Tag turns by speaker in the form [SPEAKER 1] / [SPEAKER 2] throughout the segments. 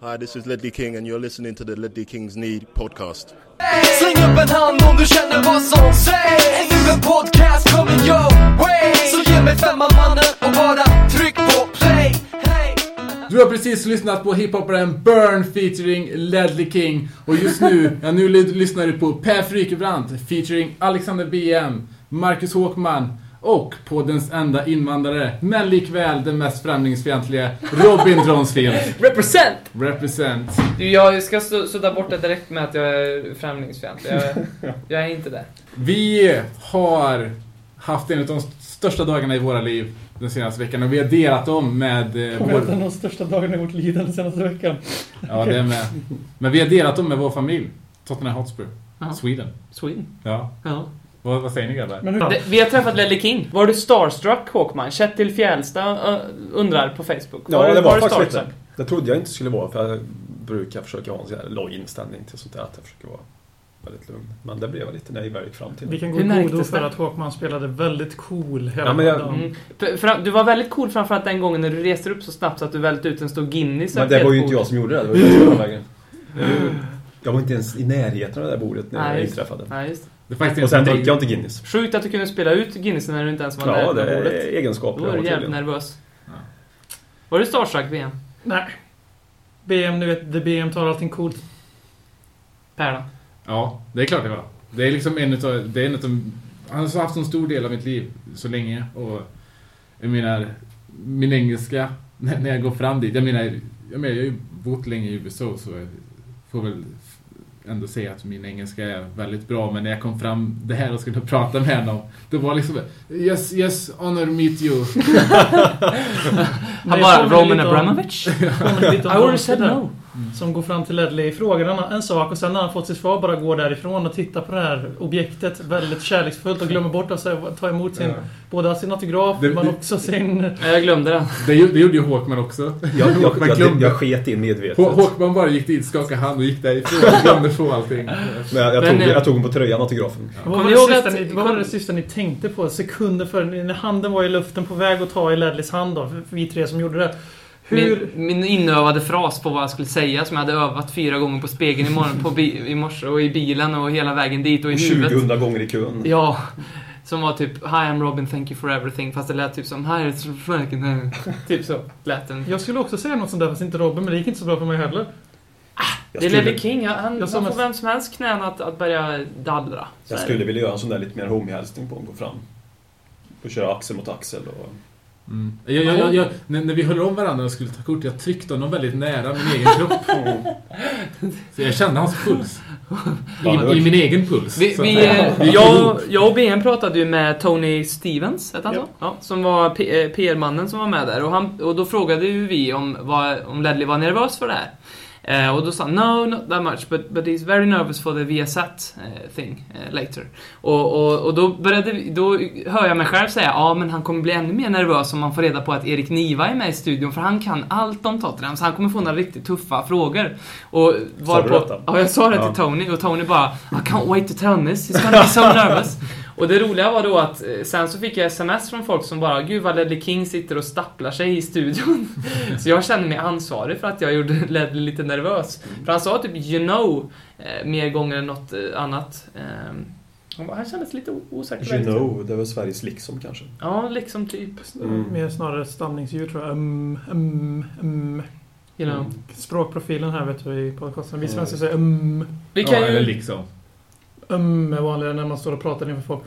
[SPEAKER 1] Hi, this is Ledley King and you're listening to the Ledley Kings Need podcast.
[SPEAKER 2] Släng upp en hand om du känner vad som sägs Ännu en podcast coming your way Så ge mig femman mannen och bara tryck på play hey.
[SPEAKER 3] Du har precis lyssnat på hiphoparen Burn featuring Ledley King. Och just nu, ja nu lyd- lyssnar du på Per Frykebrant featuring Alexander BM, Marcus Håkman och poddens enda invandrare, men likväl den mest främlingsfientliga, Robin Dronsfield.
[SPEAKER 4] Represent!
[SPEAKER 3] Represent.
[SPEAKER 4] Du, jag ska su- sudda bort det direkt med att jag är främlingsfientlig. Jag, jag är inte det.
[SPEAKER 3] Vi har haft en av de största dagarna i våra liv den senaste veckan och vi har delat dem med... eh,
[SPEAKER 5] Kommer
[SPEAKER 3] vår-
[SPEAKER 5] att den de största dagarna i vårt liv den senaste veckan.
[SPEAKER 3] Ja, det är med. Men vi har delat dem med vår familj. Tottenham Hotspur.
[SPEAKER 4] Ja.
[SPEAKER 3] Sweden.
[SPEAKER 4] Sweden.
[SPEAKER 3] Ja.
[SPEAKER 4] Ja.
[SPEAKER 3] Vad, vad säger ni grabbar?
[SPEAKER 5] Men hur då?
[SPEAKER 4] Det- Vi har träffat Ledley King. Var du starstruck Håkman? Kjetil Fjälsta ö, undrar på Facebook.
[SPEAKER 6] Ja, det var
[SPEAKER 4] du
[SPEAKER 6] faktiskt lite.
[SPEAKER 4] starstruck?
[SPEAKER 6] Det trodde jag inte skulle vara, för jag brukar försöka ha en sån här låg inställning till sånt där, att jag försöker vara väldigt lugn. Men det blev jag lite nöjd fram till.
[SPEAKER 5] Vi kan gå
[SPEAKER 4] Hur
[SPEAKER 5] i godo
[SPEAKER 4] märktes
[SPEAKER 5] för
[SPEAKER 4] det?
[SPEAKER 5] att Håkman spelade väldigt cool hela
[SPEAKER 6] Ja, men jag-
[SPEAKER 5] dagen.
[SPEAKER 4] Mm. För- fram- Du var väldigt cool framförallt den gången när du reste upp så snabbt så att du välte ut en stor Guinness.
[SPEAKER 6] Men
[SPEAKER 4] över
[SPEAKER 6] det
[SPEAKER 4] ett
[SPEAKER 6] var ju
[SPEAKER 4] bord.
[SPEAKER 6] inte jag som gjorde det, det var ju jag som var vägen. Jag var inte ens i närheten av det där bordet när
[SPEAKER 4] Nej,
[SPEAKER 6] jag
[SPEAKER 4] just-
[SPEAKER 6] inträffade.
[SPEAKER 4] Nej, just.
[SPEAKER 3] Det är faktiskt
[SPEAKER 6] Och sen dricker jag
[SPEAKER 3] jag
[SPEAKER 6] inte Guinness.
[SPEAKER 4] Sjukt att du kunde spela ut Guinnessen när du inte ens var
[SPEAKER 6] Ja, det
[SPEAKER 4] nära
[SPEAKER 6] är
[SPEAKER 4] bordet.
[SPEAKER 6] egenskaper
[SPEAKER 4] Då
[SPEAKER 6] jag
[SPEAKER 4] var
[SPEAKER 6] har
[SPEAKER 4] du jävligt
[SPEAKER 6] tydligen.
[SPEAKER 4] nervös.
[SPEAKER 3] Ja.
[SPEAKER 4] Var du starstruck VM?
[SPEAKER 5] Nej. BM, du vet, the BM tar allting coolt.
[SPEAKER 4] Per då?
[SPEAKER 3] Ja, det är klart det var. Det är liksom en utav, det är en utav, han har haft en stor del av mitt liv så länge och jag menar, min engelska, när när jag går fram dit, jag menar, jag, menar, jag har ju bott länge i USA så jag får väl ändå säga att min engelska är väldigt bra men när jag kom fram det här och skulle prata med honom, det var liksom Yes, yes, honor meet you.
[SPEAKER 4] Han
[SPEAKER 5] Det
[SPEAKER 4] bara,
[SPEAKER 5] påminner
[SPEAKER 4] Roman
[SPEAKER 5] lite
[SPEAKER 4] Abramovich?
[SPEAKER 5] om- påminner lite
[SPEAKER 4] I
[SPEAKER 5] om
[SPEAKER 4] already
[SPEAKER 5] Dante
[SPEAKER 4] said
[SPEAKER 5] där,
[SPEAKER 4] no.
[SPEAKER 5] Som går fram till Ledley, frågar honom en sak och sen när han fått sitt svar bara går därifrån och tittar på det här objektet väldigt kärleksfullt och glömmer bort att säga- ta emot sin, både sin autograf
[SPEAKER 3] Det-
[SPEAKER 5] men
[SPEAKER 3] det-
[SPEAKER 5] också sin...
[SPEAKER 4] Nej, Jag glömde den.
[SPEAKER 3] Det, gjorde- det gjorde ju Håkman också.
[SPEAKER 6] Jag, jag,
[SPEAKER 3] Håkman
[SPEAKER 6] jag, jag,
[SPEAKER 3] glömde.
[SPEAKER 6] jag sket in medvetet.
[SPEAKER 3] Hå- Håkman bara gick dit, skakade hand och gick därifrån. Glömde få allting.
[SPEAKER 6] Men jag, jag,
[SPEAKER 4] Men,
[SPEAKER 6] tog,
[SPEAKER 4] eh,
[SPEAKER 6] jag tog honom på tröjan, autografen.
[SPEAKER 5] Vad
[SPEAKER 4] Kommer
[SPEAKER 5] var,
[SPEAKER 4] ni
[SPEAKER 5] det
[SPEAKER 4] ihåg
[SPEAKER 5] sista
[SPEAKER 4] att-
[SPEAKER 5] ni, vad var det sista ni tänkte på sekunder före? ni- När handen var i luften på väg att ta i Ledleys hand då, för vi tre som gjorde det. Hur...
[SPEAKER 4] Min, min inövade fras på vad jag skulle säga som jag hade övat fyra gånger på spegeln i, morgon, på bi, i morse och i bilen och hela vägen dit och i huvudet.
[SPEAKER 6] 20 gånger i kön.
[SPEAKER 4] Ja. Som var typ Hi I'm Robin, thank you for everything. Fast det lät typ som Hi it's Franken. eh." Typ så lät den.
[SPEAKER 5] Jag skulle också säga något sånt där fast inte Robin, men det gick inte så bra för mig heller.
[SPEAKER 6] Jag
[SPEAKER 4] Det är Ledley
[SPEAKER 6] skulle,
[SPEAKER 4] King. Han, han
[SPEAKER 5] Jag
[SPEAKER 4] han
[SPEAKER 5] sa
[SPEAKER 4] får
[SPEAKER 5] mest-
[SPEAKER 4] vem som helst knän att, att börja dallra. Så
[SPEAKER 6] jag
[SPEAKER 4] är det.
[SPEAKER 6] skulle vilja göra en sån där lite mer homie-hälsning på honom, gå fram. Och köra axel mot axel och...
[SPEAKER 3] Mm. Jag, jag, jag, jag, när, när vi höll om varandra och skulle ta kort, jag tryckte honom väldigt nära min egen kropp. Så jag kände hans puls. I, i min egen puls.
[SPEAKER 4] Vi,
[SPEAKER 3] Så-
[SPEAKER 4] vi, eh, jag, jag och BM pratade ju med Tony Stevens, hette han så? Ja, som var P- eh, PR-mannen som var med där. Och, han, och då frågade ju vi om, vad- om Ledley var nervös för det här. Eh, och då sa han no, not that much, but, but he's very nervous for the Viasat eh, thing eh, later. Och, och, och då, började, vi- då hör jag mig själv säga ja, men han kommer bli ännu mer nervös om man får reda på att Erik Niva är med i studion, för han kan allt om Tottenham, så han kommer få några riktigt tuffa frågor. Och
[SPEAKER 6] Sa du
[SPEAKER 4] varpå-
[SPEAKER 6] detta?
[SPEAKER 4] Ja, jag sa det
[SPEAKER 6] Ja.
[SPEAKER 4] till Tony och Tony bara I can't wait to tell this, he's gonna be so nervous. och det roliga var då att eh, sen så fick jag sms från folk som bara Gud vad Ledley King sitter och stapplar sig i studion. så jag kände mig ansvarig för att jag gjorde Ledley lite nervös. För han sa typ you know eh, mer gånger än något eh, annat. Ehm, han bara, han kändes lite o- osäker.
[SPEAKER 6] You know, det var Sveriges liksom kanske.
[SPEAKER 4] Ja, liksom typ.
[SPEAKER 6] Mm.
[SPEAKER 5] Mer snarare stamningsljud tror jag. Um, um, um.
[SPEAKER 4] You know.
[SPEAKER 5] Språkprofilen här vet du i podcasten. Vi
[SPEAKER 6] Ja,
[SPEAKER 5] svenskar
[SPEAKER 6] visst.
[SPEAKER 5] säger um,
[SPEAKER 4] Vi
[SPEAKER 3] ja,
[SPEAKER 4] kan
[SPEAKER 3] eller
[SPEAKER 4] ju,
[SPEAKER 3] liksom.
[SPEAKER 5] um är vanligare när man står och pratar inför folk.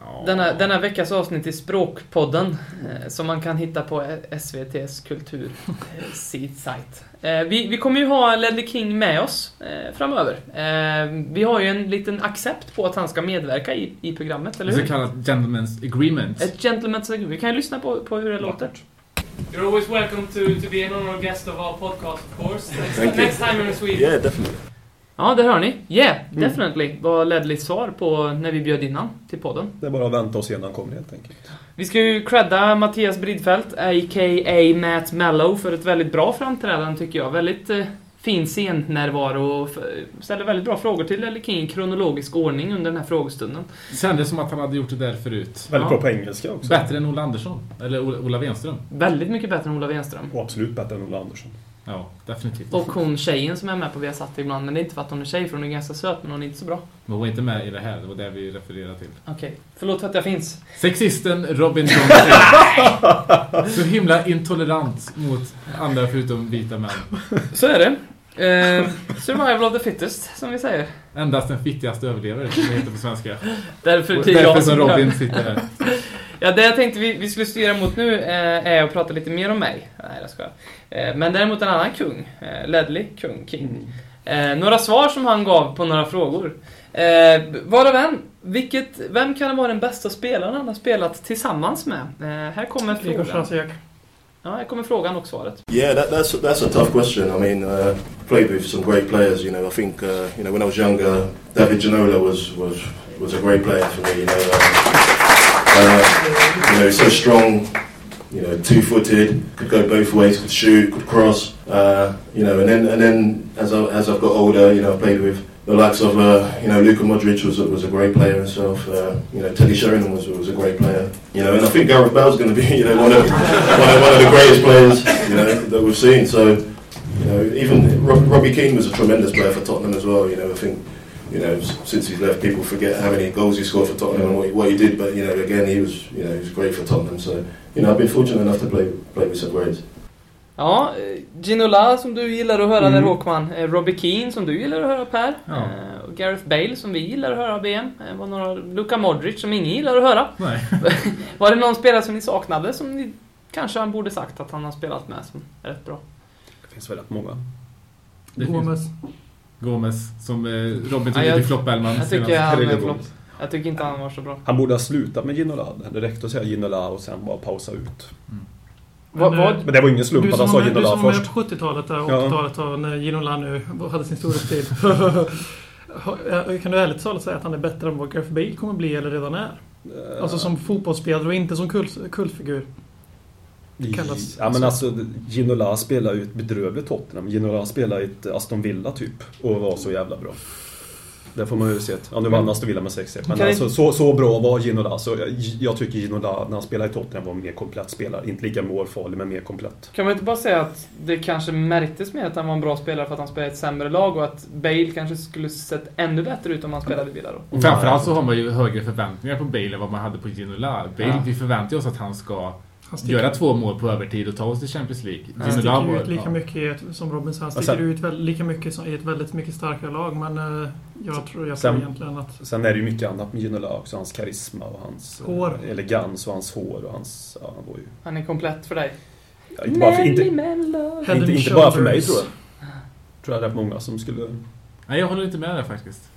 [SPEAKER 3] Ja.
[SPEAKER 4] denna, denna veckas avsnitt i Språkpodden eh, som man kan hitta på SVTs kultur eh, site. Eh, vi, vi kommer ju ha Ledley King med oss eh, framöver. Eh, vi har ju en liten accept på att han ska medverka i, i programmet, eller
[SPEAKER 3] Så
[SPEAKER 4] hur?
[SPEAKER 3] kallat gentleman's agreement.
[SPEAKER 4] Ett gentleman's agreement. Vi kan ju lyssna på, på hur det låter. You're always welcome to, to be an honorary guest of our podcast, of course. Next, next time you're in Sweden.
[SPEAKER 1] Yeah, definitely.
[SPEAKER 4] Ja, det hör ni. Yeah, definitely var Ledleys svar på när vi bjöd in han till podden.
[SPEAKER 6] Det är bara att vänta och se när han kommer helt enkelt.
[SPEAKER 4] Vi ska ju credda Mattias Bridfeldt, a.k.a. Matt Mellow, för ett väldigt bra framträdande tycker jag. Väldigt eh, fin scennärvaro och f- ställer väldigt bra frågor till Ledley King i kronologisk ordning under den här frågestunden.
[SPEAKER 3] Kändes som att han hade gjort det där förut.
[SPEAKER 6] Väldigt
[SPEAKER 4] Ja.
[SPEAKER 6] bra på engelska också.
[SPEAKER 3] Bättre än Ola Andersson. Eller Ola, Ola Wenström.
[SPEAKER 4] Väldigt mycket bättre än Ola Wenström.
[SPEAKER 6] Och absolut bättre än Ola Andersson.
[SPEAKER 3] Ja, definitivt.
[SPEAKER 4] Och hon tjejen som är med på Viasat ibland, men det är inte för att hon är tjej, för hon är ganska söt, men hon är inte så bra.
[SPEAKER 3] Men hon var inte med i det här, det var det vi refererade till.
[SPEAKER 4] Okej, förlåt för att jag finns.
[SPEAKER 3] Sexisten Robin Johnson. Så himla intolerant mot andra förutom vita män.
[SPEAKER 4] Så är det. Eh, survival of the fittest, som vi säger.
[SPEAKER 3] Endast den fittigaste överlever, som det heter på svenska.
[SPEAKER 4] Därför
[SPEAKER 3] Och
[SPEAKER 4] det är
[SPEAKER 3] därför
[SPEAKER 4] jag
[SPEAKER 3] som
[SPEAKER 4] som
[SPEAKER 3] Robin sitter här.
[SPEAKER 4] Ja, det jag tänkte vi, vi skulle styra mot nu eh, är att prata lite mer om mig. Nej, jag skojar. Eh, men däremot en annan kung. Eh, Ledley, kung, king.
[SPEAKER 3] Mm.
[SPEAKER 4] Eh, några svar som han gav på några frågor. Eh, varav en. Vilket, vem kan vara den bästa spelaren han har spelat tillsammans med? Eh, här kommer
[SPEAKER 5] Igor
[SPEAKER 4] frågan.
[SPEAKER 5] Fransek.
[SPEAKER 4] Ja, här kommer frågan och svaret.
[SPEAKER 1] Yeah, that, that's that's a tough question. I mean, uh, played with some great players. You know, I think uh, you know when I was younger, David Ginola was was was a great player for me. You know, uh, uh, you know, so strong. You know, two-footed, could go both ways, could shoot, could cross. Uh, you know, and then and then as I as I've got older, you know, I played with the likes of uh, you know Luka Modric was a, was a great player himself. Uh, you know, Teddy Sheringham was was a great player. You know, and I think Gareth Bale's going to be you know one of one of, one of the greatest players you know that we've seen. So, you know, even Rob, Robbie Keane was a tremendous player for Tottenham as well. You know, I think you know s- since he's left, people forget how many goals he scored for Tottenham and what he, what he did. But you know, again, he was you know he was great for Tottenham. So, you know, I've been fortunate enough to play play with some greats.
[SPEAKER 4] Ja, eh, Ginola som du gillar att höra
[SPEAKER 3] Mm.
[SPEAKER 4] där Håkman. Eh, Robbie Keane som du gillar att höra Per.
[SPEAKER 3] Ja.
[SPEAKER 4] Eh, och Gareth Bale som vi gillar att höra BM. Eh, var några, Luka Modric som ingen gillar att höra.
[SPEAKER 3] Nej.
[SPEAKER 4] Var det någon spelare som ni saknade som ni kanske han borde sagt att han har spelat med som är rätt bra?
[SPEAKER 6] Det finns väl rätt många.
[SPEAKER 3] Det finns-
[SPEAKER 5] Gomes.
[SPEAKER 3] Gomez, som eh, Robin tog
[SPEAKER 4] Ja, jag-
[SPEAKER 3] till Flopp Bellman
[SPEAKER 4] Jag tycker,
[SPEAKER 3] senast.
[SPEAKER 4] han,
[SPEAKER 6] Herregud.
[SPEAKER 4] är flopp. jag tycker inte han var så bra.
[SPEAKER 6] Han borde ha slutat med Ginola. Det räckte att säga Ginola och sen bara pausa ut.
[SPEAKER 4] Vad,
[SPEAKER 5] Men, eh,
[SPEAKER 4] vad,
[SPEAKER 6] Men det var ingen slump
[SPEAKER 5] Du
[SPEAKER 6] att
[SPEAKER 5] som
[SPEAKER 6] han sa
[SPEAKER 5] var med, du
[SPEAKER 6] Ginola
[SPEAKER 5] som var med
[SPEAKER 6] först.
[SPEAKER 5] på 70-talet där och
[SPEAKER 6] Ja.
[SPEAKER 5] 80-talet och när Ginola nu hade sin stora stil. kan du ärligt talat säga att han är bättre än vad Gareth Bale kommer bli eller redan är? Alltså som fotbollsspelare och inte som kult, kultfigur. kallas-
[SPEAKER 6] Ja men alltså, Ginola spelar ju ett bedrövligt Tottenham. Ginola spelar i ett Aston Villa typ och var så jävla bra. Det får man ju se. Ja, nu vann Aston Villa med 6-1. Men
[SPEAKER 4] Kan
[SPEAKER 6] alltså, så, så bra var Ginola. Så jag, jag tycker Ginola, när han spelade i Tottenham, var en mer komplett spelare. Inte lika målfarlig, men mer komplett.
[SPEAKER 4] kan man inte bara säga att det kanske märktes mer att han var en bra spelare för att han spelade i ett sämre lag och att Bale kanske skulle sett ännu bättre ut om han spelade i Villa då?
[SPEAKER 3] Och framförallt så har man ju högre förväntningar på Bale än vad man hade på Ginola. Bale,
[SPEAKER 4] Ja.
[SPEAKER 3] vi förväntar oss att han ska
[SPEAKER 5] Han sticker,
[SPEAKER 3] göra två mål på övertid och ta oss till Champions League.
[SPEAKER 5] han
[SPEAKER 3] Ginola
[SPEAKER 5] sticker
[SPEAKER 3] var-
[SPEAKER 5] ut lika
[SPEAKER 3] ja.
[SPEAKER 5] mycket i ett, som Robin sa. Han
[SPEAKER 6] Och
[SPEAKER 5] sticker
[SPEAKER 6] sen-
[SPEAKER 5] ut väl, lika mycket som, i ett väldigt mycket starkare lag. Men eh, jag tror, jag tror
[SPEAKER 6] Sen-
[SPEAKER 5] egentligen att...
[SPEAKER 6] Sen är det ju mycket annat med Ginola också. Hans karisma och hans eh,
[SPEAKER 5] Hår.
[SPEAKER 6] elegans och hans hår och hans... Ja, han var ju...
[SPEAKER 4] Han är komplett för dig.
[SPEAKER 6] Ja, inte bara för, inte,
[SPEAKER 4] Mello.
[SPEAKER 5] Head and
[SPEAKER 6] inte, inte bara för mig
[SPEAKER 5] shoulders.
[SPEAKER 6] tror jag. Tror jag det är många som skulle...
[SPEAKER 3] Nej, jag håller inte med där faktiskt.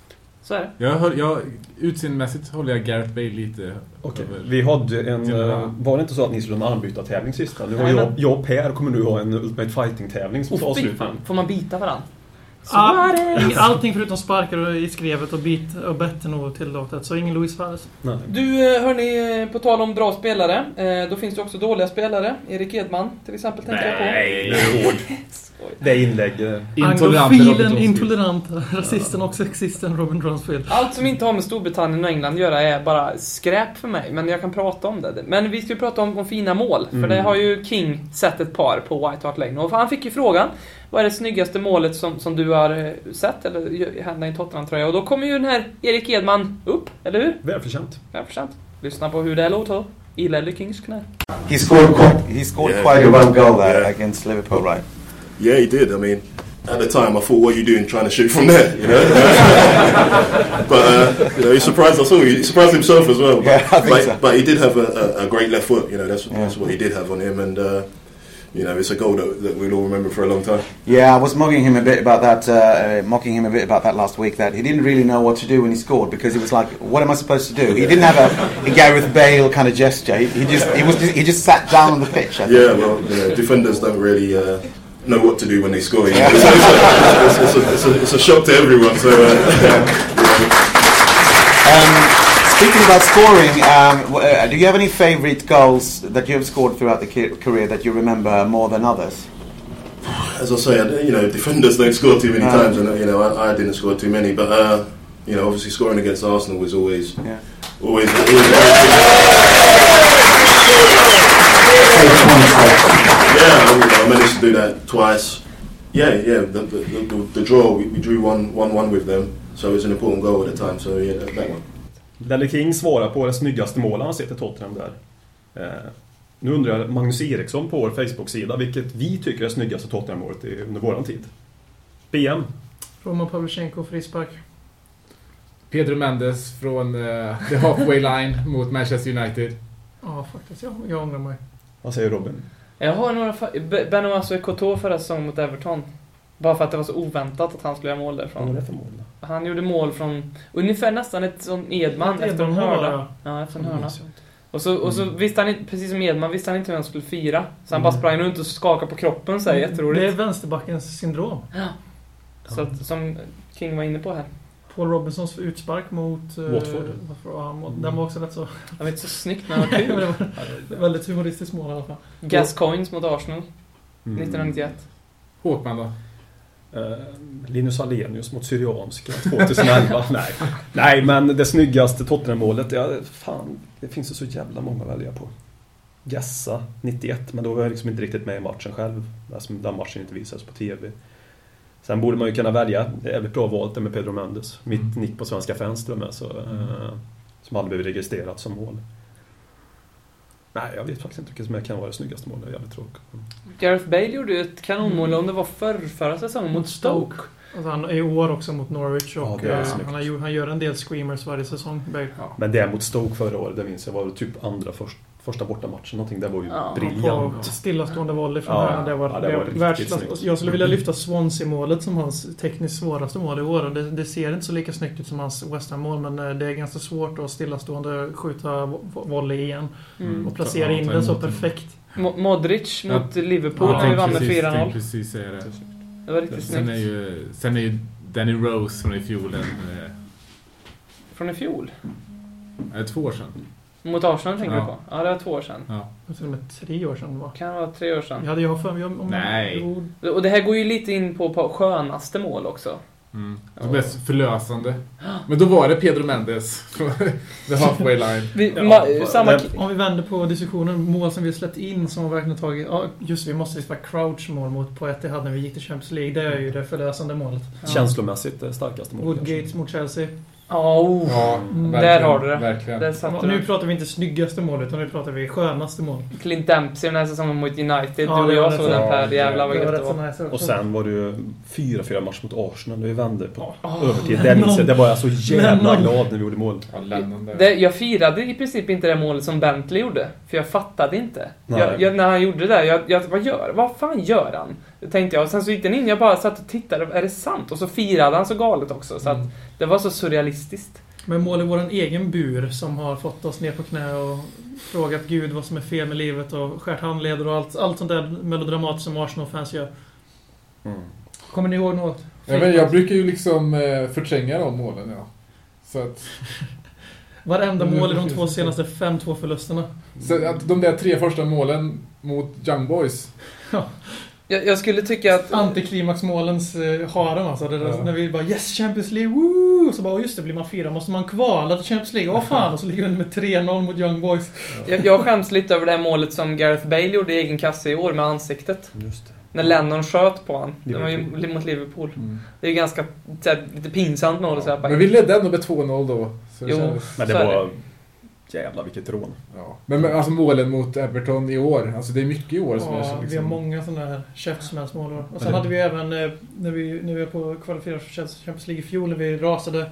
[SPEAKER 4] Så är det.
[SPEAKER 3] Jag, höll, jag, utseendemässigt håller jag Gareth Bale lite
[SPEAKER 6] Okej,
[SPEAKER 3] över.
[SPEAKER 6] vi hade en...
[SPEAKER 3] Ginola.
[SPEAKER 6] eh, Var det inte så att ni skulle ha en armbytartävling sist? Nu har
[SPEAKER 4] Nej,
[SPEAKER 6] jag,
[SPEAKER 4] men-
[SPEAKER 6] jag och Per kommer nu ha en Ultimate Fighting-tävling som tar
[SPEAKER 4] Och fy
[SPEAKER 6] slut.
[SPEAKER 4] fan, får man bita varandra?
[SPEAKER 5] Ah, allting förutom sparkar och i skrevet och bit och betten och tillåtet. Så ingen Luis Suarez.
[SPEAKER 6] Nej.
[SPEAKER 4] Du, eh, hörni, eh, på tal om bra spelare. eh, Då finns det också dåliga spelare. Erik Edman, till exempel, tänkte jag på.
[SPEAKER 6] det är ord.
[SPEAKER 4] Skoj.
[SPEAKER 6] Det är inlägg. eh,
[SPEAKER 3] Intolerant
[SPEAKER 5] Anglofilen,
[SPEAKER 3] Robin Johnson.
[SPEAKER 5] intoleranta, rasisten och sexisten Robin Dronsfield.
[SPEAKER 4] Allt som inte har med Storbritannien och England att göra är bara skräp för mig, men jag kan prata om det. Men vi ska ju prata om, om fina mål, för det har ju King sett ett par på White Hart Lane. Och han fick ju frågan, vad är det snyggaste målet som, som du har eh, sett, eller ju- hända i Tottenham-tröja? Och då kommer ju den här Erik Edman upp, eller hur?
[SPEAKER 6] Välförtjänt.
[SPEAKER 4] 100%. Lyssna på hur det låter. I Ledley Kings knä.
[SPEAKER 7] He scored quite, he scored
[SPEAKER 1] Yeah.
[SPEAKER 7] quite a one goal there
[SPEAKER 1] Yeah.
[SPEAKER 7] against Liverpool, right?
[SPEAKER 1] Yeah, he did. I mean, at the time, I thought, "What are you doing, trying to shoot from there?" You know. but uh, you know, he surprised us all. He surprised himself as well. But,
[SPEAKER 7] Yeah, I think
[SPEAKER 1] but,
[SPEAKER 7] so.
[SPEAKER 1] but he did have a, a, a great left foot. You know, that's, that's
[SPEAKER 7] Yeah.
[SPEAKER 1] what he did have on him, and uh, you know, it's a goal that, that we'll all remember for a long time.
[SPEAKER 7] Yeah, I was mocking him a bit about that, uh, uh, mocking him a bit about that last week. That he didn't really know what to do when he scored because he was like, "What am I supposed to do?" He didn't have a, a Gareth Bale kind of gesture. He, he just he was just, he just sat down on the pitch. I think.
[SPEAKER 1] Yeah, well, you know, defenders don't really uh, know what to do when they score. You know? it's, it's, a, it's, a, it's, a, it's a shock to everyone. So. Uh,
[SPEAKER 7] Um, speaking about scoring, um, w- uh, do you have any favourite goals that you have scored throughout the ca- career that you remember more than others?
[SPEAKER 1] as I say, I- you know, defenders don't score too many
[SPEAKER 7] No.
[SPEAKER 1] times, and you know, I, I didn't score too many. But uh, you know, obviously, scoring against Arsenal was always,
[SPEAKER 7] Yeah.
[SPEAKER 1] always, always. a very big- Yeah, I, you know, I managed to do that twice. Yeah, yeah. The, the, the, the draw, we, we drew 1-1 one, one, one with them, so it was an important goal at the time. So yeah, that, that one.
[SPEAKER 6] Lelle King svarar på det snyggaste mål han sett i Tottenham där. Eh, nu undrar Magnus Eriksson på vår Facebook-sida vilket vi tycker är snyggaste Tottenham-målet i- under våran tid. BM.
[SPEAKER 5] Roman Pavlyuchenko, frispark.
[SPEAKER 3] Pedro Mendes från eh, the halfway line mot Manchester United.
[SPEAKER 5] Ja, faktiskt. Jag, jag ångrar mig.
[SPEAKER 6] Vad säger Robin?
[SPEAKER 4] Jag har några... fa- B- Benoît Koto förra säsongen mot Everton. Bara för att det var så oväntat att han skulle göra mål
[SPEAKER 6] Vad var
[SPEAKER 4] därifrån.
[SPEAKER 6] det för mål? då?
[SPEAKER 4] Han gjorde mål från ungefär nästan ett sånt Edman
[SPEAKER 5] Ett
[SPEAKER 4] efter en
[SPEAKER 5] Edman-mål,
[SPEAKER 4] hörna.
[SPEAKER 5] ja.
[SPEAKER 4] Ja, efter en
[SPEAKER 3] Mm.
[SPEAKER 6] Det
[SPEAKER 4] hörna.
[SPEAKER 6] minns jag inte.
[SPEAKER 4] Och så, och så visste han inte, precis som Edman, visste han inte hur han skulle fira. Så han bara
[SPEAKER 3] Mm.
[SPEAKER 4] sprang runt och skakade på kroppen så här,
[SPEAKER 5] Det är
[SPEAKER 4] jätteroligt.
[SPEAKER 5] vänsterbackens syndrom.
[SPEAKER 4] Så att, som King var inne på här.
[SPEAKER 5] Paul Robinsons utspark mot... eh,
[SPEAKER 6] Watford.
[SPEAKER 5] varför- ja, mot- Den var också rätt så...
[SPEAKER 4] Han var inte så snyggt men han var kul.
[SPEAKER 5] det var ett väldigt humoristiskt mål i alla fall.
[SPEAKER 4] Gascoins mot Arsenal
[SPEAKER 6] Mm.
[SPEAKER 4] 1991.
[SPEAKER 3] Håkman då?
[SPEAKER 6] Eh, Linus Alenius mot Syrianska 2011. Nej. Nej, men det snyggaste Tottenham-målet, ja, fan, det finns ju så jävla många att välja på. Gassa 91, men då var jag liksom inte riktigt med i matchen själv. Alltså, den matchen inte visades på TV. Sen borde man ju kunna välja, det är jävligt bra valt det med Pedro Mendes. Mitt nick på svenska fans till och med, så, eh, som aldrig blivit registrerat som mål. Nej, jag vet faktiskt inte vilket som jag kan vara det snyggaste målet. Det är jävligt tråkigt.
[SPEAKER 4] Gareth Bale gjorde ju ett kanonmål, om det var förr, förra säsongen, mot Stoke.
[SPEAKER 5] Alltså han är i år också mot Norwich
[SPEAKER 6] Ja,
[SPEAKER 5] och
[SPEAKER 6] det är
[SPEAKER 5] eh,
[SPEAKER 6] snyggt.
[SPEAKER 5] han, har, gjort- han gör en del screamers varje säsong. Bale.
[SPEAKER 6] Men det mot Stoke förra året, det minns jag, var typ andra först, första bortamatchen någonting. Det var ju
[SPEAKER 4] Ja,
[SPEAKER 5] På
[SPEAKER 6] briljant.
[SPEAKER 5] stillastående volley från
[SPEAKER 6] Ja,
[SPEAKER 5] hörnan. Det var,
[SPEAKER 6] ja, det
[SPEAKER 5] det
[SPEAKER 6] var
[SPEAKER 5] var
[SPEAKER 6] riktigt
[SPEAKER 5] världsklass.
[SPEAKER 6] snyggt.
[SPEAKER 5] Jag skulle vilja lyfta Swansea-målet som hans tekniskt svåraste mål i år. Det, det ser inte så lika snyggt ut som hans West Ham-mål, men eh, det är ganska svårt att stillastående skjuta vo- vo- volley igen.
[SPEAKER 4] Mm.
[SPEAKER 5] Och placera in den så perfekt.
[SPEAKER 4] Mo- Modric mot Liverpool
[SPEAKER 3] Jag
[SPEAKER 4] när vi
[SPEAKER 3] tänkte precis-
[SPEAKER 4] vann med 4-0.
[SPEAKER 3] tänkte precis säga det.
[SPEAKER 4] Det var riktigt
[SPEAKER 3] Sen är,
[SPEAKER 4] snyggt.
[SPEAKER 3] ju, sen är ju Danny Rose från i fjol en... eh,
[SPEAKER 4] Från i fjol.
[SPEAKER 3] är det två år sedan.
[SPEAKER 4] Mot Arsenal tänker
[SPEAKER 3] Ja.
[SPEAKER 4] du på? Ja, det var två år sedan.
[SPEAKER 3] Ja.
[SPEAKER 5] Det var Till och med tre år sedan det var.
[SPEAKER 4] Kan vara tre år sedan.
[SPEAKER 5] Hade jag för mig om... om-
[SPEAKER 3] Nej.
[SPEAKER 5] Jo,
[SPEAKER 4] Och det här går ju lite in på, på skönaste mål också.
[SPEAKER 3] Mm. Det var mest förlösande. Men då var det Pedro Mendes från the halfway line.
[SPEAKER 4] Vi,
[SPEAKER 6] Ja,
[SPEAKER 4] ma-
[SPEAKER 6] det-
[SPEAKER 4] samma...
[SPEAKER 6] det-
[SPEAKER 5] Om vi vänder på diskussionen, mål som vi har släppt in som har verkligen tagit... Ja, just det, vi måste släppa Crouch-mål mot på Etihad när vi gick till Champions League. Det är ju det förlösande målet.
[SPEAKER 6] Känslomässigt det starkaste målet.
[SPEAKER 5] Woodgate mot Chelsea.
[SPEAKER 4] Ja, oh,
[SPEAKER 3] Ja,
[SPEAKER 5] Mm.
[SPEAKER 4] Där har du det.
[SPEAKER 3] Verkligen.
[SPEAKER 4] Där
[SPEAKER 5] Ja,
[SPEAKER 4] satte
[SPEAKER 5] nu
[SPEAKER 4] du.
[SPEAKER 5] pratar vi inte snyggaste mål, utan nu pratar vi skönaste mål.
[SPEAKER 4] Clint Dempsey den här säsongen mot United.
[SPEAKER 5] Ja,
[SPEAKER 4] du och
[SPEAKER 5] det var
[SPEAKER 4] jag
[SPEAKER 5] rätt
[SPEAKER 4] såg den
[SPEAKER 3] så-
[SPEAKER 4] Per.
[SPEAKER 3] det-
[SPEAKER 4] Jävlar vad
[SPEAKER 5] Det
[SPEAKER 4] gött
[SPEAKER 5] var
[SPEAKER 4] det
[SPEAKER 5] rätt så
[SPEAKER 4] var.
[SPEAKER 5] nice.
[SPEAKER 6] Och sen var det ju 4-4 match mot Arsenal när vi vände på övertid. Det minns jag. Det var jag så jävla
[SPEAKER 5] Lennon.
[SPEAKER 6] glad när vi gjorde mål.
[SPEAKER 3] Ja, Lennon där.
[SPEAKER 4] Det, jag firade i princip inte det målet som Bentley gjorde, för jag fattade inte.
[SPEAKER 6] Nej.
[SPEAKER 4] Jag, jag, när han gjorde det, där, jag, jag vad gör Vad fan gör han? Tänkte jag. Och sen så gick den in, jag bara satt och tittade, är det sant? Och så firade han så galet också,
[SPEAKER 5] Mm.
[SPEAKER 4] så att det var så surrealistiskt.
[SPEAKER 5] Med mål i vår egen bur som har fått oss ner på knä och frågat Gud vad som är fel med livet och skärt handleder och allt, allt sånt där melodramat som Arsenal-fans gör. Kommer ni ihåg något?
[SPEAKER 3] Ja, men Mm. jag brukar ju liksom eh, förtränga de målen, ja. Så att,
[SPEAKER 5] Varenda
[SPEAKER 3] Mm,
[SPEAKER 5] mål i de
[SPEAKER 3] precis.
[SPEAKER 5] två senaste 5-2-förlusterna.
[SPEAKER 3] så
[SPEAKER 4] Mm.
[SPEAKER 3] att de där tre första målen mot Young Boys.
[SPEAKER 4] Jag, jag skulle tycka att...
[SPEAKER 5] Antiklimaxmålens eh, harem alltså. Det, där-
[SPEAKER 3] Ja.
[SPEAKER 5] När vi bara 'Yes, Champions League, woo!' Så bara "Åh, just det, blir man fyra måste man kvala till Champions League. Åh fan! Och så ligger vi under med 3-0 mot Young Boys.
[SPEAKER 4] Jag, jag skäms lite över det här målet som Gareth Bale gjorde i egen kasse i år med ansiktet.
[SPEAKER 6] Just det.
[SPEAKER 4] När Lennon sköt på han. Det var
[SPEAKER 6] Liverpool. Mm.
[SPEAKER 4] ju mot Liverpool. Det är ju ganska så här, lite pinsamt mål. Så här, bara,
[SPEAKER 3] Men vi ledde ändå med 2-0 då. Så det
[SPEAKER 4] Jo.
[SPEAKER 3] kändes,
[SPEAKER 6] Men det
[SPEAKER 4] Så är
[SPEAKER 6] var... Jävla vilket rån.
[SPEAKER 3] ja. Men men alltså målen mot Everton i år. Alltså det är mycket i år som
[SPEAKER 5] Ja,
[SPEAKER 3] är
[SPEAKER 5] vi har
[SPEAKER 3] liksom...
[SPEAKER 5] många sådana här käftsmällsmål. då. Och sen hade vi även, eh, när vi, när vi var på kvalificerade för Chelsea Champions League i fjol, när vi rasade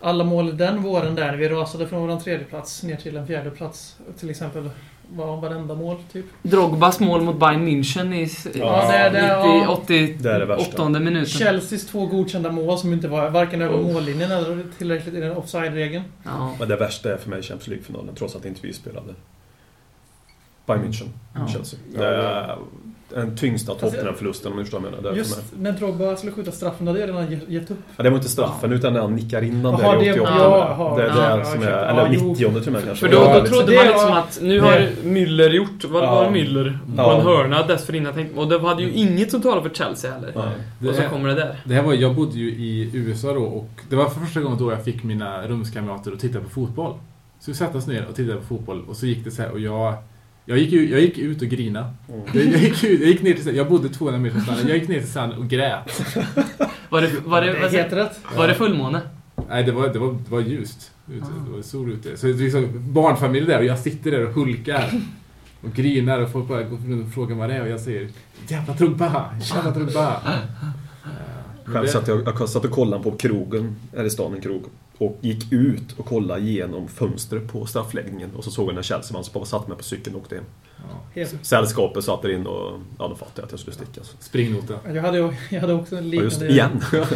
[SPEAKER 5] alla mål den våren där, när vi rasade från vår tredje plats ner till en fjärde plats Till exempel var varenda mål, typ.
[SPEAKER 4] Drogbas mål mot Bayern München i
[SPEAKER 5] Ja, det- det- ja.
[SPEAKER 4] 80,
[SPEAKER 6] Det är det värsta.
[SPEAKER 4] åttonde minuten.
[SPEAKER 5] Chelseas två godkända mål som inte var varken över mållinjen eller tillräckligt i den offside-regeln.
[SPEAKER 4] Ja.
[SPEAKER 6] Men det värsta är för mig Champions League-finalen, trots att inte vi spelade. Bayern München,
[SPEAKER 4] Ja.
[SPEAKER 6] Chelsea. Det är den tyngsta Tottenham-förlusten om du förstår vad jag menar. Det, är för mig.
[SPEAKER 5] Just när Drogba skulle skjuta straffen hade jag redan ge- gett upp.
[SPEAKER 6] ja, det var inte straffen, utan när han nickar innan
[SPEAKER 5] Jaha,
[SPEAKER 6] där i
[SPEAKER 5] det-
[SPEAKER 6] 88.
[SPEAKER 5] jaha.
[SPEAKER 6] det är det
[SPEAKER 5] Ja,
[SPEAKER 6] som är...
[SPEAKER 5] ursäkta.
[SPEAKER 6] Eller
[SPEAKER 5] Ja, jo.
[SPEAKER 6] 90 till och med kanske.
[SPEAKER 4] För då,
[SPEAKER 3] Ja,
[SPEAKER 4] då
[SPEAKER 3] det-
[SPEAKER 4] trodde
[SPEAKER 5] det
[SPEAKER 4] man
[SPEAKER 5] var-
[SPEAKER 4] liksom att nu
[SPEAKER 5] det-
[SPEAKER 4] har Müller gjort, vad
[SPEAKER 6] Ja.
[SPEAKER 4] var Müller? På
[SPEAKER 6] Ja.
[SPEAKER 4] en
[SPEAKER 6] Mm.
[SPEAKER 4] hörna dessförinnan tänkte Och det hade ju inget som talade för Chelsea heller.
[SPEAKER 6] Ja.
[SPEAKER 4] Och
[SPEAKER 3] Det
[SPEAKER 4] så
[SPEAKER 3] är-
[SPEAKER 4] kommer det där.
[SPEAKER 3] Det här var, jag bodde ju i USA då och det var för första gången då jag fick mina rumskamrater att titta på fotboll. Så vi satte oss ner och tittade på fotboll och så gick det så här och jag Jag gick, ju, jag gick ut och grina. Jag, jag, gick ut, jag gick ner till Sand- Jag bodde 200 meter från stranden. Jag gick ner till sand och grät.
[SPEAKER 4] Var det, var det,
[SPEAKER 5] Det
[SPEAKER 4] vad säger-
[SPEAKER 5] heter rätt.
[SPEAKER 4] var det fullmåne?
[SPEAKER 3] Nej, det var, det var, det var ljust. Ute.
[SPEAKER 4] Ah.
[SPEAKER 3] Det var sol ute. Så det är liksom barnfamilj där och jag sitter där och hulkar. Och grinar och folk bara går runt och frågar vad det är och jag säger Jävla trumpa! Jävla trumpa!
[SPEAKER 4] Ah.
[SPEAKER 6] Själv satt jag, jag satt och kollade på krogen, här i stan en krog, och gick ut och kollade genom fönstret på straffläggningen och så såg jag när Chelsea vann, så bara satte mig på cykeln och åkte hem.
[SPEAKER 5] Helt.
[SPEAKER 6] Sällskapet satt där inne och ja, de fattade att jag skulle sticka. Så.
[SPEAKER 3] Springnota.
[SPEAKER 5] Jag hade, ju- jag hade också en
[SPEAKER 6] Ja, just
[SPEAKER 5] liknande...
[SPEAKER 6] det, igen.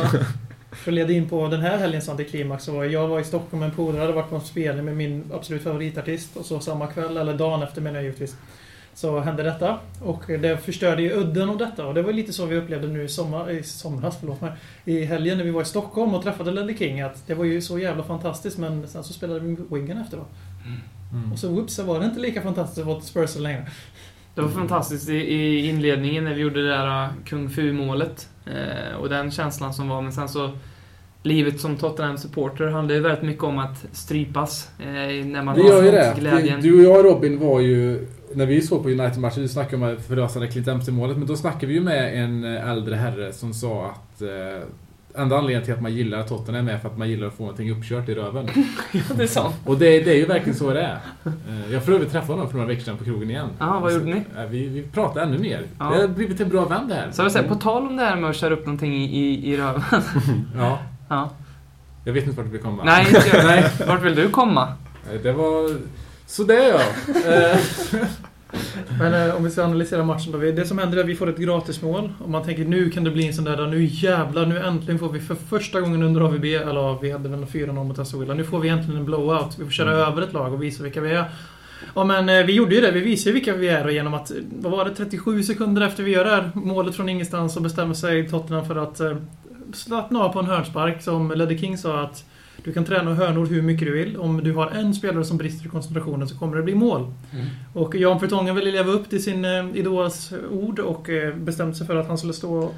[SPEAKER 5] För att leda in på den här helgens antiklimax så var jag- jag var i Stockholm med en polare, hade varit på en spelning med min absolut favoritartist och så samma kväll, eller dagen efter menar jag givetvis, så hände detta. Och det förstörde ju udden av detta och det var lite så vi upplevde nu i, sommar, i somras, förlåt mig, i helgen när vi var i Stockholm och träffade Ledley King att det var ju så jävla fantastiskt men sen så spelade vi Wiggen efter då.
[SPEAKER 3] Mm.
[SPEAKER 5] Och så whoops, så var det inte lika fantastiskt att vara till Spurs längre.
[SPEAKER 4] Det var fantastiskt i, i inledningen när vi gjorde det där eh, kung fu-målet. Eh, och den känslan som var, men sen så... Livet som Tottenham-supporter handlar ju väldigt mycket om att stripas. Eh, när man
[SPEAKER 3] Det
[SPEAKER 4] har
[SPEAKER 3] gör ju det.
[SPEAKER 4] glädjen.
[SPEAKER 3] Du och jag Robin var ju, när vi såg på United-matchen, vi snackade om det förlösande Clint Dempsey-målet, men då snackade vi ju med en eh, äldre herre som sa att eh, enda anledningen till att man gillar Tottenham är för att man gillar att få någonting uppkört i röven.
[SPEAKER 4] det är sant.
[SPEAKER 3] Och det, det är ju verkligen så det är. Eh, Jag för övrigt träffade honom för några veckor sedan på krogen igen.
[SPEAKER 4] Ja, vad
[SPEAKER 3] Så,
[SPEAKER 4] gjorde ni?
[SPEAKER 3] eh, Vi, vi pratade ännu mer.
[SPEAKER 4] Ja.
[SPEAKER 3] Det har blivit en bra vän det här.
[SPEAKER 4] Så jag vill säga, på tal om det här med att köra upp någonting i, i, i röven.
[SPEAKER 3] Ja,
[SPEAKER 4] Ja.
[SPEAKER 3] jag vet inte vart vi kommer.
[SPEAKER 4] Nej, inte jag.
[SPEAKER 3] Nej.
[SPEAKER 4] Vart vill du komma?
[SPEAKER 3] Eh, Det var... Sådär ja. Eh,
[SPEAKER 5] Men eh, om vi ska analysera matchen då. Vi- Det som händer är att vi får ett gratismål. Och man tänker nu kan det bli en sån där, där, nu jävlar, nu äntligen får vi för första gången under AVB, eller ja, vi hade väl en 4-0 mot Aston Villa. Nu får vi äntligen en blowout. Vi får köra över ett lag och visa vilka vi är. Ja men eh, vi gjorde ju det, vi visade ju vilka vi är och genom att, eh, vad var det, 37 sekunder efter vi gör det här målet från ingenstans så bestämmer sig Tottenham för att eh, slappna av på en hörnspark som Ledder King sa att du kan träna hörnor hur mycket du vill. Om du har en spelare som brister i koncentrationen så kommer det bli mål.
[SPEAKER 3] Mm.
[SPEAKER 5] Och Jan Vertongen ville leva upp till sin eh, idols ord och eh, bestämde sig för att han skulle stå och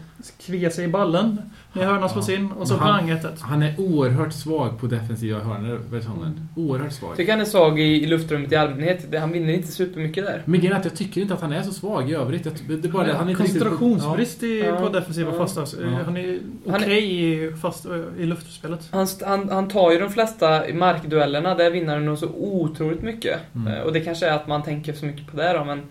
[SPEAKER 5] klia sig i ballen när hörnan slås in. Och så
[SPEAKER 3] Men han-
[SPEAKER 5] pang 1
[SPEAKER 3] Han är oerhört svag på defensiva hörnor, Vertongen. Oerhört svag.
[SPEAKER 4] Tycker han är svag i, i luftrummet i allmänhet. Det- Han vinner inte supermycket där.
[SPEAKER 3] Men grejen är att jag tycker inte att han är så svag i övrigt. Jag, ty- det är bara det, att han är inte riktigt-
[SPEAKER 5] Koncentrationsbrist i,
[SPEAKER 4] Ja.
[SPEAKER 5] på defensiva
[SPEAKER 4] Ja.
[SPEAKER 5] fasta. Eh,
[SPEAKER 3] Ja.
[SPEAKER 5] Han är
[SPEAKER 4] Han är-
[SPEAKER 5] okej i, fast, eh, i luftspelet.
[SPEAKER 4] Han, st- han, han tar ju de flesta markduellerna där vinnaren nog så otroligt mycket.
[SPEAKER 3] Mm.
[SPEAKER 4] Eh, Och det kanske är att man tänker så mycket på det då, men...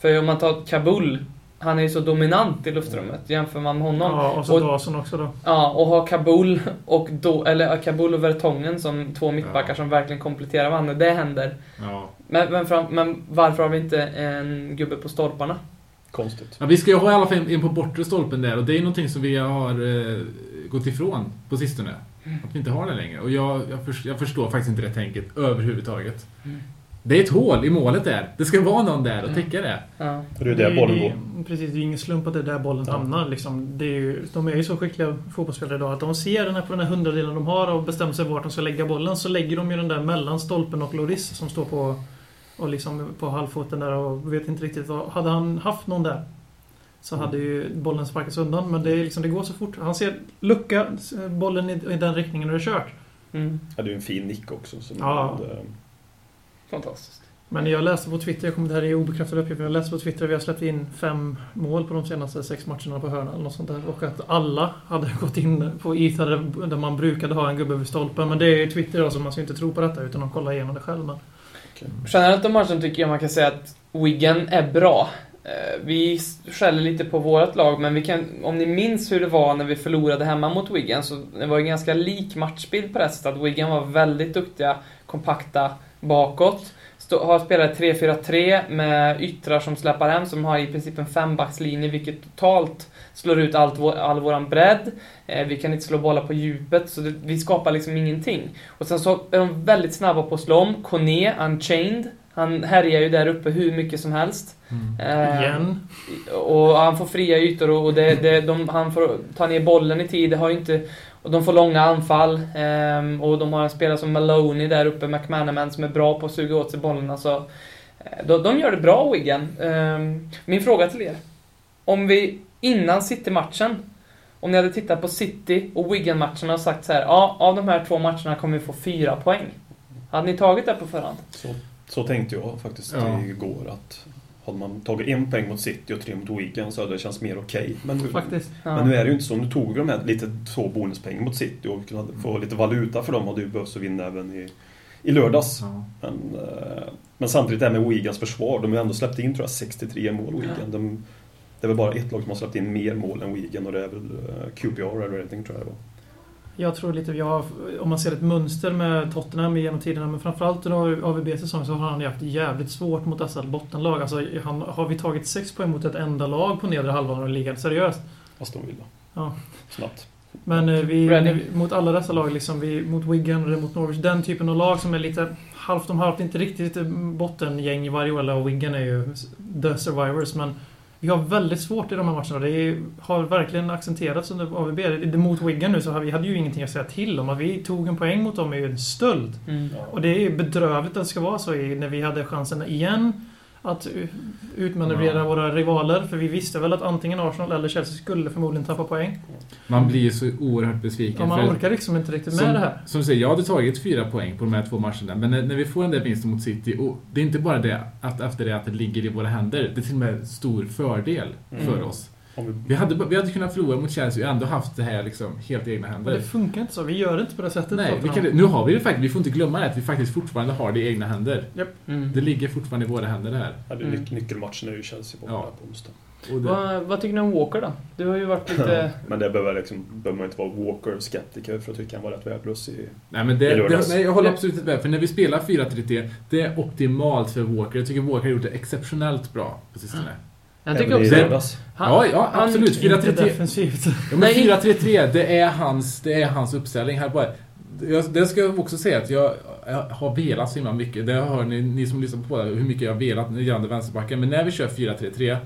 [SPEAKER 4] För om man tar Kabul, han är ju så dominant i luftrummet. Jämför man med honom.
[SPEAKER 5] Ja, och så
[SPEAKER 4] Och-
[SPEAKER 5] Dawson också då.
[SPEAKER 4] Ja, och ha Kabul och, då, eller Kabul och Vertongen som två mittbackar som verkligen kompletterar varandra. Det händer.
[SPEAKER 3] Ja.
[SPEAKER 4] Men, men, fram, men varför har vi inte en gubbe på stolparna?
[SPEAKER 6] Konstigt.
[SPEAKER 3] Ja, vi ska ju ha i alla fall en, en på bortre stolpen där och det är någonting som vi har eh, gått ifrån på sistone. Att vi inte har det längre. Och jag, jag, förs- jag förstår faktiskt inte det tänket överhuvudtaget. Det är ett hål i målet där. Det ska vara någon där och täcka det.
[SPEAKER 4] Ja.
[SPEAKER 6] Det är ju där bollen
[SPEAKER 5] Det
[SPEAKER 6] går.
[SPEAKER 5] är- Precis, det är ingen slump att det är där bollen
[SPEAKER 6] Ja.
[SPEAKER 5] hamnar. Liksom. Det är ju, de är ju så skickliga fotbollsspelare idag att de ser den här, på den här hundradelen de har och bestämmer sig vart de ska lägga bollen. Så lägger de ju den där mellan stolpen och Loris som står på, och liksom på halvfoten där och vet inte riktigt vad. Hade han haft någon där så
[SPEAKER 6] Mm.
[SPEAKER 5] hade ju bollen sparkats undan. Men det, är liksom, det går så fort. Han ser lucka, bollen i, i den riktningen och det är kört.
[SPEAKER 4] Mm.
[SPEAKER 6] Ja, det är ju en fin nick också. Som
[SPEAKER 5] Ja.
[SPEAKER 6] eh,
[SPEAKER 4] Fantastiskt.
[SPEAKER 5] Men jag läste på Twitter, jag kommer det här är obekräftade uppgifter, jag läste på Twitter att vi har släppt in fem mål på de senaste sex matcherna på hörna eller något sånt där. Och att alla hade gått in på isar där- där man brukade ha en gubbe vid stolpen. Men det är ju Twitter då, så man ska ju inte tro på detta utan att kolla igenom det själv. Men
[SPEAKER 4] Generellt om matchen tycker jag man kan säga att Wigan är bra. Eh, Vi skäller lite på vårt lag, men vi kan, om ni minns hur det var när vi förlorade hemma mot Wigan, så det var ju ganska lik matchbild på det sättet. att Wigan var väldigt duktiga, kompakta bakåt. Stå, har spelat 3-4-3 med yttrar som släpar hem, som har i princip en fembackslinje, vilket totalt slår ut allt vår, all våran bredd. Eh, vi kan inte slå bollar på djupet, så det, vi skapar liksom ingenting. Och sen så är de väldigt snabba på att slå om. Kone, Unchained. Han härjar ju där uppe hur mycket som helst. Eh,
[SPEAKER 5] igen.
[SPEAKER 4] Och han får fria ytor och och det, det, de, han får ta ner bollen i tid. Det har ju inte, och de får långa anfall. ehm, och de har en spelare som Maloney där uppe, McManaman, som är bra på att suga åt sig bollen. Alltså, eh, de, de gör det bra, Wigan. Ehm, min fråga till er. Om vi innan City-matchen om ni hade tittat på City och Wigan-matcherna och sagt så här, ja, av de här två matcherna kommer vi få fyra poäng. Hade ni tagit det på förhand?
[SPEAKER 6] så, så tänkte jag faktiskt
[SPEAKER 3] Ja.
[SPEAKER 6] igår att Hade man tagit en poäng mot City och tre mot Wigan så hade det känts mer okej. Men, nu-
[SPEAKER 4] Faktiskt. Ja.
[SPEAKER 6] men nu är det ju inte så. Nu tog vi de här lite två bonuspoängen mot City och kunde
[SPEAKER 4] Mm.
[SPEAKER 6] få lite valuta för dem hade ju behövts att vinna även i, i lördags.
[SPEAKER 8] Ja.
[SPEAKER 6] Men, eh, men samtidigt det här med Wigans försvar. De har ju ändå släppt in tror jag 63 mål Wigan. De, det är väl bara ett lag som har släppt in mer mål än Wigan och det är väl eh, QPR eller någonting tror jag det var.
[SPEAKER 5] Jag tror lite vi har, om man ser ett mönster med Tottenham genom tiderna, men framförallt under AVBs säsong så har han ju haft jävligt svårt mot dessa bottenlag. Alltså, han, har vi tagit sex poäng mot ett enda lag på nedre halvan av ligan, seriöst?
[SPEAKER 6] Aston Villa.
[SPEAKER 5] Ja.
[SPEAKER 6] Snabbt.
[SPEAKER 5] Men eh, vi,
[SPEAKER 4] Reading.
[SPEAKER 5] vi- mot alla dessa lag, liksom, vi, mot Wigan eller mot Norwich, den typen av lag som är lite halvt om halvt, inte riktigt eh, bottengäng i varje år. Och Wigan är ju the survivors, men vi har väldigt svårt i de här matcherna. Det är- har verkligen accenterats under AVB. Det- Mot Wigan nu så har vi hade ju ingenting att säga till om. Att vi tog en poäng mot dem är ju en stöld.
[SPEAKER 4] Mm.
[SPEAKER 5] Och det är bedrövligt att det ska vara så i, när vi hade chansen igen att u- utmanövrera våra rivaler. För vi visste väl att antingen Arsenal eller Chelsea skulle förmodligen tappa poäng.
[SPEAKER 3] Man blir ju så oerhört besviken.
[SPEAKER 5] Och man
[SPEAKER 3] för-
[SPEAKER 5] orkar liksom inte riktigt med
[SPEAKER 3] som,
[SPEAKER 5] det här.
[SPEAKER 3] Som du säger, jag hade tagit fyra poäng på de här två matcherna. Men när, när vi får den där vinsten mot City, och det är inte bara det att efter det att det ligger i våra händer. Det är till och med stor fördel för oss.
[SPEAKER 6] Om vi
[SPEAKER 3] Vi hade, vi hade kunnat förlora mot Chelsea och ändå haft det här liksom helt i egna
[SPEAKER 5] Men det
[SPEAKER 3] händer.
[SPEAKER 5] funkar inte så. Vi gör inte på det sättet.
[SPEAKER 3] Nej, vi
[SPEAKER 5] Tottenham.
[SPEAKER 3] kan, nu har vi det faktiskt. Vi får inte glömma det, att vi faktiskt fortfarande har det i egna händer.
[SPEAKER 4] Mm.
[SPEAKER 3] Det ligger fortfarande i våra händer det här.
[SPEAKER 6] hade
[SPEAKER 4] Mm.
[SPEAKER 6] nyc- nyckelmatchen är ju Chelsea borta
[SPEAKER 3] Ja.
[SPEAKER 6] på onsdag.
[SPEAKER 3] Och det,
[SPEAKER 4] Vad, vad tycker ni om Walker då? Du har ju varit lite...
[SPEAKER 6] Men det behöver, liksom, behöver man inte vara Walker-skeptiker för att tycka han var rätt värdelös i...
[SPEAKER 3] Nej, men det,
[SPEAKER 6] I lördags.
[SPEAKER 3] det, nej, jag håller absolut inte med. För när vi spelar 4-3-3, det är optimalt för Walker. Jag tycker Walker har gjort det exceptionellt bra på sistone.
[SPEAKER 4] Jag
[SPEAKER 6] Även
[SPEAKER 4] tycker
[SPEAKER 6] i
[SPEAKER 4] också...
[SPEAKER 6] lördags.
[SPEAKER 4] han-
[SPEAKER 3] ja, ja,
[SPEAKER 4] han-
[SPEAKER 3] absolut.
[SPEAKER 5] Inte
[SPEAKER 3] 4-3-3.
[SPEAKER 5] defensivt.
[SPEAKER 3] Ja, men 4-3-3, det är hans, det är hans uppställning. Här bara. Jag, det ska jag också säga att jag, jag har velat så himla mycket. Det hör ni, ni som lyssnar på det, hur mycket jag har velat när det gäller vänsterbacken. Men när vi kör 4-3-3,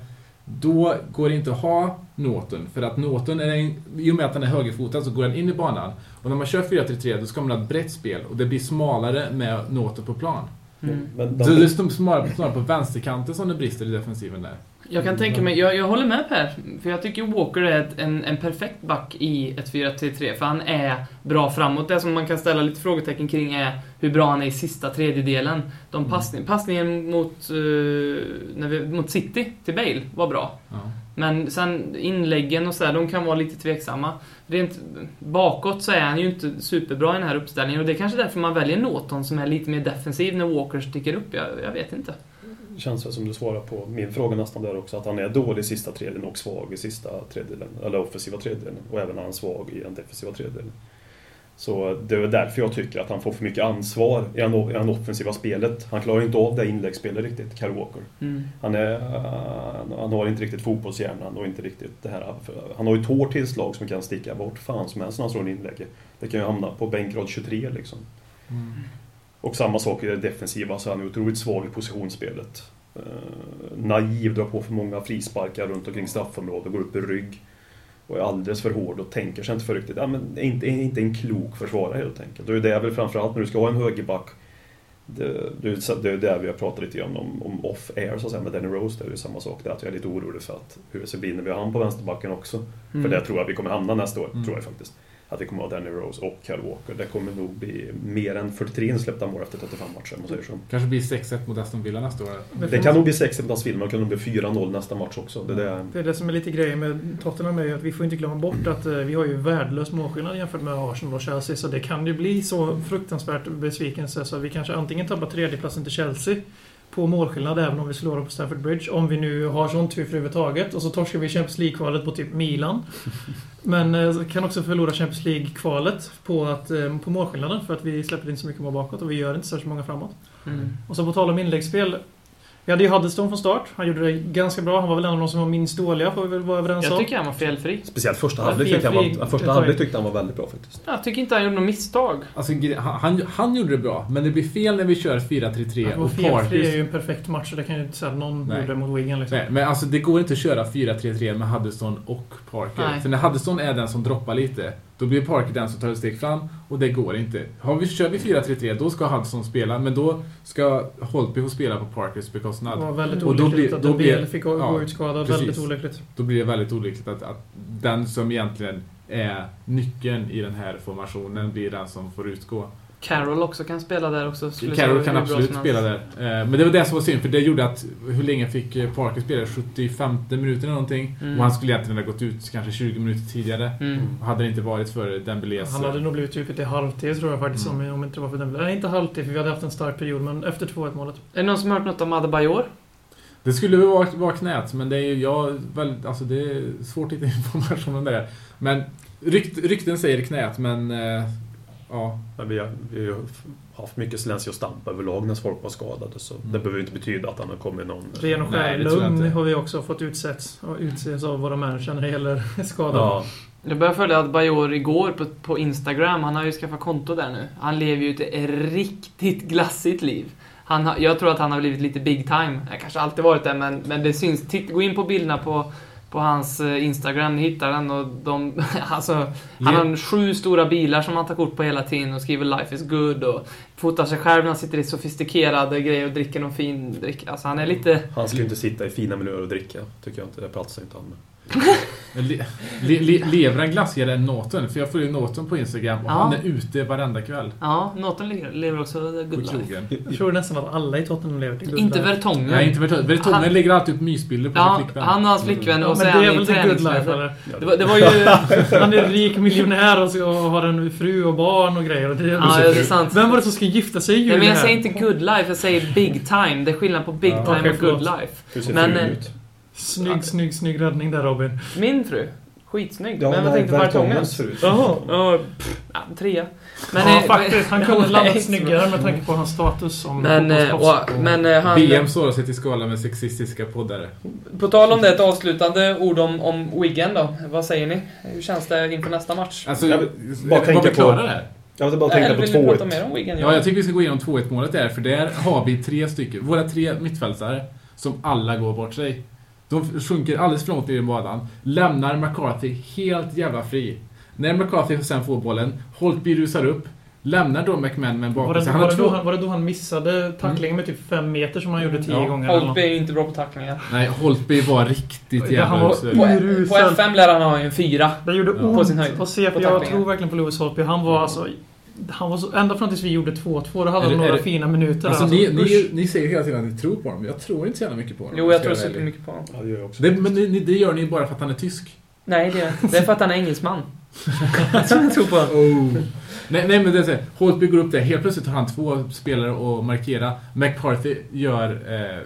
[SPEAKER 3] då går det inte att ha Norton. För att Norton, är en, i och med att han är högerfotad, så går han in i banan. Och när man kör 4-3-3, då ska man ha ett brett spel. Och det blir smalare med Norton på plan.
[SPEAKER 4] Mm.
[SPEAKER 6] Men
[SPEAKER 3] Så det
[SPEAKER 6] de,
[SPEAKER 3] är stom- snarare snarare på vänsterkanten som det brister i defensiven där.
[SPEAKER 4] Jag kan tänka mig, jag, jag håller med Per, för jag tycker Walker är ett, en, en perfekt back i ett 4-3-3, för han är bra framåt. Det som man kan ställa lite frågetecken kring är hur bra han är i sista tredjedelen. De passning, passningen mot, eh, när vi, mot City, till Bale, var bra.
[SPEAKER 3] Ja.
[SPEAKER 4] Men sen inläggen och sådär, de kan vara lite tveksamma. Rent bakåt så är han ju inte superbra i den här uppställningen och det är kanske därför man väljer Norton som är lite mer defensiv när Walker sticker upp. Jag, jag vet inte.
[SPEAKER 6] känns väl som du svarar på min fråga nästan där också, att han är dålig i sista tredjedelen och svag i sista tredjedelen, eller offensiva tredjedelen, och även han är svag i den defensiva tredjedelen. Så det är därför jag tycker att han får för mycket ansvar i han- i han offensiva spelet. Han klarar inte av det inläggsspelet riktigt, Kyle Walker.
[SPEAKER 4] Mm.
[SPEAKER 6] Han, är, eh, han har inte riktigt fotbollshjärnan och inte riktigt det här. för Han har ju ett hårt tillslag som kan sticka vart fan som helst när han slår en inlägg. Det kan ju hamna på bänkrad 23 liksom. Och samma sak i det defensiva, så han är otroligt svag i positionsspelet. Eh, naiv, drar på för många frisparkar runt omkring straffområdet, går upp i rygg. Och är alldeles för hård och tänker sig inte för riktigt. Ja, men är inte, är inte en klok försvarare helt enkelt. Och det är väl framförallt när du ska ha en högerback det, det, är så- det är där vi har pratat lite grann om, om off-air så att säga, med Danny Rose. Det är ju samma sak där, att jag är lite orolig för att hur det ska bli när vi har han på vänsterbacken också.
[SPEAKER 4] Mm.
[SPEAKER 6] För där tror jag vi kommer hamna nästa år,
[SPEAKER 3] Mm.
[SPEAKER 6] tror jag faktiskt. Att vi kommer ha Danny Rose och Kyle Walker. Det kommer nog bli mer än 43 insläppta mål efter 35 matcher, om man säger så.
[SPEAKER 3] Kanske blir 6-1 mot Aston Villa nästa år.
[SPEAKER 6] Det kan nog bli 6 mot Aston Villa, men det kan nog bli 4-0 nästa match också. Det är det,
[SPEAKER 5] Det är det som är lite grejen med Tottenham är ju att vi får inte glömma bort att eh, vi har ju värdelös målskillnad jämfört med Arsenal och Chelsea. Så det kan ju bli så fruktansvärt besvikelse så att vi kanske antingen tappar tredjeplatsen till Chelsea på målskillnad även om vi slår dem på Stamford Bridge. Om vi nu har sån tur för överhuvudtaget. Och så torskar vi Champions League-kvalet på typ Milan. Men eh, kan också förlora Champions League-kvalet på, att, eh, på målskillnaden för att vi släpper in så mycket mål bakåt och vi gör inte särskilt många framåt.
[SPEAKER 4] Mm.
[SPEAKER 5] Och så på tal om inläggsspel. Vi hade ju Huddleston från start. Han gjorde det ganska bra. Han var väl en av de som var minst dåliga, får vi väl vara överens
[SPEAKER 4] Jag
[SPEAKER 5] om.
[SPEAKER 4] tycker han var felfri.
[SPEAKER 6] Speciellt första
[SPEAKER 5] Ja,
[SPEAKER 6] halvlek tyckte han
[SPEAKER 5] felfri-
[SPEAKER 6] var- första
[SPEAKER 5] ett
[SPEAKER 6] halvlek
[SPEAKER 5] tag.
[SPEAKER 6] tyckte han var väldigt bra faktiskt.
[SPEAKER 4] Jag tycker inte han gjorde något misstag.
[SPEAKER 3] Alltså, gre- han, han- han gjorde det bra, men det blir fel när vi kör 4-3-3
[SPEAKER 5] och
[SPEAKER 3] och
[SPEAKER 5] felfri är
[SPEAKER 3] Partey...
[SPEAKER 5] ju en perfekt match, så det kan ju inte säga att någon
[SPEAKER 3] Nej.
[SPEAKER 5] gjorde mot Wigan liksom.
[SPEAKER 3] Nej, men alltså det går inte att köra 4-3-3 med Huddeston och Parker.
[SPEAKER 4] Nej.
[SPEAKER 3] För när Huddeston är den som droppar lite, då blir Parker den som tar ett steg fram och det går inte. Har vi, kör vi 4-3-3, då ska Huddeston spela, men då ska Holtby få spela på Parkers
[SPEAKER 5] Det
[SPEAKER 3] bekostnad.
[SPEAKER 5] var väldigt
[SPEAKER 3] Och då
[SPEAKER 5] olyckligt
[SPEAKER 3] blir-
[SPEAKER 5] att
[SPEAKER 3] då
[SPEAKER 5] en
[SPEAKER 3] blir-
[SPEAKER 5] bil fick gå
[SPEAKER 3] ja,
[SPEAKER 5] gå ut skadad.
[SPEAKER 3] precis.
[SPEAKER 5] Väldigt olyckligt.
[SPEAKER 3] Då blir det väldigt olyckligt att, att den som egentligen är nyckeln i den här formationen blir den som får utgå.
[SPEAKER 4] Carroll också kan spela där också. skulle
[SPEAKER 3] Carroll
[SPEAKER 4] säga
[SPEAKER 3] kan
[SPEAKER 4] hur bra
[SPEAKER 3] absolut
[SPEAKER 4] som
[SPEAKER 3] spela
[SPEAKER 4] helst.
[SPEAKER 3] där. Eh, Men det var det som var synd, för det gjorde att hur länge fick eh, Parker spela? 75 minuter eller någonting.
[SPEAKER 4] Mm.
[SPEAKER 3] Och han skulle egentligen ha gått ut kanske 20 minuter tidigare.
[SPEAKER 4] Mm.
[SPEAKER 3] Och Hade det inte varit för Dembélés... eh,
[SPEAKER 5] Han hade nog blivit utbytt i halvtid tror jag faktiskt,
[SPEAKER 3] Mm.
[SPEAKER 5] om, om inte det var för den. Nej, inte halvtid, för vi hade haft en stark period, men efter 2-1 målet.
[SPEAKER 4] Är det någon som har hört något om Adebayor?
[SPEAKER 3] Det skulle väl vara, vara knät, men det är ju... Jag, väl, alltså det är svårt att hitta information om det. Men rykt, rykten säger knät, men... eh, Ja.
[SPEAKER 6] Men vi, har, vi har haft mycket silencio stamp överlag när folk var skadade, så det behöver ju inte betyda att han har kommit någon...
[SPEAKER 5] Ren och skär
[SPEAKER 3] Nej, det tror jag
[SPEAKER 5] lugn
[SPEAKER 3] inte.
[SPEAKER 5] har vi också fått utsätts, och utses av våra manager när det gäller skador.
[SPEAKER 6] Ja,
[SPEAKER 4] Jag började följa Adebayor igår på, på Instagram. Han har ju skaffat konto där nu. Han lever ju ett riktigt glassigt liv. Han har, jag tror att han har blivit lite big time. Jag kanske alltid varit det, men, men det syns. Titt, gå in på bilderna på, på hans eh, Instagram, ni hittar den. Och de, alltså, han har sju stora bilar som han tar kort på hela tiden och skriver “Life is good” och fotar sig själv när han sitter i sofistikerade grejer och dricker någon fin dryck. Alltså, han är lite...
[SPEAKER 6] han ska ju inte sitta i fina miljöer och dricka, tycker jag inte. Det platsar inte han med.
[SPEAKER 3] Men le, le, le, lever han glassigare än Norton? För jag följer Norton på Instagram och
[SPEAKER 4] Ja.
[SPEAKER 3] han är ute varenda kväll.
[SPEAKER 4] Ja, Norton lever- lever också the
[SPEAKER 3] På
[SPEAKER 4] good life.
[SPEAKER 3] krogen.
[SPEAKER 5] Jag tror nästan att alla i Tottenham lever till
[SPEAKER 4] Inte
[SPEAKER 5] life.
[SPEAKER 4] Vertongen.
[SPEAKER 3] Nej, inte Vertongen. Vertongen
[SPEAKER 4] Han-
[SPEAKER 3] lägger alltid upp mysbilder på
[SPEAKER 4] Ja,
[SPEAKER 3] sin flickvän.
[SPEAKER 4] han och hans flickvän
[SPEAKER 5] Ja,
[SPEAKER 4] och så
[SPEAKER 5] men
[SPEAKER 4] är
[SPEAKER 5] det är
[SPEAKER 4] han i
[SPEAKER 5] väl the good
[SPEAKER 4] träningsläger.
[SPEAKER 5] life eller?
[SPEAKER 4] Det var, det var ju...
[SPEAKER 5] Han är rik miljonär och, så, och har en fru och barn och grejer. Och det är
[SPEAKER 4] ja, det är sant.
[SPEAKER 5] Vem var det som skulle gifta sig i
[SPEAKER 4] Nej,
[SPEAKER 5] julen
[SPEAKER 4] men jag
[SPEAKER 5] här?
[SPEAKER 4] säger inte good life, jag säger big time. Det är skillnad på big
[SPEAKER 6] Ja.
[SPEAKER 4] time
[SPEAKER 5] Okej,
[SPEAKER 4] och good
[SPEAKER 5] förlåt.
[SPEAKER 4] life.
[SPEAKER 6] Hur ser
[SPEAKER 4] Men,
[SPEAKER 6] frun
[SPEAKER 4] eh,
[SPEAKER 6] ut?
[SPEAKER 5] Snygg, snygg, snygg räddning där Robin.
[SPEAKER 4] Min fru. Skitsnygg.
[SPEAKER 6] Ja,
[SPEAKER 4] men jag
[SPEAKER 6] nej,
[SPEAKER 4] tänkte
[SPEAKER 6] Vertongens
[SPEAKER 4] Bartongens.
[SPEAKER 6] förut.
[SPEAKER 5] Jaha.
[SPEAKER 4] Ja, pff, ja, trea. Men,
[SPEAKER 5] ja,
[SPEAKER 4] eh,
[SPEAKER 5] faktiskt. Han kunde ha landat
[SPEAKER 4] nej,
[SPEAKER 5] snyggare med tanke på hans status som
[SPEAKER 4] Men, eh,
[SPEAKER 5] fotbollsproffs.
[SPEAKER 4] och, men eh, han...
[SPEAKER 3] BM sårar sig till skala med sexistiska poddare.
[SPEAKER 4] På tal om det, ett avslutande ord om, om Wigan då. Vad säger ni? Hur känns det inför nästa match?
[SPEAKER 3] Alltså,
[SPEAKER 6] Jag vill bara
[SPEAKER 3] var
[SPEAKER 6] tänka
[SPEAKER 3] vi
[SPEAKER 6] på-
[SPEAKER 3] klara där?
[SPEAKER 6] Jag vill bara
[SPEAKER 4] Eller
[SPEAKER 6] tänka på
[SPEAKER 4] vill ni prata
[SPEAKER 6] 2-1.
[SPEAKER 4] mer om Wigan?
[SPEAKER 3] Ja, jag tycker vi ska gå igenom 2-1 målet där, för där har vi tre stycken, våra tre mittfältare, som alla går bort sig. De sjunker alldeles för långt ner i banan, lämnar McCarthy helt jävla fri. När McCarthy sen får bollen, Holtby rusar upp, lämnar då McMahon med en
[SPEAKER 5] Var
[SPEAKER 3] bakåt.
[SPEAKER 5] det,
[SPEAKER 3] Han
[SPEAKER 5] var,
[SPEAKER 3] har
[SPEAKER 5] det då
[SPEAKER 3] två...
[SPEAKER 5] han, var det då han missade tacklingen med typ fem meter som han gjorde tio
[SPEAKER 3] Ja.
[SPEAKER 5] gånger? eller
[SPEAKER 4] Holtby är ju inte bra på tacklingar.
[SPEAKER 3] Nej, Holtby var riktigt
[SPEAKER 5] Ja,
[SPEAKER 3] jävla
[SPEAKER 5] han var-
[SPEAKER 3] usel.
[SPEAKER 4] På,
[SPEAKER 5] Urusel.
[SPEAKER 4] på F5 lär han ha en fyra.
[SPEAKER 5] Det gjorde
[SPEAKER 3] Ja.
[SPEAKER 5] ont
[SPEAKER 4] På sin höjd.
[SPEAKER 5] att se,
[SPEAKER 4] På
[SPEAKER 5] för jag
[SPEAKER 4] tacklingen.
[SPEAKER 5] tror verkligen på Lewis Holtby. Han var alltså... Han var så, ända fram tills vi gjorde 2-2, då hade
[SPEAKER 3] Är det-
[SPEAKER 5] han några
[SPEAKER 3] är det-
[SPEAKER 5] fina minuter
[SPEAKER 3] Alltså,
[SPEAKER 5] där.
[SPEAKER 3] ni, ni,
[SPEAKER 5] Usch.
[SPEAKER 3] ni säger hela tiden att ni tror på honom. Jag tror inte så jävla mycket på honom.
[SPEAKER 4] Jo, jag
[SPEAKER 3] ska
[SPEAKER 4] tror
[SPEAKER 3] vara ärlig.
[SPEAKER 4] supermycket på honom.
[SPEAKER 6] Ja, det gör jag också.
[SPEAKER 3] Det, men ni, ni, det gör ni bara för att han är tysk.
[SPEAKER 4] Nej, det är inte. Det är för att han är engelsman. Som jag tror på.
[SPEAKER 3] Oh. Nej, nej men det är så här, Holtby går upp där, helt plötsligt har han två spelare att markera. McCarthy gör eh,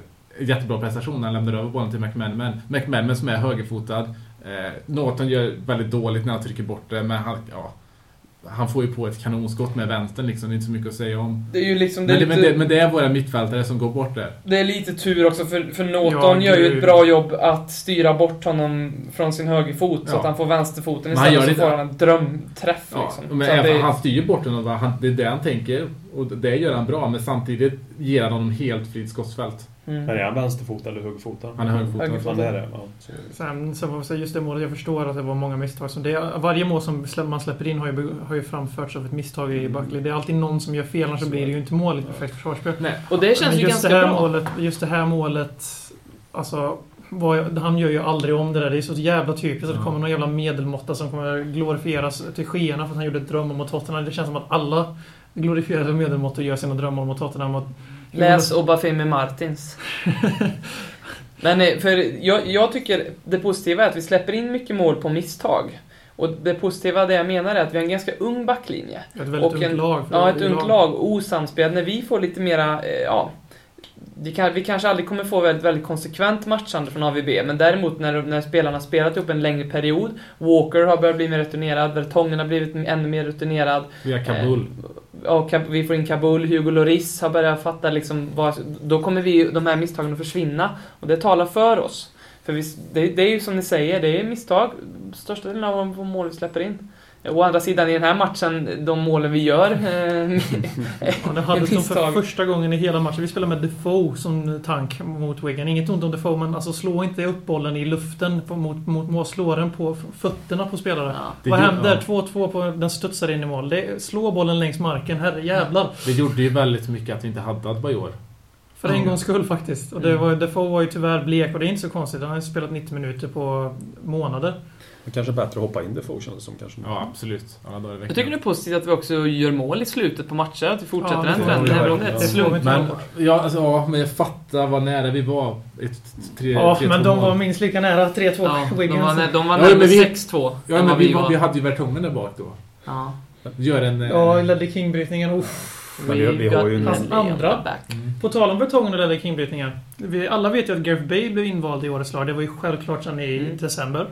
[SPEAKER 3] en jättebra prestation, han lämnar över bollen till McManaman. McManaman som är högerfotad. Eh, Norton gör väldigt dåligt när han trycker bort det, men han, ja, han får ju på ett kanonskott med vänstern liksom, det är inte så mycket att säga om.
[SPEAKER 4] Det är ju liksom... Det
[SPEAKER 3] Men
[SPEAKER 4] är
[SPEAKER 3] det, men, det,
[SPEAKER 4] lite,
[SPEAKER 3] men det är våra mittfältare som går bort där.
[SPEAKER 4] det är lite tur också, för, för Norton
[SPEAKER 5] Ja,
[SPEAKER 4] gör ju
[SPEAKER 5] gud.
[SPEAKER 4] ett bra jobb att styra bort honom från sin högerfot, så
[SPEAKER 3] Ja.
[SPEAKER 4] att han får vänsterfoten
[SPEAKER 3] Men han
[SPEAKER 4] istället, så
[SPEAKER 3] gör det-
[SPEAKER 4] får han en drömträff
[SPEAKER 3] Ja,
[SPEAKER 4] liksom.
[SPEAKER 3] men
[SPEAKER 4] så att
[SPEAKER 3] även,
[SPEAKER 4] det,
[SPEAKER 3] Han styr bort den och vad han, det är det han tänker och det gör han bra men samtidigt ger han honom helt fritt skottsfält.
[SPEAKER 6] Men
[SPEAKER 4] mm.
[SPEAKER 6] är han vänsterfotad eller högerfotad?
[SPEAKER 3] Han är högerfotad.
[SPEAKER 4] Högerfotad.
[SPEAKER 6] Han är det, ja. Så-
[SPEAKER 5] Sen, sen får vi säga, just det målet, jag förstår att det var många misstag. Så det, varje mål som slä- man släpper in har ju, be- har ju framförts av ett misstag i backled. Det är alltid någon som gör fel, annars Mm. så blir det ju inte mål i ett perfekt försvarsspel.
[SPEAKER 3] Nej,
[SPEAKER 4] Och det känns
[SPEAKER 5] Men
[SPEAKER 4] ju
[SPEAKER 5] just
[SPEAKER 4] ganska
[SPEAKER 5] det här
[SPEAKER 4] bra.
[SPEAKER 5] målet, just det här målet, alltså, vad, han gör ju aldrig om det där. Det är så jävla typiskt att det kommer någon jävla medelmåtta som kommer glorifieras till skyarna för att han gjorde ett drömmål mot Tottenham. Det känns som att alla glorifierade medelmåttor gör sina drömmål mot Tottenham. Och,
[SPEAKER 4] Läs Obafemi Martins. Men eh, för jag, jag tycker det positiva är att vi släpper in mycket mål på misstag. Och det positiva, det jag menar, är att vi har en ganska ung backlinje.
[SPEAKER 5] ett väldigt
[SPEAKER 4] Och en-
[SPEAKER 5] ungt lag. för
[SPEAKER 4] Ja,
[SPEAKER 5] det
[SPEAKER 4] ett
[SPEAKER 5] är
[SPEAKER 4] ungt lag och osamspel. När vi får lite mera, eh, ja... Vi, kan, vi kanske aldrig kommer få väldigt, väldigt konsekvent matchande från AVB, men däremot när, när spelarna har spelat upp en längre period, Walker har börjat bli mer rutinerad, Vertongen har blivit ännu mer rutinerad,
[SPEAKER 3] via Kabul.
[SPEAKER 4] ja, Kab- vi får in Kabul, Hugo Lloris har börjat fatta liksom vad, då kommer vi, de här misstagen att försvinna och det talar för oss. För vi, det, det är ju som ni säger, det är misstag, största delen av de mål vi släpper in. Å andra sidan i den här matchen, de målen vi gör, eh,
[SPEAKER 5] Ja, det hade som för
[SPEAKER 4] misstag.
[SPEAKER 5] första gången i hela matchen. Vi spelade med Defoe som tank mot Wigan. Inget ont om Defoe, men alltså slå inte upp bollen i luften på, mot, mot mål. Slå den på f- fötterna på spelare.
[SPEAKER 3] Det
[SPEAKER 5] Vad
[SPEAKER 3] gjorde-
[SPEAKER 5] händer?
[SPEAKER 3] ja.
[SPEAKER 5] 2-2 på... Den studsar in i mål. Det, slå bollen längs marken, herrejävlar.
[SPEAKER 3] Det gjorde ju väldigt mycket att vi inte hade Adebayor.
[SPEAKER 5] För en gångs skull faktiskt. Och
[SPEAKER 3] Mm.
[SPEAKER 5] det var, Defoe var ju tyvärr blek och det är inte så konstigt. Han har ju spelat 90 minuter på månader.
[SPEAKER 6] Det kanske är bättre att hoppa in Defoe kändes som kanske.
[SPEAKER 3] Ja, absolut. Alla dagar i
[SPEAKER 4] Jag tycker det
[SPEAKER 3] veckan.
[SPEAKER 4] är positivt att vi också gör mål i slutet på matcher, att vi fortsätter
[SPEAKER 5] Ja, det
[SPEAKER 4] den
[SPEAKER 5] får
[SPEAKER 4] trenden,
[SPEAKER 6] vi göra.
[SPEAKER 4] även om det är
[SPEAKER 6] Ja.
[SPEAKER 4] till slut.
[SPEAKER 5] Men-
[SPEAKER 3] Men, ja, alltså, ja, men jag fattar vad nära vi var. Ett, tre,
[SPEAKER 5] Ja,
[SPEAKER 3] tre,
[SPEAKER 5] men
[SPEAKER 3] två
[SPEAKER 5] de var
[SPEAKER 3] mål.
[SPEAKER 5] minst lika nära 3-2
[SPEAKER 4] Ja, de var, nä-
[SPEAKER 5] Wiggins.
[SPEAKER 4] de var
[SPEAKER 3] Ja, men
[SPEAKER 4] närmare
[SPEAKER 3] vi-
[SPEAKER 4] 6-2
[SPEAKER 3] Ja,
[SPEAKER 4] än
[SPEAKER 3] men
[SPEAKER 4] vad
[SPEAKER 3] vi, var, vi hade ju Vertongen där bak då.
[SPEAKER 4] Ja.
[SPEAKER 3] Gör en... eh,
[SPEAKER 5] Ja, ledde kingbrytningen. Uff.
[SPEAKER 6] Men vi- vi har
[SPEAKER 4] got
[SPEAKER 6] ju
[SPEAKER 4] Nelly
[SPEAKER 5] hans andra.
[SPEAKER 4] on the back.
[SPEAKER 3] Mm.
[SPEAKER 5] På tal om betongen och ledde kingbrytningar. Vi, alla vet ju att Gareth Bale blev invald i årets lag. Det var ju självklart sedan i
[SPEAKER 4] Mm.
[SPEAKER 5] december.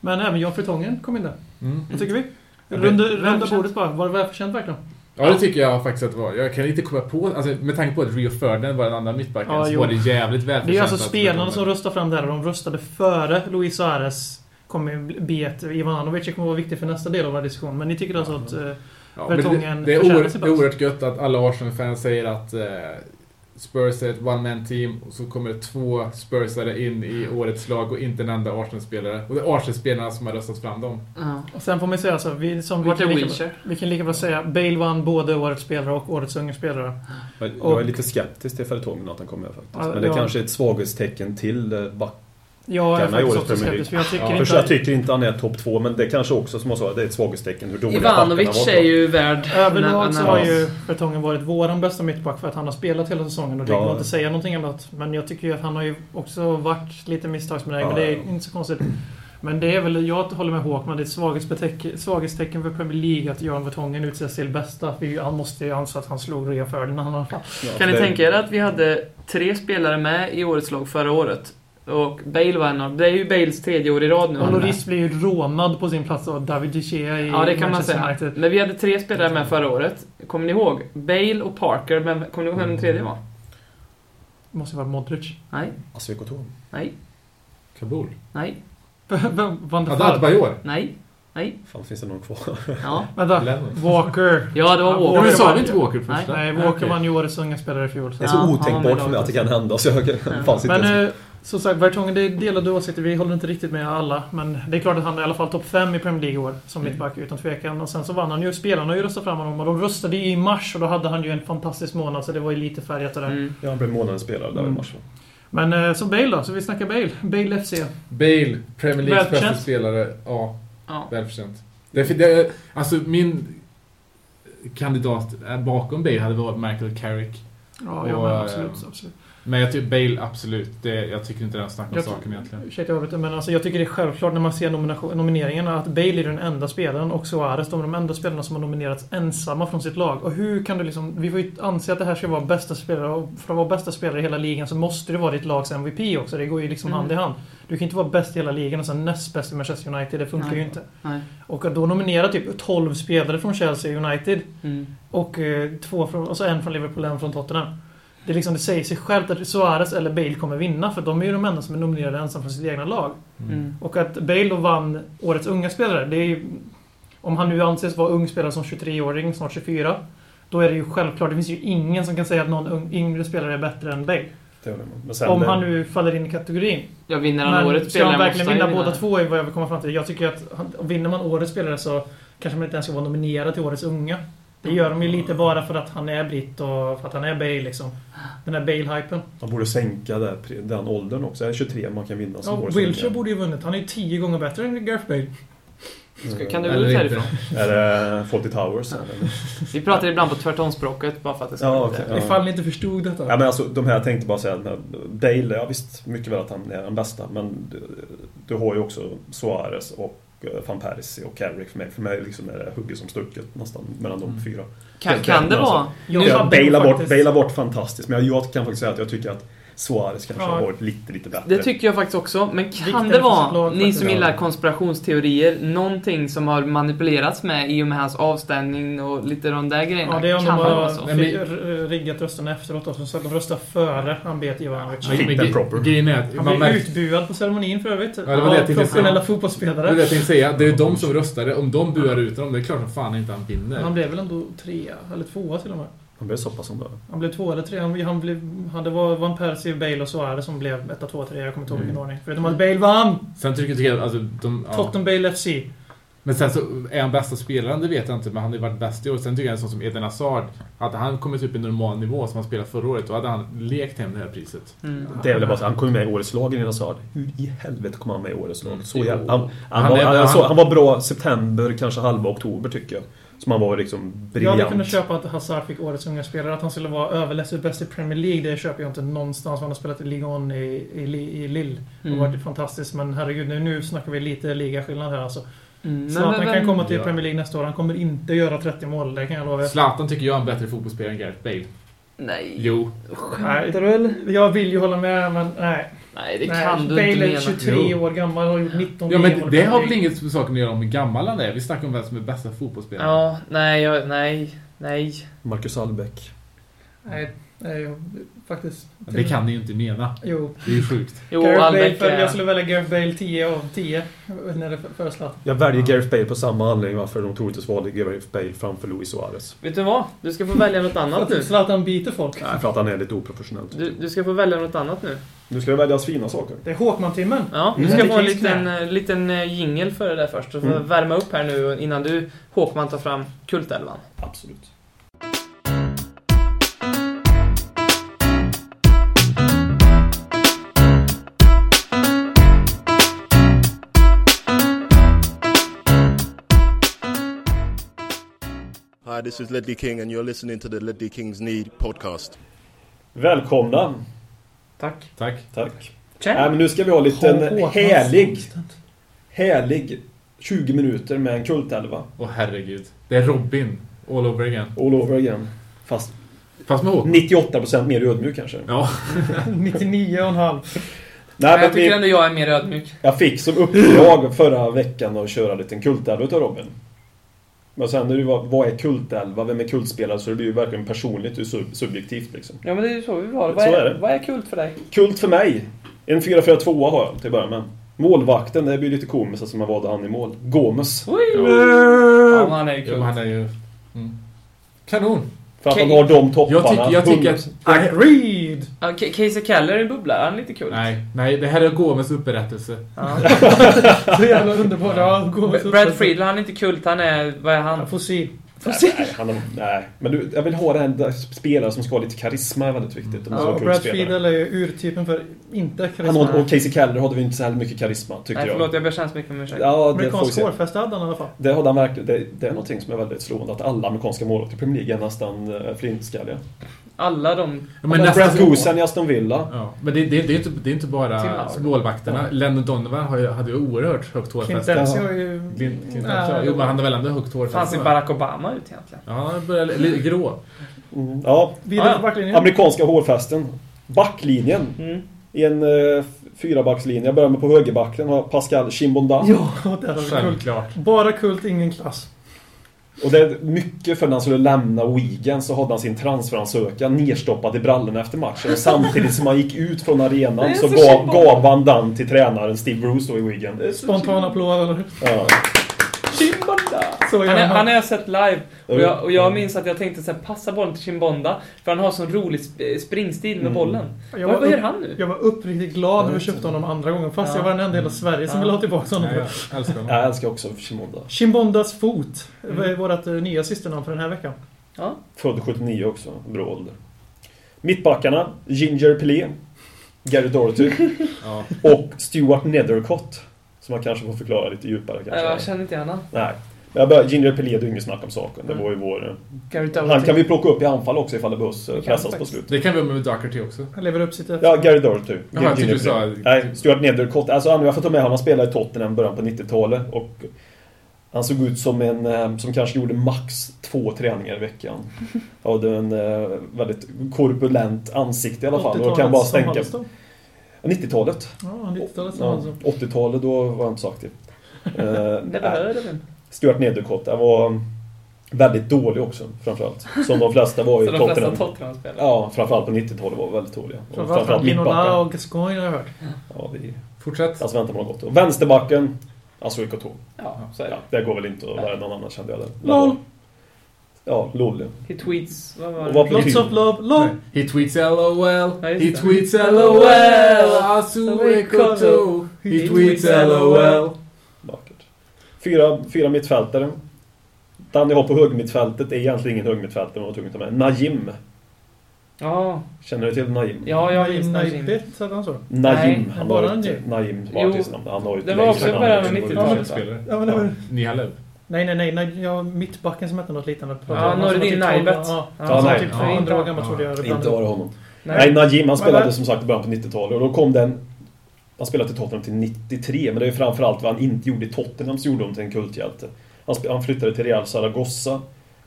[SPEAKER 5] Men även John Fritongen kom in där.
[SPEAKER 3] Mm.
[SPEAKER 5] Vad tycker vi?
[SPEAKER 3] Ja,
[SPEAKER 5] Runda,
[SPEAKER 3] det-
[SPEAKER 5] runda
[SPEAKER 4] välförtjänt.
[SPEAKER 5] bordet bara. Var det välförtjänt verkligen?
[SPEAKER 3] Ja, det tycker jag faktiskt att det var. Jag kan inte komma på... Alltså, med tanke på att Rio Ferdinand var den andra mittbacken
[SPEAKER 5] Ja,
[SPEAKER 3] så
[SPEAKER 5] jo.
[SPEAKER 3] var det jävligt välförtjänt.
[SPEAKER 5] Det är alltså
[SPEAKER 3] att-
[SPEAKER 5] spelarna som röstar fram det här och de röstade före Luis Suarez kommer ju be att Ivanovic kommer vara viktig för nästa del av vår diskussion. Men ni tycker alltså att... eh,
[SPEAKER 3] Ja, men
[SPEAKER 5] Vertongen
[SPEAKER 3] det, det, är
[SPEAKER 5] förtjänar
[SPEAKER 3] oerhört,
[SPEAKER 5] sin
[SPEAKER 3] det är
[SPEAKER 5] plats.
[SPEAKER 3] oerhört gött att alla Arsenal-fans säger att eh, Spurs är ett one-man team och så kommer det två Spursare in i årets lag och inte en enda Arsenal-spelare. Och det är Arsenal-spelarna som har röstat fram dem.
[SPEAKER 4] Ja.
[SPEAKER 5] Och Sen får man säga så, vi, som vi,
[SPEAKER 4] Vart är
[SPEAKER 5] kan lika, bra-
[SPEAKER 4] Wilshire?
[SPEAKER 5] vi kan lika bra säga Bale vann både årets spelare och årets unga spelare.
[SPEAKER 6] Jag, jag
[SPEAKER 5] Och-
[SPEAKER 6] är lite skeptisk till Fertongen att han kommer faktiskt.
[SPEAKER 5] Ja,
[SPEAKER 6] Men det
[SPEAKER 5] ja.
[SPEAKER 6] kanske är ett svaghetstecken till eh, back.
[SPEAKER 5] Jag är
[SPEAKER 6] Kan ha
[SPEAKER 5] faktiskt
[SPEAKER 6] årets
[SPEAKER 5] också
[SPEAKER 6] Premier League.
[SPEAKER 5] skeptisk, för jag tycker
[SPEAKER 6] Ja,
[SPEAKER 5] inte...
[SPEAKER 6] för jag tycker inte han är topp två, men det kanske också som jag sa, det är ett svaghetstecken hur dåliga backarna
[SPEAKER 4] Ivanovic
[SPEAKER 6] var.
[SPEAKER 4] är ju värd...
[SPEAKER 5] Överlag så har
[SPEAKER 4] närmast.
[SPEAKER 5] ju Vertongen varit våran bästa mittback för att han har spelat hela säsongen och det
[SPEAKER 6] Ja.
[SPEAKER 5] går inte att säga någonting annat. Men jag tycker ju att han har ju också varit lite misstagsbenägen,
[SPEAKER 6] Ja,
[SPEAKER 5] men det är
[SPEAKER 6] ja.
[SPEAKER 5] inte så konstigt. Men det är väl, jag håller med Håkman, det är ett svaghetstecken, svaghetstecken för Premier League att Göran Vertongen utses till bästa. För han måste ju anse att han slog Rio Ferdinand i alla fall.
[SPEAKER 6] Ja,
[SPEAKER 4] Kan ni
[SPEAKER 6] det-
[SPEAKER 4] tänka er att vi hade tre spelare med i årets lag förra året? Och Bale var en av Det är ju Bales tredje år i rad nu.
[SPEAKER 5] Och
[SPEAKER 4] han är med.
[SPEAKER 5] Loris blir ju rånad på sin plats av David De Gea i
[SPEAKER 4] Ja, det kan man
[SPEAKER 5] Manchester
[SPEAKER 4] säga.
[SPEAKER 5] United.
[SPEAKER 4] Men vi hade tre spelare med förra året. Kommer ni ihåg? Bale och Parker, men kommer ni ihåg vem den tredje var?
[SPEAKER 5] Det måste ju vara Modric.
[SPEAKER 4] Nej,
[SPEAKER 6] Asvekotom.
[SPEAKER 4] nej,
[SPEAKER 3] Kabul.
[SPEAKER 4] nej,
[SPEAKER 5] Vem- Van de
[SPEAKER 3] Ja, det hade
[SPEAKER 5] Vaart?
[SPEAKER 3] bara i år.
[SPEAKER 4] nej, nej.
[SPEAKER 6] Fan, finns det någon kvar?
[SPEAKER 4] Ja,
[SPEAKER 5] Vänta.
[SPEAKER 3] Lennon.
[SPEAKER 5] Walker.
[SPEAKER 4] ja det var
[SPEAKER 5] Ja,
[SPEAKER 3] Ja,
[SPEAKER 4] Walker.
[SPEAKER 3] men
[SPEAKER 5] det
[SPEAKER 3] sa
[SPEAKER 5] var-
[SPEAKER 3] vi inte Walker första?
[SPEAKER 5] Nej, Walker
[SPEAKER 3] okej.
[SPEAKER 5] vann ju årets unga spelare i fjol. Så.
[SPEAKER 6] Det är så
[SPEAKER 4] Ja, han var med i
[SPEAKER 6] Alltså, otänkbart för mig
[SPEAKER 4] laget
[SPEAKER 6] att det kan hända, så jag
[SPEAKER 4] Ja.
[SPEAKER 6] fanns inte
[SPEAKER 5] Men
[SPEAKER 6] ens.
[SPEAKER 5] eh, som sagt, Vertongen, det är delade åsikter. Vi håller inte riktigt med alla. Men det är klart att han är i alla fall topp 5 i Premier League i år, som
[SPEAKER 3] Mm.
[SPEAKER 5] mittback, utan tvekan. Och sen så vann han ju. Spelarna har ju röstat fram honom. Och de röstade ju i mars, och då hade han ju en fantastisk månad. Så det var ju lite färgat det där.
[SPEAKER 4] Mm.
[SPEAKER 6] Ja, han blev månadens spelare där i
[SPEAKER 5] Mm.
[SPEAKER 6] mars. va?
[SPEAKER 5] Men eh, så Bale då, så vi snackar Bale. Bale FC.
[SPEAKER 3] Bale, Premier Leagues bästa
[SPEAKER 5] Välförtjänt.
[SPEAKER 3] spelare. Ja,
[SPEAKER 4] Ja.
[SPEAKER 3] välförtjänt. Det, det, alltså min kandidat eh, bakom Bale hade varit Michael Carrick.
[SPEAKER 5] Ja, ja
[SPEAKER 3] Och,
[SPEAKER 5] men
[SPEAKER 3] eh,
[SPEAKER 5] absolut. absolut.
[SPEAKER 3] Men jag tycker Bale, absolut. Det, jag tycker inte det är snack om
[SPEAKER 5] Jag-
[SPEAKER 3] saken egentligen.
[SPEAKER 5] Ursäkta jag avbryter, men alltså jag tycker det är självklart när man ser nomination- nomineringarna att Bale är den enda spelaren och Suarez de är de enda spelarna som har nominerats ensamma från sitt lag. Och hur kan du liksom... Vi får ju anse att det här ska vara bästa spelare och för att vara bästa spelare i hela ligan så måste det vara ditt lags MVP också. Det går ju liksom
[SPEAKER 4] Mm.
[SPEAKER 5] hand i hand. Du kan inte vara bäst i hela ligan och sen näst bäst i Manchester United. Det funkar
[SPEAKER 4] Nej.
[SPEAKER 5] ju inte.
[SPEAKER 4] Nej.
[SPEAKER 5] Och att då nominera typ 12 spelare från Chelsea United
[SPEAKER 4] Mm.
[SPEAKER 5] och eh, två från, alltså en från Liverpool och en från Tottenham. Det, är liksom, det säger sig självt att Suarez eller Bale kommer vinna, för de är ju de enda som är nominerade ensam från sitt egna lag.
[SPEAKER 4] Mm.
[SPEAKER 5] Och att Bale då vann Årets unga spelare, det är ju... Om han nu anses vara ung spelare som 23-åring, snart 24, då är det ju självklart, det finns ju ingen som kan säga att någon ung, yngre spelare är bättre än Bale.
[SPEAKER 6] Det håller jag med om. Men sen,
[SPEAKER 5] om
[SPEAKER 6] eh,
[SPEAKER 5] han nu faller in i kategorin.
[SPEAKER 4] Jag vinner han årets
[SPEAKER 5] ska han
[SPEAKER 4] spelare
[SPEAKER 5] verkligen
[SPEAKER 4] måste
[SPEAKER 5] vinna
[SPEAKER 4] han ju
[SPEAKER 5] båda två är vad jag vill komma fram till. Jag tycker att han, vinner man Årets spelare så kanske man inte ens ska vara nominerad till Årets unga. Det gör de ju lite bara för att han är britt och för att han är Bale liksom. Den där Bale-hypen.
[SPEAKER 6] Man borde sänka det, pre- den åldern också. Är det 23 man kan vinna
[SPEAKER 5] Ja,
[SPEAKER 6] årets
[SPEAKER 5] Wilshere
[SPEAKER 6] unga?
[SPEAKER 5] borde ju vunnit. Han är ju tio gånger bättre än Gareth Bale.
[SPEAKER 4] Ska- Kan du gå
[SPEAKER 3] Eller
[SPEAKER 4] ut
[SPEAKER 3] inte.
[SPEAKER 4] härifrån?
[SPEAKER 6] Mm. Är det Fawlty Towers? Eller?
[SPEAKER 4] Vi pratar ibland på tvärtomspråket bara för att det ska
[SPEAKER 6] Ja,
[SPEAKER 4] vara
[SPEAKER 6] okej.
[SPEAKER 4] lite-
[SPEAKER 6] Ja.
[SPEAKER 5] Ifall ni inte förstod detta.
[SPEAKER 6] Ja, men alltså, de här, jag tänkte bara säga att eh, Bale, ja visst, mycket väl att han är den bästa, men du, du har ju också Suarez och eh, van Persie och Carrick för mig. För mig liksom är det hugget som stucket nästan mellan de
[SPEAKER 3] Mm.
[SPEAKER 6] fyra.
[SPEAKER 4] Kan, kan det
[SPEAKER 6] Alltså,
[SPEAKER 4] vara?
[SPEAKER 5] Jag
[SPEAKER 6] Ja,
[SPEAKER 5] hade
[SPEAKER 6] Bale har varit,
[SPEAKER 5] faktiskt-
[SPEAKER 6] Bale har varit fantastiskt, men jag, jag kan faktiskt säga att jag tycker att Suarez kanske
[SPEAKER 5] Ja.
[SPEAKER 6] har varit lite, lite bättre.
[SPEAKER 4] Det tycker jag faktiskt också. Men kan
[SPEAKER 5] Vikten
[SPEAKER 4] det
[SPEAKER 5] för sitt
[SPEAKER 4] vara,
[SPEAKER 5] lag
[SPEAKER 4] ni
[SPEAKER 5] faktiskt.
[SPEAKER 4] som gillar konspirationsteorier, någonting som har manipulerats med i och med hans avställning och lite de där grejerna?
[SPEAKER 5] Ja, det är om de
[SPEAKER 4] kan vara
[SPEAKER 5] har
[SPEAKER 4] så?
[SPEAKER 3] Nej, men-
[SPEAKER 5] r- riggat rösterna efteråt då, som sagt, de röstar före han bet Ivanovic.
[SPEAKER 6] Fit and
[SPEAKER 3] gre-
[SPEAKER 6] proper.
[SPEAKER 3] Grejen är att
[SPEAKER 5] Han
[SPEAKER 3] man
[SPEAKER 5] blev
[SPEAKER 3] märkte...
[SPEAKER 5] utbuad på ceremonin för övrigt.
[SPEAKER 3] det var det jag
[SPEAKER 5] av
[SPEAKER 3] tänkte
[SPEAKER 5] professionella
[SPEAKER 3] Det är det
[SPEAKER 5] fotbollsspelare.
[SPEAKER 3] jag tänkte säga. Det är de som röstade. Om de buar ut honom, det är klart som fan inte han
[SPEAKER 5] Han
[SPEAKER 3] vinner.
[SPEAKER 5] blev väl ändå trea, eller tvåa till och med.
[SPEAKER 6] Han blev så pass som det.
[SPEAKER 5] Han blev två eller tre. Han, han blev, han, det var Van Persie, Bale och Suarez som blev etta, tvåa, trea. Jag kommer inte ihåg vilken ordning. Förutom att Bale vann!
[SPEAKER 3] Sen tycker jag tycker jag alltså, de... Mm. Ja.
[SPEAKER 5] Tottenham Bale FC.
[SPEAKER 3] Men sen så är han bästa spelaren, det vet jag inte, men han har ju varit bäst i år. Sen tycker jag en sån som Eden Hazard, hade han kommit upp i normal nivå som han spelade förra året, då hade han lekt hem det här priset.
[SPEAKER 4] Mm,
[SPEAKER 6] Det är väl bara så, han kom ju med i årets lag i Hazard. Hur i helvete kom han med i årets lag? Så
[SPEAKER 3] Jo.
[SPEAKER 6] jävla, han, han,
[SPEAKER 3] Han
[SPEAKER 6] var,
[SPEAKER 3] är-
[SPEAKER 6] han,
[SPEAKER 3] han-
[SPEAKER 6] så, han var bra september, kanske halva oktober tycker jag. Som han var liksom
[SPEAKER 5] Jag
[SPEAKER 6] briljant.
[SPEAKER 5] hade kunnat köpa att Hazard fick årets unga spelare. Att han skulle vara överlägset bäst i Premier League, det köper jag inte någonstans. Han har spelat i Ligue 1 i, i, Li- i Lille.
[SPEAKER 4] Mm.
[SPEAKER 5] Och varit fantastisk. Men herregud, nu, nu snackar vi lite ligaskillnad här alltså.
[SPEAKER 4] Mm,
[SPEAKER 5] Så att han kan komma till
[SPEAKER 3] Ja.
[SPEAKER 5] Premier League nästa år. Han kommer inte göra 30 mål, det kan jag lova er.
[SPEAKER 3] Zlatan tycker jag är en bättre fotbollsspelare än Gareth Bale.
[SPEAKER 4] Nej.
[SPEAKER 3] Jo.
[SPEAKER 5] Nej,
[SPEAKER 4] Skämtar du eller?
[SPEAKER 5] jag vill ju hålla med, men nej.
[SPEAKER 4] Nej, det
[SPEAKER 5] nej.
[SPEAKER 4] kan du
[SPEAKER 5] Bale
[SPEAKER 4] inte
[SPEAKER 5] är
[SPEAKER 4] mena.
[SPEAKER 5] 23
[SPEAKER 3] Jo.
[SPEAKER 5] år gammal och har gjort 19
[SPEAKER 3] Ja, men
[SPEAKER 5] VM-mål
[SPEAKER 3] det,
[SPEAKER 5] i
[SPEAKER 3] det
[SPEAKER 5] Premier
[SPEAKER 3] har väl
[SPEAKER 5] League.
[SPEAKER 3] inget med saken att göra om hur gammal han är? Vi snackar om vem som är bästa fotbollsspelaren.
[SPEAKER 4] Ja, nej, jag, nej, nej.
[SPEAKER 6] Marcus Albeck.
[SPEAKER 5] Nej, nej jag- faktiskt.
[SPEAKER 3] Det kan ni ju inte mena.
[SPEAKER 5] Jo.
[SPEAKER 3] Det är ju sjukt.
[SPEAKER 4] Jo,
[SPEAKER 5] Gareth Bale,
[SPEAKER 4] Albeck
[SPEAKER 5] för,
[SPEAKER 4] är...
[SPEAKER 5] jag skulle välja Gareth Bale 10 av 10. När det föreslås.
[SPEAKER 6] Jag väljer Gareth Bale på samma anledning varför de troligtvis valde Gareth Bale framför Luis Suarez.
[SPEAKER 4] Vet du vad? Du ska få välja något
[SPEAKER 5] För
[SPEAKER 4] annat nu.
[SPEAKER 5] att Zlatan biter folk.
[SPEAKER 6] Nej, för att han är lite oprofessionell.
[SPEAKER 4] Du, du ska få välja något annat nu.
[SPEAKER 6] Nu ska det väljas fina saker.
[SPEAKER 5] Det är Håkman-timmen.
[SPEAKER 4] Ja, du
[SPEAKER 5] Mm.
[SPEAKER 4] ska få en
[SPEAKER 5] Teknisk
[SPEAKER 4] liten, eh, liten eh, jingle för det där först. Så får
[SPEAKER 6] Mm.
[SPEAKER 4] vi värma upp här nu innan du, Håkman, tar fram Kultelvan.
[SPEAKER 6] Absolut.
[SPEAKER 1] Hi, this is Ledley King, and you're listening to the Ledley King's Need podcast.
[SPEAKER 6] Välkomna.
[SPEAKER 4] Tack. Äh,
[SPEAKER 3] Tack.
[SPEAKER 6] Tack.
[SPEAKER 4] Tja.
[SPEAKER 6] Nej, men nu ska vi ha lite en
[SPEAKER 5] Håkman-
[SPEAKER 6] härlig,
[SPEAKER 4] Äh,
[SPEAKER 6] härlig 20 minuter med en kultelva.
[SPEAKER 3] Åh herregud. Det är Robin. All over again.
[SPEAKER 6] All over again. Fast
[SPEAKER 3] Fast med Håkan.
[SPEAKER 6] 98% mer ödmjuk kanske.
[SPEAKER 3] Ja.
[SPEAKER 5] 99,5.
[SPEAKER 6] Nej, men
[SPEAKER 4] jag tycker
[SPEAKER 6] vi,
[SPEAKER 4] ändå jag är mer ödmjuk.
[SPEAKER 6] jag fick som uppdrag förra veckan att köra en liten kultelva utav Robin. Men sen, när du var, vad är kultelva? Vem är kultspelare? Så det blir ju verkligen personligt och sub- subjektivt liksom.
[SPEAKER 4] Ja, men det är ju så vi var.
[SPEAKER 6] Vad Så är- är det.
[SPEAKER 4] vad är kult för dig?
[SPEAKER 6] Kult för mig. En 4-4-2 har jag till att börja med. Målvakten, det blir lite komiskt eftersom man valde han i mål. Gomes.
[SPEAKER 4] Ja, men han är ju
[SPEAKER 3] Jo,
[SPEAKER 4] kult.
[SPEAKER 3] men han är ju... Mm. Kanon!
[SPEAKER 6] För att han
[SPEAKER 4] Okej.
[SPEAKER 6] har de topparna.
[SPEAKER 3] Jag tycker, jag tycker att...
[SPEAKER 5] Agreed!
[SPEAKER 4] Ja, Ke- Casey Keller är en bubbla. Han är lite kult.
[SPEAKER 3] Nej, nej, det här är Gomes upprättelse.
[SPEAKER 4] Ja.
[SPEAKER 5] Så jävla underbart. Ja, gå
[SPEAKER 4] B- Brad Friedel, han är inte kult. Han är... Vad är han?
[SPEAKER 5] Fossil.
[SPEAKER 6] Nej, nej, han har, nej. Men du, jag vill ha den där spelaren som ska ha lite karisma är väldigt viktigt. Det måste
[SPEAKER 5] Ja,
[SPEAKER 6] vara
[SPEAKER 5] och
[SPEAKER 6] kul
[SPEAKER 5] Brad
[SPEAKER 6] spelare.
[SPEAKER 5] Friedel är ju urtypen för inte
[SPEAKER 6] Han
[SPEAKER 5] karisma.
[SPEAKER 6] hade, och Casey Keller hade vi inte så här mycket karisma, tyckte
[SPEAKER 4] Nej, förlåt.
[SPEAKER 6] jag.
[SPEAKER 4] Jag ber så hemskt mycket om ursäkt.
[SPEAKER 6] Ja, det får vi
[SPEAKER 5] Amerikansk
[SPEAKER 6] se.
[SPEAKER 5] hårfest hade han i alla fall.
[SPEAKER 6] Det, hade han verkligen, det, det är någonting som är väldigt slående, att alla amerikanska målvakter i Premier League är nästan eh, flintskalliga.
[SPEAKER 4] Alla de...
[SPEAKER 3] Ja,
[SPEAKER 6] Men
[SPEAKER 3] nästan-
[SPEAKER 6] Brad Goosen i Aston Villa.
[SPEAKER 3] Ja, men det, det, det, är inte, det är inte
[SPEAKER 4] Tim
[SPEAKER 3] bara
[SPEAKER 4] Howard.
[SPEAKER 3] målvakterna. Lennon Donovan har ju, hade ju oerhört högt
[SPEAKER 5] Kim
[SPEAKER 3] hårfäste.
[SPEAKER 5] Dempsey har ju...
[SPEAKER 3] Glint- Glint-
[SPEAKER 5] Ja,
[SPEAKER 3] Jo, men han har väl ändå högt
[SPEAKER 4] Fan ser
[SPEAKER 3] hårfäste? va?
[SPEAKER 4] Barack Obama ut egentligen?
[SPEAKER 3] Ja, han börjar li- lite grå.
[SPEAKER 6] Mm. Ja,
[SPEAKER 5] Vidare
[SPEAKER 4] Ah,
[SPEAKER 5] på backlinjen.
[SPEAKER 6] amerikanska hårfästen. Backlinjen.
[SPEAKER 4] Mm.
[SPEAKER 6] I en eh, fyrabackslinje. Jag börjar med på högerbacken. har Pascal Chimbonda.
[SPEAKER 5] Ja, där har vi kult.
[SPEAKER 3] Självklart.
[SPEAKER 5] Bara kult, ingen klass.
[SPEAKER 6] Och det är mycket för när han skulle lämna Wigan så hade han sin transferansökan nerstoppad i brallorna efter matchen. Och samtidigt som han gick ut från
[SPEAKER 4] Det är
[SPEAKER 6] arenan så,
[SPEAKER 4] så
[SPEAKER 6] gav,
[SPEAKER 4] Chimbonda.
[SPEAKER 6] gav han den till tränaren Steve Bruce då i Wigan.
[SPEAKER 5] Spontan
[SPEAKER 4] Mm.
[SPEAKER 5] applåd, eller hur?
[SPEAKER 6] Ja.
[SPEAKER 4] Chimbonda!
[SPEAKER 5] Så
[SPEAKER 4] Han,
[SPEAKER 5] gör
[SPEAKER 4] är,
[SPEAKER 5] man.
[SPEAKER 4] han har jag sett live. Och jag, och jag minns att jag tänkte så här, passa bollen till Chimbonda. För han har sån rolig sp- eh, springstil med
[SPEAKER 6] Mm.
[SPEAKER 4] bollen.
[SPEAKER 5] Jag
[SPEAKER 4] Vad,
[SPEAKER 5] var,
[SPEAKER 4] vad gör
[SPEAKER 5] upp,
[SPEAKER 4] han nu?
[SPEAKER 5] jag var uppriktigt glad när vi köpte honom andra gången. Fast
[SPEAKER 4] Ja.
[SPEAKER 5] jag var den enda i hela Sverige som
[SPEAKER 4] Ja.
[SPEAKER 5] ville ha tillbaka honom.
[SPEAKER 3] Nej, jag älskar honom.
[SPEAKER 6] Jag älskar också Chimbonda.
[SPEAKER 5] Chimbondas fot.
[SPEAKER 4] Mm.
[SPEAKER 5] Det är vårt eh, nya systernamn för den här veckan.
[SPEAKER 4] Ja.
[SPEAKER 6] Född 79 också. Bra ålder. Mittbackarna. Ginger Pelé. Gary Doherty.
[SPEAKER 3] Ja.
[SPEAKER 6] Och Stuart Nethercott. Som man kanske får förklara lite djupare
[SPEAKER 4] Nej, Jag
[SPEAKER 6] kanske.
[SPEAKER 4] känner inte igen han.
[SPEAKER 6] Nej. Men jag börjar, Ginger Pelé, det är ju inget snack om saken. Det var ju vår... eh,
[SPEAKER 4] Gary Doherty.
[SPEAKER 6] Han kan vi plocka upp i anfall också ifall det behövs. eh,
[SPEAKER 5] kan
[SPEAKER 6] Pressas på
[SPEAKER 5] faktiskt.
[SPEAKER 6] slut.
[SPEAKER 3] Det kan vi göra med Doherty också.
[SPEAKER 5] Han lever upp sitt efter.
[SPEAKER 6] Ja, Gary Doherty.
[SPEAKER 3] Jaha, jag tyckte du sa-
[SPEAKER 6] Nej, Stuart Nethercott. Alltså, han- jag får ta med honom. Han spelade i Tottenham i början på 90-talet. Och han såg ut som en eh, som kanske gjorde max två träningar i veckan. Han hade en eh, väldigt korpulent ansikte i alla fall. Och kan bara stänka...
[SPEAKER 5] 80-talets samhällsdag.
[SPEAKER 6] 90-talet.
[SPEAKER 5] Ja, 90-talets
[SPEAKER 6] Ja,
[SPEAKER 5] samhällsdag.
[SPEAKER 6] 80-talet, då var jag inte så aktiv. Eh,
[SPEAKER 4] Det
[SPEAKER 6] nej.
[SPEAKER 4] behöver vi.
[SPEAKER 6] Stuart Nedercott, han var väldigt dålig också, framförallt. Som de flesta var i
[SPEAKER 4] Så de flesta
[SPEAKER 6] Tottenham.
[SPEAKER 4] Tottenham-spelare.
[SPEAKER 6] Ja, framförallt på 90-talet var väldigt dåliga. Och
[SPEAKER 5] Framförallt från Ginola
[SPEAKER 6] mittbacken.
[SPEAKER 5] och Gascoigne har jag hört.
[SPEAKER 6] Ja, det är...
[SPEAKER 3] Fortsätt.
[SPEAKER 6] Alltså vänta man har gått. Och vänsterbacken, Asuik och
[SPEAKER 4] Ja, så är
[SPEAKER 6] Ja,
[SPEAKER 4] det.
[SPEAKER 6] det går väl inte att vara någon annan kände jag. det.
[SPEAKER 5] Lol.
[SPEAKER 6] Ja, LOL. ja.
[SPEAKER 4] He tweets... Vad var
[SPEAKER 6] Och vad
[SPEAKER 4] det?
[SPEAKER 5] Lots of love,
[SPEAKER 3] Nej.
[SPEAKER 5] love!
[SPEAKER 3] He tweets LOL,
[SPEAKER 4] Ja, just
[SPEAKER 3] he
[SPEAKER 4] det.
[SPEAKER 3] tweets LOL, Asuekoto, he tweets LOL.
[SPEAKER 6] Vackert. Fyra, fyra mittfältare. Den jag har på högmittfältet är egentligen ingen högmittfältare, men jag var tvungen att ta med. Najim.
[SPEAKER 4] Ja,
[SPEAKER 6] Känner du till Najim?
[SPEAKER 4] ja jag minns Najim.
[SPEAKER 5] Naibit, hade han så?
[SPEAKER 6] Najim.
[SPEAKER 5] Nej,
[SPEAKER 6] han
[SPEAKER 5] bara
[SPEAKER 6] har ett,
[SPEAKER 5] Najim.
[SPEAKER 6] Najim
[SPEAKER 4] Jo,
[SPEAKER 6] var artistnamn. Han har ju ett
[SPEAKER 4] det var
[SPEAKER 6] längre
[SPEAKER 4] också
[SPEAKER 6] namn.
[SPEAKER 4] början av 90-talet.
[SPEAKER 3] Fotbollsspelare.
[SPEAKER 5] Ja, men det var...
[SPEAKER 3] Nihalov.
[SPEAKER 5] Nej, nej, nej, nej. Ja, mittbacken som hette något liknande.
[SPEAKER 4] Ja, Nordin Naibet.
[SPEAKER 5] Ja,
[SPEAKER 4] Ja,
[SPEAKER 5] han var
[SPEAKER 6] nej.
[SPEAKER 5] typ
[SPEAKER 3] Ja,
[SPEAKER 5] 300 år
[SPEAKER 4] inte-
[SPEAKER 5] gammal trodde jag.
[SPEAKER 6] Inte var det honom. Nej,
[SPEAKER 4] Nej.
[SPEAKER 6] Najim han spelade
[SPEAKER 5] Men-
[SPEAKER 6] som sagt i början på 90-talet och då kom den... Han spelade till Tottenham till 93, men det är ju framförallt vad han inte gjorde i Tottenham som gjorde honom till en kulthjälte. Han, sp- han flyttade till Real Zaragoza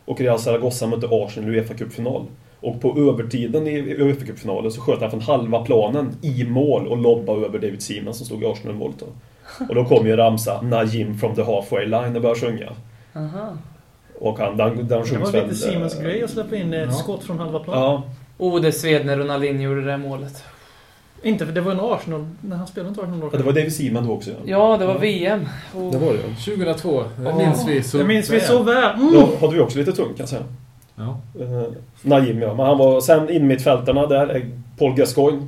[SPEAKER 6] och Real Zaragoza mötte Arsenal i Uefa Cupfinal. Och på övertiden i i Uefa Cupfinalen så sköt han från halva planen i mål och lobbade över David Seaman som stod i Arsenal-målet då. Och då kom ju ramsa Najim from the halfway line och började sjunga.
[SPEAKER 4] Aha.
[SPEAKER 6] Och han, den, den
[SPEAKER 5] Det
[SPEAKER 6] sjungs
[SPEAKER 5] var lite Simons
[SPEAKER 6] eh,
[SPEAKER 5] grej att släppa in ett
[SPEAKER 3] Ja.
[SPEAKER 5] skott från halva plan.
[SPEAKER 6] Ja,
[SPEAKER 4] Oh, det sved när Ronaldinho gjorde det där målet.
[SPEAKER 5] Inte för det var en Arsenal... Nej, han spelade inte Arsenal då.
[SPEAKER 6] ja, det var David Seaman då också ja.
[SPEAKER 4] Ja, det var VM. Oh.
[SPEAKER 6] Det var det ja.
[SPEAKER 3] 2002, det minns vi så
[SPEAKER 5] det minns vi
[SPEAKER 3] väl.
[SPEAKER 5] så väl. Mm.
[SPEAKER 6] Då hade vi också lite tungt kan jag säga.
[SPEAKER 3] Ja.
[SPEAKER 6] Eh, Najim ja, men han var sen in mittfältarna där. är Paul Gascoigne,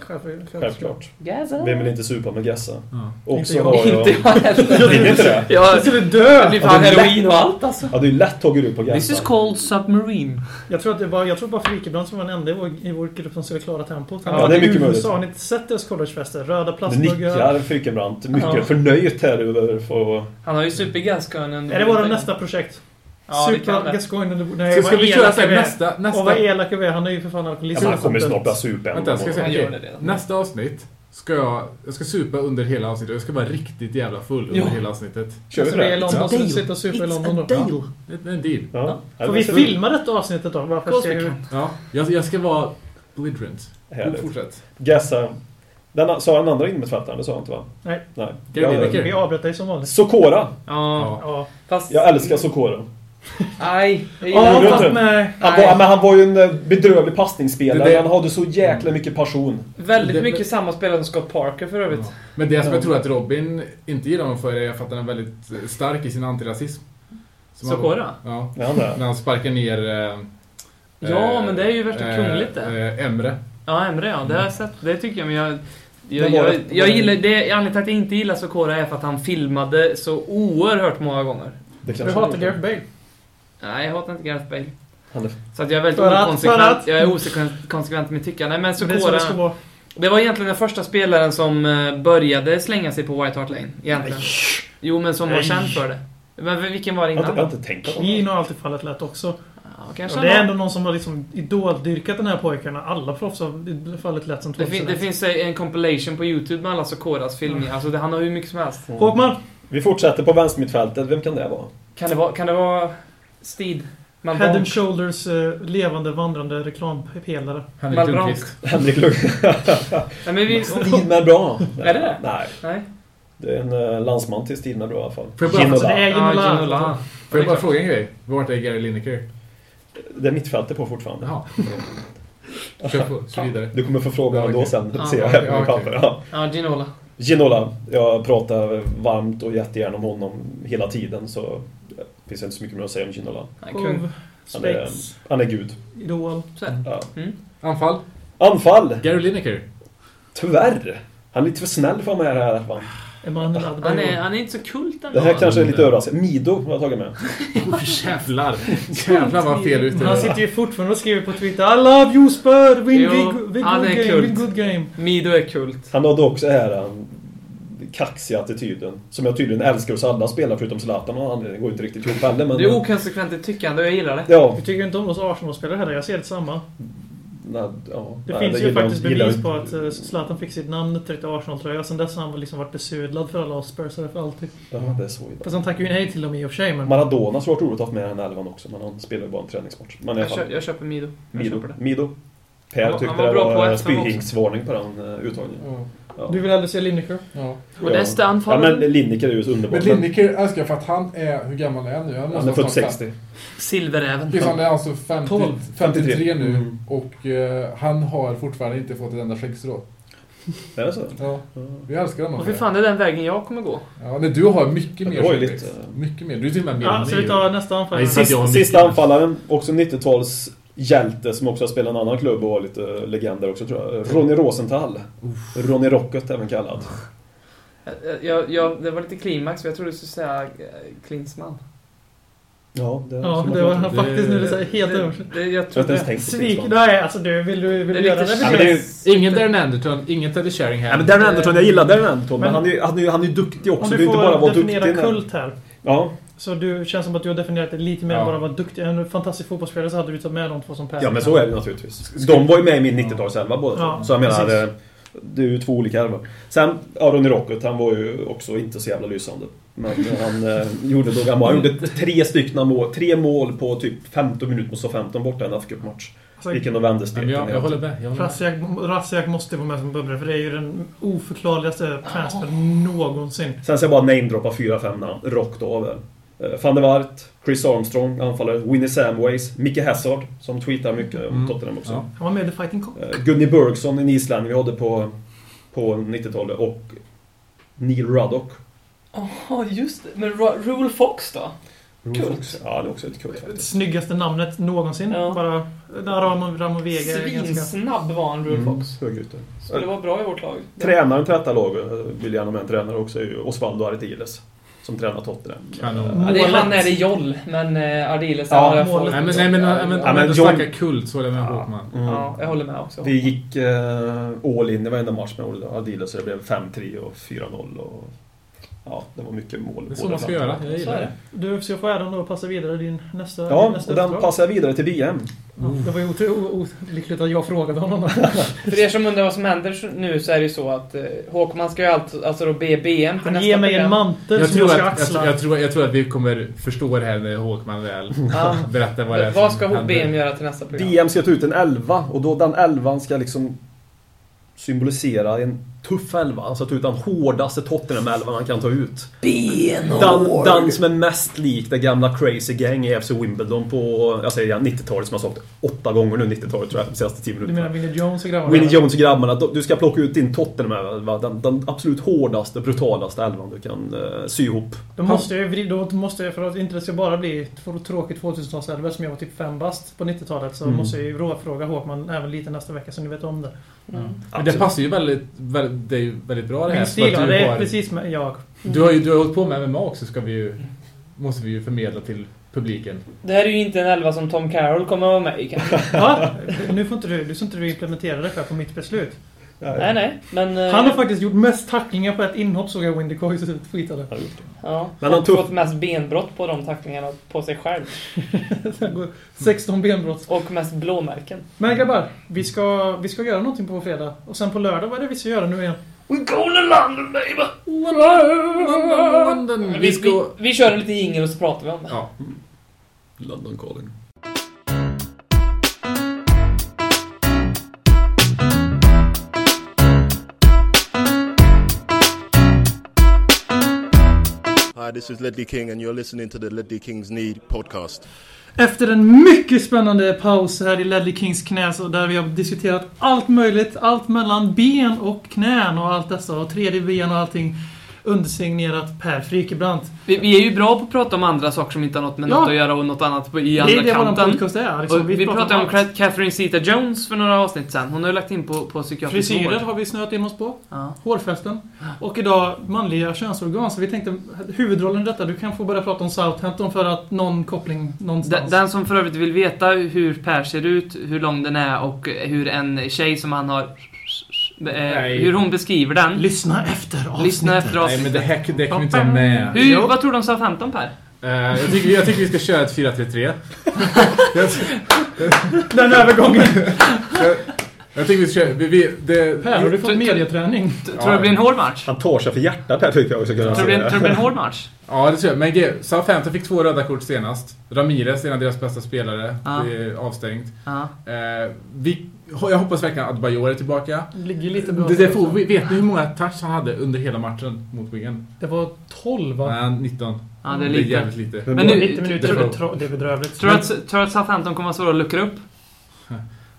[SPEAKER 5] Självklart.
[SPEAKER 6] självklart.
[SPEAKER 4] Gaza.
[SPEAKER 6] Vem vill inte supa med Gassa?
[SPEAKER 3] Ja.
[SPEAKER 6] Och
[SPEAKER 5] Inte
[SPEAKER 6] så
[SPEAKER 5] jag.
[SPEAKER 6] har
[SPEAKER 4] Inte
[SPEAKER 6] jag...
[SPEAKER 4] jag heller.
[SPEAKER 6] Vill inte det?
[SPEAKER 4] Jag
[SPEAKER 5] skulle
[SPEAKER 4] det
[SPEAKER 5] dö!
[SPEAKER 4] blir fan heroin och allt alltså.
[SPEAKER 6] Ja, det är ju lätt tagit ut på Gassa.
[SPEAKER 4] called submarine.
[SPEAKER 5] Jag tror att det var, jag tror bara Frikebrand som var den enda i vår, i vår grupp som skulle klara tempot. Han
[SPEAKER 6] Ja,
[SPEAKER 5] var
[SPEAKER 6] det är
[SPEAKER 5] i
[SPEAKER 6] mycket
[SPEAKER 5] USA.
[SPEAKER 6] möjligt.
[SPEAKER 5] Har ni inte sett deras collegefester? Röda
[SPEAKER 6] Du
[SPEAKER 5] plastmuggar.
[SPEAKER 6] nickar Frykenbrant mycket
[SPEAKER 4] Ja.
[SPEAKER 6] förnöjt här över för
[SPEAKER 4] Han har ju supergaskönen.
[SPEAKER 5] Är det vårt nästa projekt?
[SPEAKER 4] Ja, det kan
[SPEAKER 5] Super
[SPEAKER 4] det.
[SPEAKER 5] Gascoigne under Nej,
[SPEAKER 3] Så
[SPEAKER 5] vad
[SPEAKER 3] ska vi
[SPEAKER 5] elaka
[SPEAKER 3] köra så här,
[SPEAKER 5] vi är.
[SPEAKER 3] nästa,
[SPEAKER 5] Och vad
[SPEAKER 3] nästa,
[SPEAKER 5] elaka vi är. Han är ju för fan alkoholist.
[SPEAKER 6] Ja, man kommer snart börja supa
[SPEAKER 3] Vänta, jag ska
[SPEAKER 6] ändå.
[SPEAKER 3] säga,
[SPEAKER 4] Han gör
[SPEAKER 3] okej.
[SPEAKER 4] det redan.
[SPEAKER 3] nästa avsnitt ska jag, jag ska supa under hela avsnittet. Jag ska vara riktigt jävla full under
[SPEAKER 4] Ja.
[SPEAKER 3] hela avsnittet.
[SPEAKER 6] Kör vi
[SPEAKER 5] Alltså,
[SPEAKER 6] på
[SPEAKER 5] vi är i
[SPEAKER 6] det?
[SPEAKER 5] London, så vi sitter och super i London då. Ja.
[SPEAKER 3] En, en deal.
[SPEAKER 6] Ja. Ja,
[SPEAKER 5] Får
[SPEAKER 6] det
[SPEAKER 5] vi
[SPEAKER 6] ser
[SPEAKER 5] filma detta avsnittet då? Bara för att se hur...
[SPEAKER 3] Ja, jag, jag ska vara belligerent.
[SPEAKER 6] härligt.
[SPEAKER 3] Fortsätt.
[SPEAKER 6] Gassa. Den, sa han andra innermittfältaren? Det sa han inte va?
[SPEAKER 5] Nej.
[SPEAKER 6] Nej.
[SPEAKER 3] Gary
[SPEAKER 6] Jag-
[SPEAKER 3] Lineker.
[SPEAKER 5] Vi avbröt dig som vanligt.
[SPEAKER 6] Sokora!
[SPEAKER 4] Ja,
[SPEAKER 3] Ja.
[SPEAKER 5] Ja,
[SPEAKER 4] fast...
[SPEAKER 6] Jag älskar Sokora.
[SPEAKER 4] Aj. det
[SPEAKER 5] ja
[SPEAKER 4] gör
[SPEAKER 6] gjorde
[SPEAKER 5] fast
[SPEAKER 6] inte.
[SPEAKER 5] med...
[SPEAKER 6] Han
[SPEAKER 4] Nej.
[SPEAKER 6] var, men han var ju en eh, bedrövlig passningsspelare.
[SPEAKER 3] Det- det-
[SPEAKER 6] Han hade så jäkla mycket passion.
[SPEAKER 4] Väldigt
[SPEAKER 3] Det-
[SPEAKER 4] mycket samma spelare som Scott Parker för övrigt.
[SPEAKER 3] Men det som
[SPEAKER 6] Ja.
[SPEAKER 3] jag tror att Robin inte gillar honom för är för att han är väldigt stark i sin antirasism. Som han-
[SPEAKER 4] Sokora?
[SPEAKER 3] Ja.
[SPEAKER 6] Ja, han är.
[SPEAKER 3] När han sparkar ner... eh,
[SPEAKER 4] Ja,
[SPEAKER 3] eh,
[SPEAKER 4] men det är ju värsta
[SPEAKER 3] eh,
[SPEAKER 4] kungligt det.
[SPEAKER 3] eh, Emre.
[SPEAKER 4] Ja, Emre ja. Det
[SPEAKER 3] Mm.
[SPEAKER 4] har jag sett. Det tycker jag, men jag... Jag,
[SPEAKER 6] Det var
[SPEAKER 4] jag,
[SPEAKER 6] det.
[SPEAKER 4] jag gillar, det, anledningen till att jag inte gillar Sokora är för att han filmade så oerhört många gånger.
[SPEAKER 6] Det
[SPEAKER 5] Vi
[SPEAKER 6] kanske
[SPEAKER 5] hatar
[SPEAKER 6] han är.
[SPEAKER 5] Gareth Bale.
[SPEAKER 4] Nej, jag hatar inte Gareth Bale.
[SPEAKER 6] Han är
[SPEAKER 4] Så att jag är väldigt
[SPEAKER 5] För att- för
[SPEAKER 4] okonsekvent.
[SPEAKER 5] att-
[SPEAKER 4] Jag är okonsekvent med tyckande. Nej, men
[SPEAKER 5] Det är så det ska
[SPEAKER 4] Sokora...
[SPEAKER 5] vara.
[SPEAKER 4] Det var egentligen den första spelaren som eh, började slänga sig på White Hart Lane. Egentligen. Jo, men som var
[SPEAKER 5] Nej.
[SPEAKER 4] känd för det. Men vilken var det
[SPEAKER 6] Jag
[SPEAKER 4] innan?
[SPEAKER 6] har inte, jag har inte tänkt på
[SPEAKER 5] Keane
[SPEAKER 6] det.
[SPEAKER 5] har alltid fallit lätt också.
[SPEAKER 4] Ja,
[SPEAKER 5] Och
[SPEAKER 4] kanske
[SPEAKER 5] det
[SPEAKER 4] han
[SPEAKER 5] är
[SPEAKER 4] var.
[SPEAKER 5] ändå någon som har liksom idoldyrkat den här pojken. Alla proffs har fallit lätt som
[SPEAKER 4] Det, fin- det finns eh, en compilation på YouTube med alla Sokoras filmer. Alltså, det, han har hur mycket som helst.
[SPEAKER 5] Håkman!
[SPEAKER 6] Vi fortsätter på vänstermittfältet. Vem kan det vara?
[SPEAKER 4] Kan det vara, kan det vara Steed?
[SPEAKER 5] Head
[SPEAKER 4] Malbranc?
[SPEAKER 5] and Shoulders eh, levande vandrande reklampelare.
[SPEAKER 3] Henrik
[SPEAKER 4] Malbranc.
[SPEAKER 3] Lundqvist.
[SPEAKER 6] Henrik Lundqvist.
[SPEAKER 4] Nej, men vi...
[SPEAKER 6] Stina Bra.
[SPEAKER 4] Är det det?
[SPEAKER 6] Nej.
[SPEAKER 4] Nej.
[SPEAKER 6] Det är en eh, landsman till Stina Bra i alla fall.
[SPEAKER 3] Får jag bara-
[SPEAKER 5] Så Alltså,
[SPEAKER 6] Ginola.
[SPEAKER 5] det är ju
[SPEAKER 4] Ja,
[SPEAKER 5] Nolan.
[SPEAKER 4] Ginola.
[SPEAKER 3] Får jag bara
[SPEAKER 4] klart.
[SPEAKER 3] fråga en grej? Vart är Gary Lineker?
[SPEAKER 6] Det är mittfältet på fortfarande.
[SPEAKER 3] Jaha. Kör på, kör vidare.
[SPEAKER 6] Du kommer få frågan
[SPEAKER 3] Ja,
[SPEAKER 6] ändå
[SPEAKER 3] okej.
[SPEAKER 6] sen,
[SPEAKER 4] Ja,
[SPEAKER 6] ser jag
[SPEAKER 3] okej,
[SPEAKER 6] här på min
[SPEAKER 3] ja, okej.
[SPEAKER 6] papper. Ja.
[SPEAKER 4] Ja, Ginola.
[SPEAKER 6] Ginola. Jag pratar varmt och jättegärna om honom hela tiden, så det finns inte så mycket mer att säga om Ginola.
[SPEAKER 4] Nej, kung.
[SPEAKER 5] Kung.
[SPEAKER 6] Han är,
[SPEAKER 5] Spets.
[SPEAKER 6] han är gud.
[SPEAKER 5] Idol.
[SPEAKER 4] Så här.
[SPEAKER 6] Ja.
[SPEAKER 3] Anfall.
[SPEAKER 6] Anfall!
[SPEAKER 3] Gary Lineker.
[SPEAKER 6] Tyvärr! Han är lite för snäll för att vara med här. Va?
[SPEAKER 5] Emanuel
[SPEAKER 4] Han är,
[SPEAKER 5] Adbayo.
[SPEAKER 4] han är inte så kult ändå.
[SPEAKER 6] Det här kanske är lite överraskande. Mido har jag tagit med.
[SPEAKER 3] Jävlar. Jävlar vad fel
[SPEAKER 4] Mm.
[SPEAKER 3] ute
[SPEAKER 5] Han sitter ju fortfarande och skriver på Twitter I love you Spur! Win,
[SPEAKER 4] Jo,
[SPEAKER 5] win, win, win
[SPEAKER 4] han
[SPEAKER 5] good
[SPEAKER 4] är
[SPEAKER 5] game,
[SPEAKER 4] kult.
[SPEAKER 5] win good game.
[SPEAKER 4] Mido är kult.
[SPEAKER 6] Han hade också här den kaxiga attityden. Som jag tydligen älskar hos alla spelare förutom Zlatan av någon anledning. Det går inte riktigt ihop heller. Men, eh,
[SPEAKER 4] Det är okonsekvent i tyckande och jag gillar det.
[SPEAKER 6] Ja,
[SPEAKER 5] Vi tycker inte om oss Arsenal-spelare heller, jag ser detsamma.
[SPEAKER 6] nej, ja,
[SPEAKER 5] Det
[SPEAKER 6] nej,
[SPEAKER 5] finns ju
[SPEAKER 6] gillar-
[SPEAKER 5] faktiskt
[SPEAKER 6] gillar-
[SPEAKER 5] bevis på att eh, Zlatan fick sitt namn tryckt i Arsenal-tröja. Sen dess har han väl liksom varit besudlad för alla oss Spursare för alltid.
[SPEAKER 6] Ja, det är så illa.
[SPEAKER 5] Fast han tackar ju nej till dem i och för sig, men...
[SPEAKER 6] Maradona skulle varit roligt att ha haft med i den här elvan också, men han spelar ju bara en träningsmatch. Men i alla
[SPEAKER 4] Jag,
[SPEAKER 6] fall,
[SPEAKER 4] köper, jag köper Mido. Jag
[SPEAKER 6] Mido.
[SPEAKER 4] köper det.
[SPEAKER 6] Mido. Per
[SPEAKER 4] Han var-
[SPEAKER 6] tyckte
[SPEAKER 4] han var
[SPEAKER 6] det
[SPEAKER 4] bra på
[SPEAKER 6] var
[SPEAKER 4] ettan också.
[SPEAKER 6] spyhinksvarning på den eh, uttagningen. Ja.
[SPEAKER 5] Du vill hellre se Lineker?
[SPEAKER 3] Ja.
[SPEAKER 4] Och nästa
[SPEAKER 6] Ja,
[SPEAKER 4] anfall.
[SPEAKER 6] men Lineker är ju så underbart.
[SPEAKER 8] Men Lineker älskar jag för att han är, hur gammal är han nu? Han
[SPEAKER 6] men han är
[SPEAKER 8] måste
[SPEAKER 6] född
[SPEAKER 8] vara snart
[SPEAKER 6] 60.
[SPEAKER 4] Silveräven.
[SPEAKER 8] fem- Han är alltså 50,
[SPEAKER 5] 12,
[SPEAKER 8] 53 nu
[SPEAKER 6] Mm.
[SPEAKER 8] och eh, han har fortfarande inte fått ett enda skäggstrå.
[SPEAKER 6] Är det så?
[SPEAKER 8] Ja. Jag älskar honom.
[SPEAKER 4] Och
[SPEAKER 8] för
[SPEAKER 4] fy
[SPEAKER 8] det.
[SPEAKER 4] fan, det är den vägen jag kommer gå.
[SPEAKER 8] Ja, men du har mycket
[SPEAKER 6] Ja,
[SPEAKER 8] mer
[SPEAKER 6] det var ju
[SPEAKER 8] skäggväxt.
[SPEAKER 6] lite- eh,
[SPEAKER 8] Mycket mer. Du är till och med mer
[SPEAKER 5] Ja,
[SPEAKER 3] men
[SPEAKER 5] så
[SPEAKER 3] det är
[SPEAKER 5] vi
[SPEAKER 3] ju-
[SPEAKER 5] tar nästa anfall.
[SPEAKER 3] Nej,
[SPEAKER 5] Ja,
[SPEAKER 3] sist-
[SPEAKER 6] Sista,
[SPEAKER 3] Dion
[SPEAKER 6] sista
[SPEAKER 3] Mikkels.
[SPEAKER 6] anfallaren, också 90-tals hjälte som också har spelat i en annan klubb och var lite legender också tror jag. Ronny Rosenthal. Ronny Rocket även kallad.
[SPEAKER 4] Eh, Jag, jag, det var lite klimax, för jag trodde du skulle säga eh, Klinsmann.
[SPEAKER 6] Ja, det,
[SPEAKER 5] Ja, det var han faktiskt nu. Det är så här helt
[SPEAKER 4] Det-
[SPEAKER 5] översatt.
[SPEAKER 4] det- Jag
[SPEAKER 6] Jag har inte ens
[SPEAKER 4] trodde...
[SPEAKER 6] tänkt på
[SPEAKER 5] Svik.
[SPEAKER 6] Klinsmann.
[SPEAKER 5] Nej, alltså du, vill du, vill
[SPEAKER 4] Det är
[SPEAKER 5] du göra
[SPEAKER 4] lite
[SPEAKER 5] den
[SPEAKER 6] Ja, men det är ju-
[SPEAKER 3] Ingen Darren Anderton, ingen Teddy Sheringham.
[SPEAKER 6] Ja, men Darren Anderton, jag gillar Darren Anderton, men,
[SPEAKER 5] Men-
[SPEAKER 6] han, är, ju- han, är, ju- han är ju duktig
[SPEAKER 5] Om
[SPEAKER 6] också.
[SPEAKER 5] du
[SPEAKER 6] Det är ju inte bara att
[SPEAKER 5] får
[SPEAKER 6] vara duktig.
[SPEAKER 5] definiera
[SPEAKER 6] men-
[SPEAKER 5] kult här.
[SPEAKER 6] Ja.
[SPEAKER 5] Så du känns som att du har definierat det lite mer
[SPEAKER 3] Ja.
[SPEAKER 5] än bara att vara duktig. En fantastisk fotbollsspelare så hade du tagit med de två som pärl.
[SPEAKER 6] ja, men så är det naturligtvis. De var ju med i min 90-talselva båda två.
[SPEAKER 5] Ja,
[SPEAKER 6] Så jag menar,
[SPEAKER 5] precis.
[SPEAKER 6] eh, det är ju två olika ärvor. Sen, Aron Rocket, han var ju också inte så jävla lysande. Men han eh, gjorde då gammal. Han gjorde tre stycken mål, tre mål på typ 15 minuter mot så 15 borta i en FA-cupmatch.
[SPEAKER 5] Alltså,
[SPEAKER 6] Gick in och vände
[SPEAKER 3] Nej, men
[SPEAKER 6] steken.
[SPEAKER 3] jag, jag håller med. Jag håller med.
[SPEAKER 5] Rasjak, Rasjak måste vara med som bubblare för det är ju den oförklarligaste transfer någonsin.
[SPEAKER 6] Sen ska jag bara namedroppa fyra, fem namn rakt av här. Eh, Van de Waart, Chris Armstrong, anfallare, Winnie Samways, Micke Hazard, som tweetar mycket om
[SPEAKER 3] Mm.
[SPEAKER 6] Tottenham också.
[SPEAKER 3] Ja.
[SPEAKER 5] Han var med i The Fighting Cock.
[SPEAKER 6] Eh, Gunni Bergson, en islänning vi hade på, på 90-talet, och Neil Ruddock.
[SPEAKER 4] Jaha, just det. Men Ru- Rule Fox då? Kult.
[SPEAKER 6] Ja, det är också ett kul faktiskt.
[SPEAKER 5] Snyggaste namnet någonsin.
[SPEAKER 4] Ja.
[SPEAKER 5] Bara där Ramo, Ramo Vega är ganska...
[SPEAKER 4] Svinsnabb var han, Rule Fox.
[SPEAKER 6] Högerytter.
[SPEAKER 4] Skulle vara bra i vårt lag.
[SPEAKER 6] Mm. Tränaren till detta lag, eh, vill gärna med en tränare också, är ju Osvaldo Artiles. Som tränar Tottenham.
[SPEAKER 3] Kanon.
[SPEAKER 4] Ja, det är,
[SPEAKER 5] Målet.
[SPEAKER 4] han är det Joll, men eh, Ardiles
[SPEAKER 6] Ja,
[SPEAKER 4] har jag
[SPEAKER 5] målet.
[SPEAKER 3] Nej men, nej, men, nej, men,
[SPEAKER 6] Ja,
[SPEAKER 3] ja,
[SPEAKER 6] men
[SPEAKER 3] men
[SPEAKER 6] John-
[SPEAKER 3] snacka kult så håller jag med Håkman.
[SPEAKER 6] Mm.
[SPEAKER 4] Ja, jag håller med också.
[SPEAKER 6] Vi gick eh, all in i varenda match med Adidas så det blev 5-3 och 4-0 och... Ja, det var mycket mål.
[SPEAKER 3] Det är så
[SPEAKER 6] Båda
[SPEAKER 3] man ska
[SPEAKER 6] fram.
[SPEAKER 3] göra. Jag
[SPEAKER 4] Så
[SPEAKER 3] gillar
[SPEAKER 4] är
[SPEAKER 3] det.
[SPEAKER 4] det.
[SPEAKER 5] Du, så jag får äran då att passa vidare din nästa, din
[SPEAKER 6] Ja,
[SPEAKER 5] nästa
[SPEAKER 6] och den
[SPEAKER 5] uppdrag.
[SPEAKER 6] passar vidare till VM.
[SPEAKER 5] Ja, det var ju otro- o- olyckligt att jag frågade honom.
[SPEAKER 4] För er som undrar vad som händer så- nu så är det ju så att eh, Håkman ska ju alltså, alltså då be BM till
[SPEAKER 5] Han
[SPEAKER 4] nästa
[SPEAKER 5] ger mig
[SPEAKER 4] program.
[SPEAKER 5] en mantel
[SPEAKER 3] Jag
[SPEAKER 5] som
[SPEAKER 3] tror,
[SPEAKER 5] jag ska
[SPEAKER 3] att, jag,
[SPEAKER 5] axla.
[SPEAKER 3] tror- jag, tror, jag tror att vi kommer förstå det här när Håkman väl
[SPEAKER 4] Ja.
[SPEAKER 3] berättar vad det är
[SPEAKER 4] Vad,
[SPEAKER 3] som
[SPEAKER 4] ska
[SPEAKER 3] händer.
[SPEAKER 4] BM göra till nästa program?
[SPEAKER 6] VM ska ta ut en elva och då den elvan ska liksom symbolisera en tuff elva. Alltså ta ut den hårdaste Tottenham-elvan han kan ta ut. Den, den som är mest lik det gamla Crazy Gang i FC Wimbledon på, jag säger igen, 90-talet som jag sagt åtta gånger nu, 90-talet tror jag, de senaste 10
[SPEAKER 5] Du
[SPEAKER 6] minuterna.
[SPEAKER 5] menar Vinnie Jones och grabbarna?
[SPEAKER 6] Winnie Jones och grabbarna, de- du ska plocka ut din Tottenham-elva. Den, den absolut hårdaste, brutalaste elvan du kan eh, sy ihop.
[SPEAKER 5] Då måste jag ju vrida, då måste jag, för att inte det ska bara bli ett tråkigt 2000-talshelvete som jag var typ fem bast på 90-talet så
[SPEAKER 6] Mm.
[SPEAKER 5] måste jag ju råfråga Håkman även lite nästa vecka så ni vet om det.
[SPEAKER 4] Mm.
[SPEAKER 3] Men det passar ju väldigt, väldigt, det är ju väldigt bra det här.
[SPEAKER 5] Mm.
[SPEAKER 3] för att
[SPEAKER 5] Min stil, ja,
[SPEAKER 3] du
[SPEAKER 5] det är
[SPEAKER 3] har-
[SPEAKER 5] precis med jag.
[SPEAKER 3] Du har ju du har hållit på med MMA också, ska vi ju, måste vi ju förmedla till publiken.
[SPEAKER 4] Det här är ju inte en elva som Tom Carroll kommer att vara med i kanske.
[SPEAKER 5] Va? Nu får inte du, du får inte du implementera det här på mitt beslut.
[SPEAKER 4] Nej, nej. Men... eh,
[SPEAKER 5] Han har faktiskt gjort mest tacklingar på ett inhopp såg jag Windy Coy tweetade.
[SPEAKER 4] Ja,
[SPEAKER 6] Men
[SPEAKER 4] men
[SPEAKER 6] han
[SPEAKER 4] han
[SPEAKER 6] tog-
[SPEAKER 4] fått mest benbrott på de tacklingarna på sig själv.
[SPEAKER 5] Sen går 16 benbrott.
[SPEAKER 4] Och mest blåmärken.
[SPEAKER 5] Men grabbar, vi ska, vi ska göra någonting på fredag. Och sen på lördag, vad är det vi ska göra nu igen?
[SPEAKER 4] We go to London, baby!
[SPEAKER 3] London,
[SPEAKER 4] Vi,
[SPEAKER 3] vi ska...
[SPEAKER 4] vi, vi kör en liten jingel och så pratar vi om det.
[SPEAKER 3] Ja.
[SPEAKER 6] London calling.
[SPEAKER 1] Hi, this is Ledley King, and you're listening to the Ledley King's Need podcast.
[SPEAKER 5] Efter en mycket spännande paus här i Ledley Kings knäs och där vi har diskuterat allt möjligt. Allt mellan ben och knän och allt dessa och 3D-ben och allting. Undersignerat Per Frikebrant.
[SPEAKER 4] Vi, vi är ju bra på att prata om andra saker som inte har något med
[SPEAKER 5] Ja.
[SPEAKER 4] något att göra och något annat på, i
[SPEAKER 5] Det
[SPEAKER 4] andra
[SPEAKER 5] är det våran
[SPEAKER 4] kanten.
[SPEAKER 5] podcast är. Liksom.
[SPEAKER 4] Och vi pratade om
[SPEAKER 5] allt.
[SPEAKER 4] Kat- Catherine Zeta-Jones för några avsnitt sen. Hon har ju lagt in på, på psykiatrisk
[SPEAKER 5] Frisyrer
[SPEAKER 4] vård.
[SPEAKER 5] har vi snöat in oss på.
[SPEAKER 4] Ja.
[SPEAKER 5] Hårfästen. Och idag manliga könsorgan. Så vi tänkte, huvudrollen i detta, du kan få börja prata om Southampton för att någon koppling
[SPEAKER 4] Den,
[SPEAKER 5] någonstans.
[SPEAKER 4] den som för övrigt vill veta hur Per ser ut, hur lång den är och hur en tjej som han har... Eh,
[SPEAKER 3] Nej.
[SPEAKER 4] hur hon beskriver den.
[SPEAKER 5] Lyssna efter avsnittet.
[SPEAKER 4] Lyssna efter oss.
[SPEAKER 3] Nej men det här det kan vi inte ha med.
[SPEAKER 4] Hur, vad tror du om Southampton Per?
[SPEAKER 3] Eh, jag, tycker, jag tycker vi ska köra ett 4-3-3. jag,
[SPEAKER 5] Den övergången!
[SPEAKER 3] jag tycker vi ska köra... Vi, vi, det,
[SPEAKER 5] Per, har du
[SPEAKER 4] Tror-
[SPEAKER 5] fått medieträning?
[SPEAKER 4] T- Tror du det blir en hård match?
[SPEAKER 6] Han tar sig för hjärtat här tycker jag också. kunna
[SPEAKER 4] Tror du
[SPEAKER 6] säga.
[SPEAKER 4] det, tror du det blir en hård match?
[SPEAKER 3] Ja, det tror jag. Men ge- Southampton fick två röda kort senast. Ramirez, en av deras bästa spelare,
[SPEAKER 4] Ja.
[SPEAKER 3] blir avstängt.
[SPEAKER 4] Ja.
[SPEAKER 3] Eh, vi, jag hoppas verkligen att Bajor är tillbaka.
[SPEAKER 5] Ligger lite bra
[SPEAKER 3] Det, det
[SPEAKER 5] till
[SPEAKER 3] får,
[SPEAKER 5] också.
[SPEAKER 3] vi- vet ni hur många touch han hade under hela matchen mot Wigan?
[SPEAKER 5] Det var 12 va?
[SPEAKER 3] Nej, 19.
[SPEAKER 4] Ja, det är
[SPEAKER 3] Det är
[SPEAKER 4] lite.
[SPEAKER 3] jävligt lite.
[SPEAKER 4] Men nu,
[SPEAKER 5] 90 minuter,
[SPEAKER 3] tror-
[SPEAKER 5] det är bedrövligt.
[SPEAKER 4] tror du att, tror du att Southampton kommer att vara svåra att luckra upp?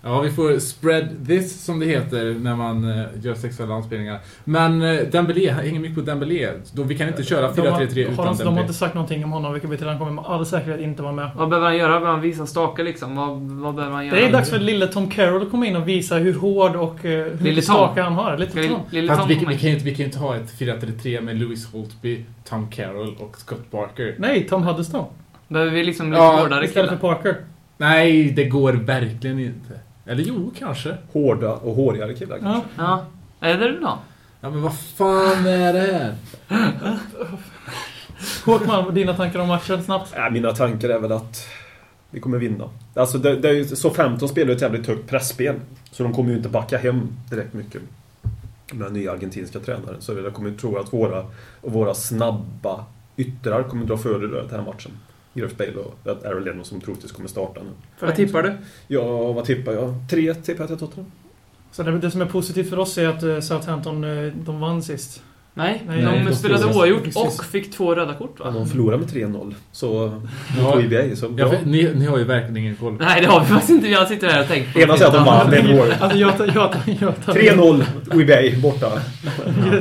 [SPEAKER 3] Ja, vi får spread this som det heter när man eh, gör sexuella anspelningar. Men eh, Dembélé, jag hänger mycket på Dembélé. Då, vi kan inte köra
[SPEAKER 5] De har,
[SPEAKER 3] 4-3-3
[SPEAKER 5] har de,
[SPEAKER 3] utan
[SPEAKER 5] de har
[SPEAKER 3] Dembélé.
[SPEAKER 5] inte sagt någonting om honom, vilket betyder att han kommer med all säkerhet inte vara med.
[SPEAKER 4] Vad behöver han göra? Behöver han visa stake liksom? Vad, vad behöver han göra?
[SPEAKER 5] Det är dags för lille Tom Carroll att komma in och visa hur hård och eh, hur
[SPEAKER 4] Lille
[SPEAKER 5] mycket
[SPEAKER 4] Tom.
[SPEAKER 5] stake han har. Lite
[SPEAKER 4] Lille,
[SPEAKER 5] Tom.
[SPEAKER 4] lille Tom
[SPEAKER 3] Fast vi, vi,
[SPEAKER 4] kommer
[SPEAKER 3] kan
[SPEAKER 4] in.
[SPEAKER 3] ju inte, vi kan ju inte ha ett 4-3-3 med Lewis Holtby, Tom Carroll och Scott Parker.
[SPEAKER 5] Nej, Tom Huddleston.
[SPEAKER 4] Behöver vi liksom lite
[SPEAKER 3] Ja,
[SPEAKER 4] hårdare
[SPEAKER 5] Istället
[SPEAKER 4] killar?
[SPEAKER 5] för Parker.
[SPEAKER 3] Nej, det går verkligen inte. Eller jo, kanske.
[SPEAKER 6] Hårda och hårigare killar
[SPEAKER 5] Ja.
[SPEAKER 6] kanske.
[SPEAKER 4] Ja. Är det då?
[SPEAKER 3] Ja, men vad fan är det här?
[SPEAKER 5] Håkman, dina tankar om matchen snabbt?
[SPEAKER 6] Nej, Äh, mina tankar är väl att vi kommer vinna. Alltså, det, det är ju, så 15 spelar ju ett jävligt högt pressspel. Så de kommer ju inte backa hem direkt mycket. Med den nya argentinska tränaren. Så jag kommer ju tro att våra, och våra snabba yttrar kommer dra fördel av den här matchen. Gareth Bale och att Aaron Lennon som troligtvis kommer starta nu.
[SPEAKER 4] Vad tippar du?
[SPEAKER 6] Ja, vad tippar jag? Tre tippar jag till Tottenham.
[SPEAKER 5] Så det, det som är positivt för oss är att eh, Southampton, eh, de vann sist.
[SPEAKER 4] Nej,
[SPEAKER 5] Nej,
[SPEAKER 4] de,
[SPEAKER 3] de
[SPEAKER 4] spelade
[SPEAKER 3] förlorade.
[SPEAKER 4] oavgjort
[SPEAKER 5] Precis.
[SPEAKER 4] och fick två röda kort
[SPEAKER 6] Ja,
[SPEAKER 4] va?
[SPEAKER 6] de förlorar med 3-0. Så...
[SPEAKER 3] Ja.
[SPEAKER 6] Mot EBA, så
[SPEAKER 3] Ja,
[SPEAKER 6] bra.
[SPEAKER 3] för, ni, ni har ju verkligen ingen koll.
[SPEAKER 4] Nej, det har vi faktiskt inte. Jag sitter här och tänker på
[SPEAKER 6] Ena säger att de vann,
[SPEAKER 4] det.
[SPEAKER 6] en år.
[SPEAKER 5] Alltså jag, jag, jag, jag, jag,
[SPEAKER 6] 3-0 WBA borta.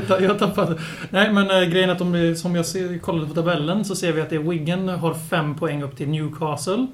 [SPEAKER 5] Jag, jag tappade. Nej men eh, grejen är att om vi, som jag ser, kollade på tabellen så ser vi att det är Wigan har fem poäng upp till Newcastle.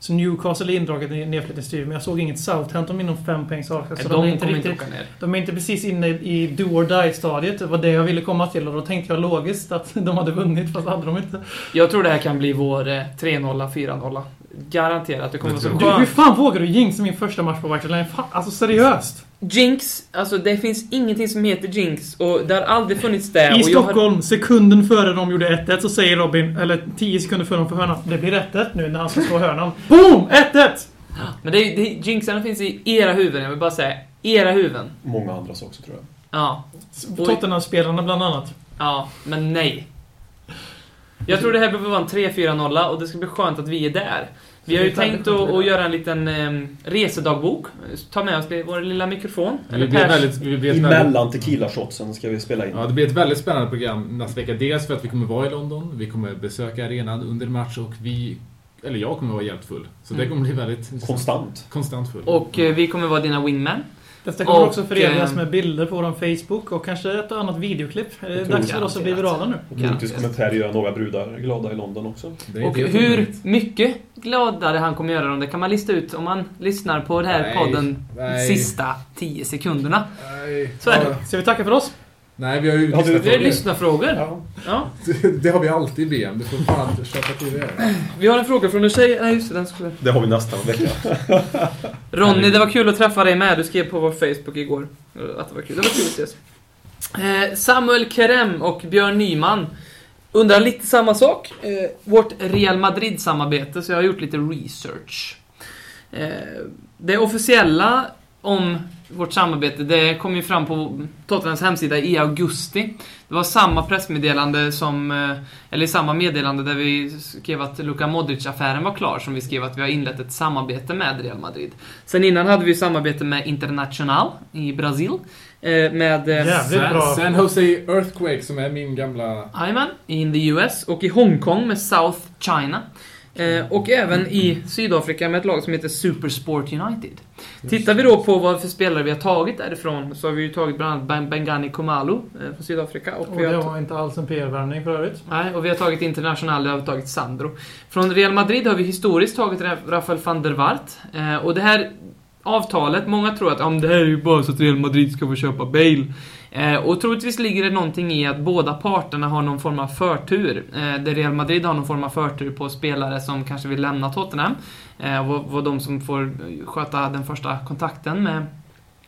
[SPEAKER 5] Så Newcastle är indraget i nedflyttningsstriden, men jag såg inget Southampton inom fem poängs avkast.
[SPEAKER 4] Nej,
[SPEAKER 5] Så
[SPEAKER 4] De
[SPEAKER 5] de, är
[SPEAKER 4] kommer inte
[SPEAKER 5] inte riktigt,
[SPEAKER 4] åka ner.
[SPEAKER 5] de är inte precis inne i do or die-stadiet. Det var det jag ville komma till och då tänkte jag logiskt att de hade vunnit, fast hade de inte.
[SPEAKER 4] Jag tror det här kan bli vår eh, 3-0, 4-0. Garanterat. Det kommer
[SPEAKER 3] Det
[SPEAKER 4] vara
[SPEAKER 3] tror
[SPEAKER 4] så
[SPEAKER 5] Du, hur
[SPEAKER 4] skönt.
[SPEAKER 5] fan vågar du jinxa min första match på White Lane? Fan, Alltså seriöst!
[SPEAKER 4] Jinx, alltså det finns ingenting som heter jinx och det har aldrig funnits det.
[SPEAKER 5] I
[SPEAKER 4] Eh, och jag har-
[SPEAKER 5] Stockholm, sekunden före de gjorde 1-1, så säger Robin, eller 10 sekunder före de får hörnan, det blir 1-1 nu när han ska slå hörnan. BOOM! 1-1!
[SPEAKER 4] Men det, är- det, är- jinxarna finns i era huvuden, jag vill bara säga. Era huvuden.
[SPEAKER 6] Många andra saker också, tror jag.
[SPEAKER 4] Ja. Oj.
[SPEAKER 5] Tottenham-spelarna bland annat.
[SPEAKER 4] Ja, men nej. Jag tror det här behöver vara en 3-4-0 och det ska bli skönt att vi är där. Vi har ju tänkt att, att göra en liten ehm, resedagbok. Ta med oss det- vår lilla mikrofon.
[SPEAKER 3] Det blir
[SPEAKER 4] pers.
[SPEAKER 3] ett väldigt, det blir ett väldigt,
[SPEAKER 6] Emellan tequila-shotsen ska vi spela in.
[SPEAKER 3] ja, det blir ett väldigt spännande program nästa vecka. Dels för att vi kommer vara i London, vi kommer besöka arenan under match och vi, eller jag kommer vara hjälpt full. Så det
[SPEAKER 4] Mm.
[SPEAKER 3] kommer bli väldigt
[SPEAKER 6] Konstant.
[SPEAKER 3] konstant full.
[SPEAKER 4] Och eh, vi kommer vara dina wingman.
[SPEAKER 5] Detta kommer
[SPEAKER 4] Och,
[SPEAKER 5] också förenas
[SPEAKER 4] eh,
[SPEAKER 5] med bilder på vår Facebook och kanske ett och annat videoklipp. Det är
[SPEAKER 6] Otroligt.
[SPEAKER 5] dags för oss att bli virala nu.
[SPEAKER 6] Och troligtvis kommer Per göra några brudar glada i London också.
[SPEAKER 3] Det är
[SPEAKER 4] Och
[SPEAKER 3] inte helt
[SPEAKER 4] hur
[SPEAKER 3] omöjligt.
[SPEAKER 4] mycket gladare han kommer göra dem, det kan man lista ut om man lyssnar på den här
[SPEAKER 3] Nej,
[SPEAKER 4] podden
[SPEAKER 3] nej.
[SPEAKER 4] sista 10 sekunderna.
[SPEAKER 3] Nej,
[SPEAKER 4] Så är det.
[SPEAKER 5] Ska vi tacka för oss?
[SPEAKER 3] Nej, vi har ju
[SPEAKER 6] Ja, du-
[SPEAKER 4] Vi har
[SPEAKER 3] lyssnat
[SPEAKER 4] lyssnarfrågor. Ja.
[SPEAKER 3] på det. Det har vi alltid i BM. Du får fan köpa till det.
[SPEAKER 4] Vi har en fråga från en tjej. Nej, just det, den skulle...
[SPEAKER 6] Det har vi nästa vecka.
[SPEAKER 4] Ronny, det var kul att träffa dig med. Du skrev på vår Facebook igår eh, att det var kul. Det var kul att ses. Eh, Samuel Kerem och Björn Nyman undrar lite samma sak. Eh, vårt Real Madrid-samarbete, så jag har gjort lite research. Eh, det officiella om vårt samarbete, det kom ju fram på Tottenhams hemsida i augusti. Det var samma pressmeddelande som, eh, eller samma meddelande där vi skrev att Luka Modric-affären var klar, som vi skrev att vi har inlett ett samarbete med Real Madrid. Sen innan hade vi samarbete med International i Brasil. eh, Med... eh,
[SPEAKER 5] Jävligt
[SPEAKER 3] Sen,
[SPEAKER 5] bra.
[SPEAKER 3] sen Jose Earthquake som är min gamla...
[SPEAKER 4] Jajamän, in the US och i Hongkong med South China. Eh, och även i Sydafrika med ett lag som heter Supersport United. Tittar vi då på vad för spelare vi har tagit därifrån så har vi ju tagit bland annat Ben- Bengani Komalo eh, från Sydafrika. Och,
[SPEAKER 5] Och
[SPEAKER 4] vi har
[SPEAKER 5] det
[SPEAKER 4] ta-
[SPEAKER 5] var inte alls en PR-värvning för övrigt.
[SPEAKER 4] Nej, och vi har tagit International, vi har tagit Sandro. Från Real Madrid har vi historiskt tagit Ra- Rafael van der Waart. Eh, och det här avtalet, många tror att om det här är ju bara så att Real Madrid ska få köpa Bale. Eh, och troligtvis ligger det någonting i att båda parterna har någon form av förtur. Eh, där Real Madrid har någon form av förtur på spelare som kanske vill lämna Tottenham. Eh, och vad de som får eh, sköta den första kontakten med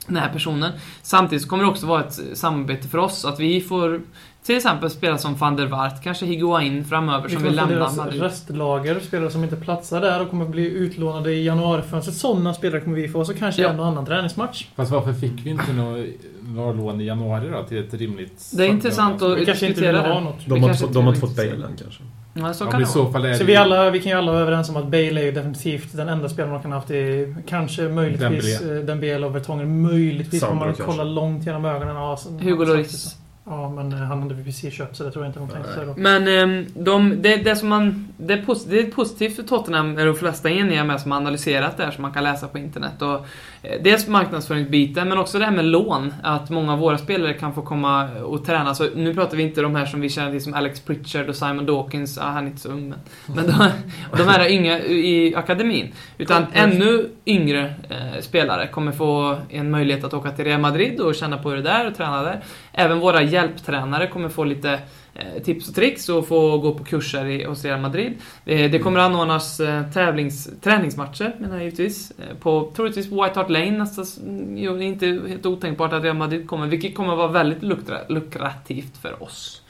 [SPEAKER 4] den här personen. Samtidigt så kommer det också vara ett eh, samarbete för oss, att vi får till exempel spela som van der Waart, kanske Higuain framöver
[SPEAKER 5] Vi
[SPEAKER 4] som vill
[SPEAKER 5] kommer få
[SPEAKER 4] lämna
[SPEAKER 5] deras
[SPEAKER 4] Madrid.
[SPEAKER 5] restlager, spelare som inte platsar där och kommer bli utlånade i januarifönstret. Sådana spelare kommer vi få, så kanske
[SPEAKER 4] Ja.
[SPEAKER 5] en och annan träningsmatch.
[SPEAKER 3] Fast varför fick vi inte nå- några lån i januari då till ett rimligt...
[SPEAKER 4] Det är intressant att
[SPEAKER 5] Vi kanske inte vill
[SPEAKER 4] diskutera
[SPEAKER 5] ha
[SPEAKER 4] det.
[SPEAKER 5] något.
[SPEAKER 4] Vi
[SPEAKER 6] De har,
[SPEAKER 4] kanske
[SPEAKER 6] inte fått- de har
[SPEAKER 4] inte
[SPEAKER 6] inte fått
[SPEAKER 4] vill-
[SPEAKER 6] Bale än kanske.
[SPEAKER 4] Ja, så
[SPEAKER 3] Ja, men
[SPEAKER 4] kan det
[SPEAKER 3] i
[SPEAKER 4] vara.
[SPEAKER 3] så fall är
[SPEAKER 5] Så
[SPEAKER 3] det
[SPEAKER 5] vi,
[SPEAKER 3] ju
[SPEAKER 5] alla, vi kan ju alla vara överens om att Bale är ju definitivt den enda spelaren man kan ha haft i, kanske möjligtvis, eh, Dembele och Vertonger. Möjligtvis om
[SPEAKER 6] Sandro
[SPEAKER 5] man
[SPEAKER 6] kanske.
[SPEAKER 5] kollar långt genom ögonen. Ja, så-
[SPEAKER 4] Hugo
[SPEAKER 5] exakt
[SPEAKER 4] Lloris.
[SPEAKER 5] så. Ja, men eh, han hade vi precis köpt så det tror jag inte de tänkte sig då.
[SPEAKER 4] Men ehm, de, det, det som man det, är pos- det är positivt för Tottenham, är de flesta eniga med som har analyserat det här som man kan läsa på internet. Och, eh, dels marknadsföringsbiten, men också det här med lån. Att många av våra spelare kan få komma och träna. Så nu pratar vi inte om de här som vi känner till som Alex Pritchard och Simon Dawkins, ah, han är inte så ung men. men de, de här yngre i akademin. Utan ännu yngre eh, spelare kommer få en möjlighet att åka till Real Madrid och känna på hur det där och träna där. Även våra hjälptränare kommer få lite eh, tips och tricks och få gå på kurser i, hos Real Madrid. Det, det kommer anordnas eh, tävlings, träningsmatcher, menar jag givetvis, eh, på troligtvis White Hart Lane nästa... s- Jo, det är inte helt otänkt att Real Madrid kommer, vilket kommer vara väldigt lukra, lukrativt för oss.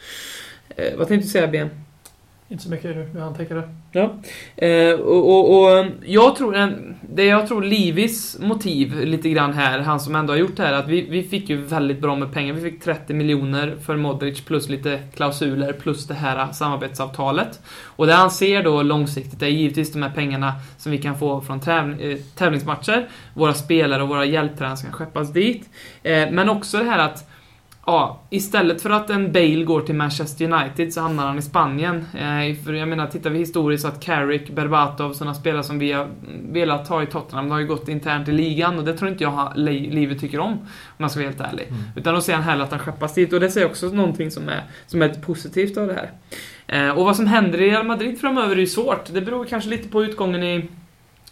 [SPEAKER 4] Eh, vad tänkte du säga, Ben?
[SPEAKER 5] Inte så mycket nu, jag antecknar det.
[SPEAKER 4] Ja. Eh, och, och, och jag tror en, det jag tror Livis motiv lite grann här, han som ändå har gjort det här, att vi, vi fick ju väldigt bra med pengar. Vi fick 30 miljoner för Modric plus lite klausuler plus det här samarbetsavtalet. Och det han ser då långsiktigt är givetvis de här pengarna som vi kan få från täv, eh, tävlingsmatcher, våra spelare och våra hjälptränare som kan skeppas dit. Eh, men också det här att Ja, istället för att en Bale går till Manchester United så hamnar han i Spanien. Eh, för jag menar, tittar vi historiskt så att Carrick, Berbatov, sådana spelare som vi har velat ha i Tottenham, de har ju gått internt i ligan och det tror inte jag ha- Le- Livet tycker om, om man ska vara helt ärlig.
[SPEAKER 5] Mm.
[SPEAKER 4] Utan då ser han hellre att han skeppas dit och det ser jag också någonting som är, som är positivt av det här. Eh, och vad som händer i Real Madrid framöver är ju svårt. Det beror kanske lite på utgången i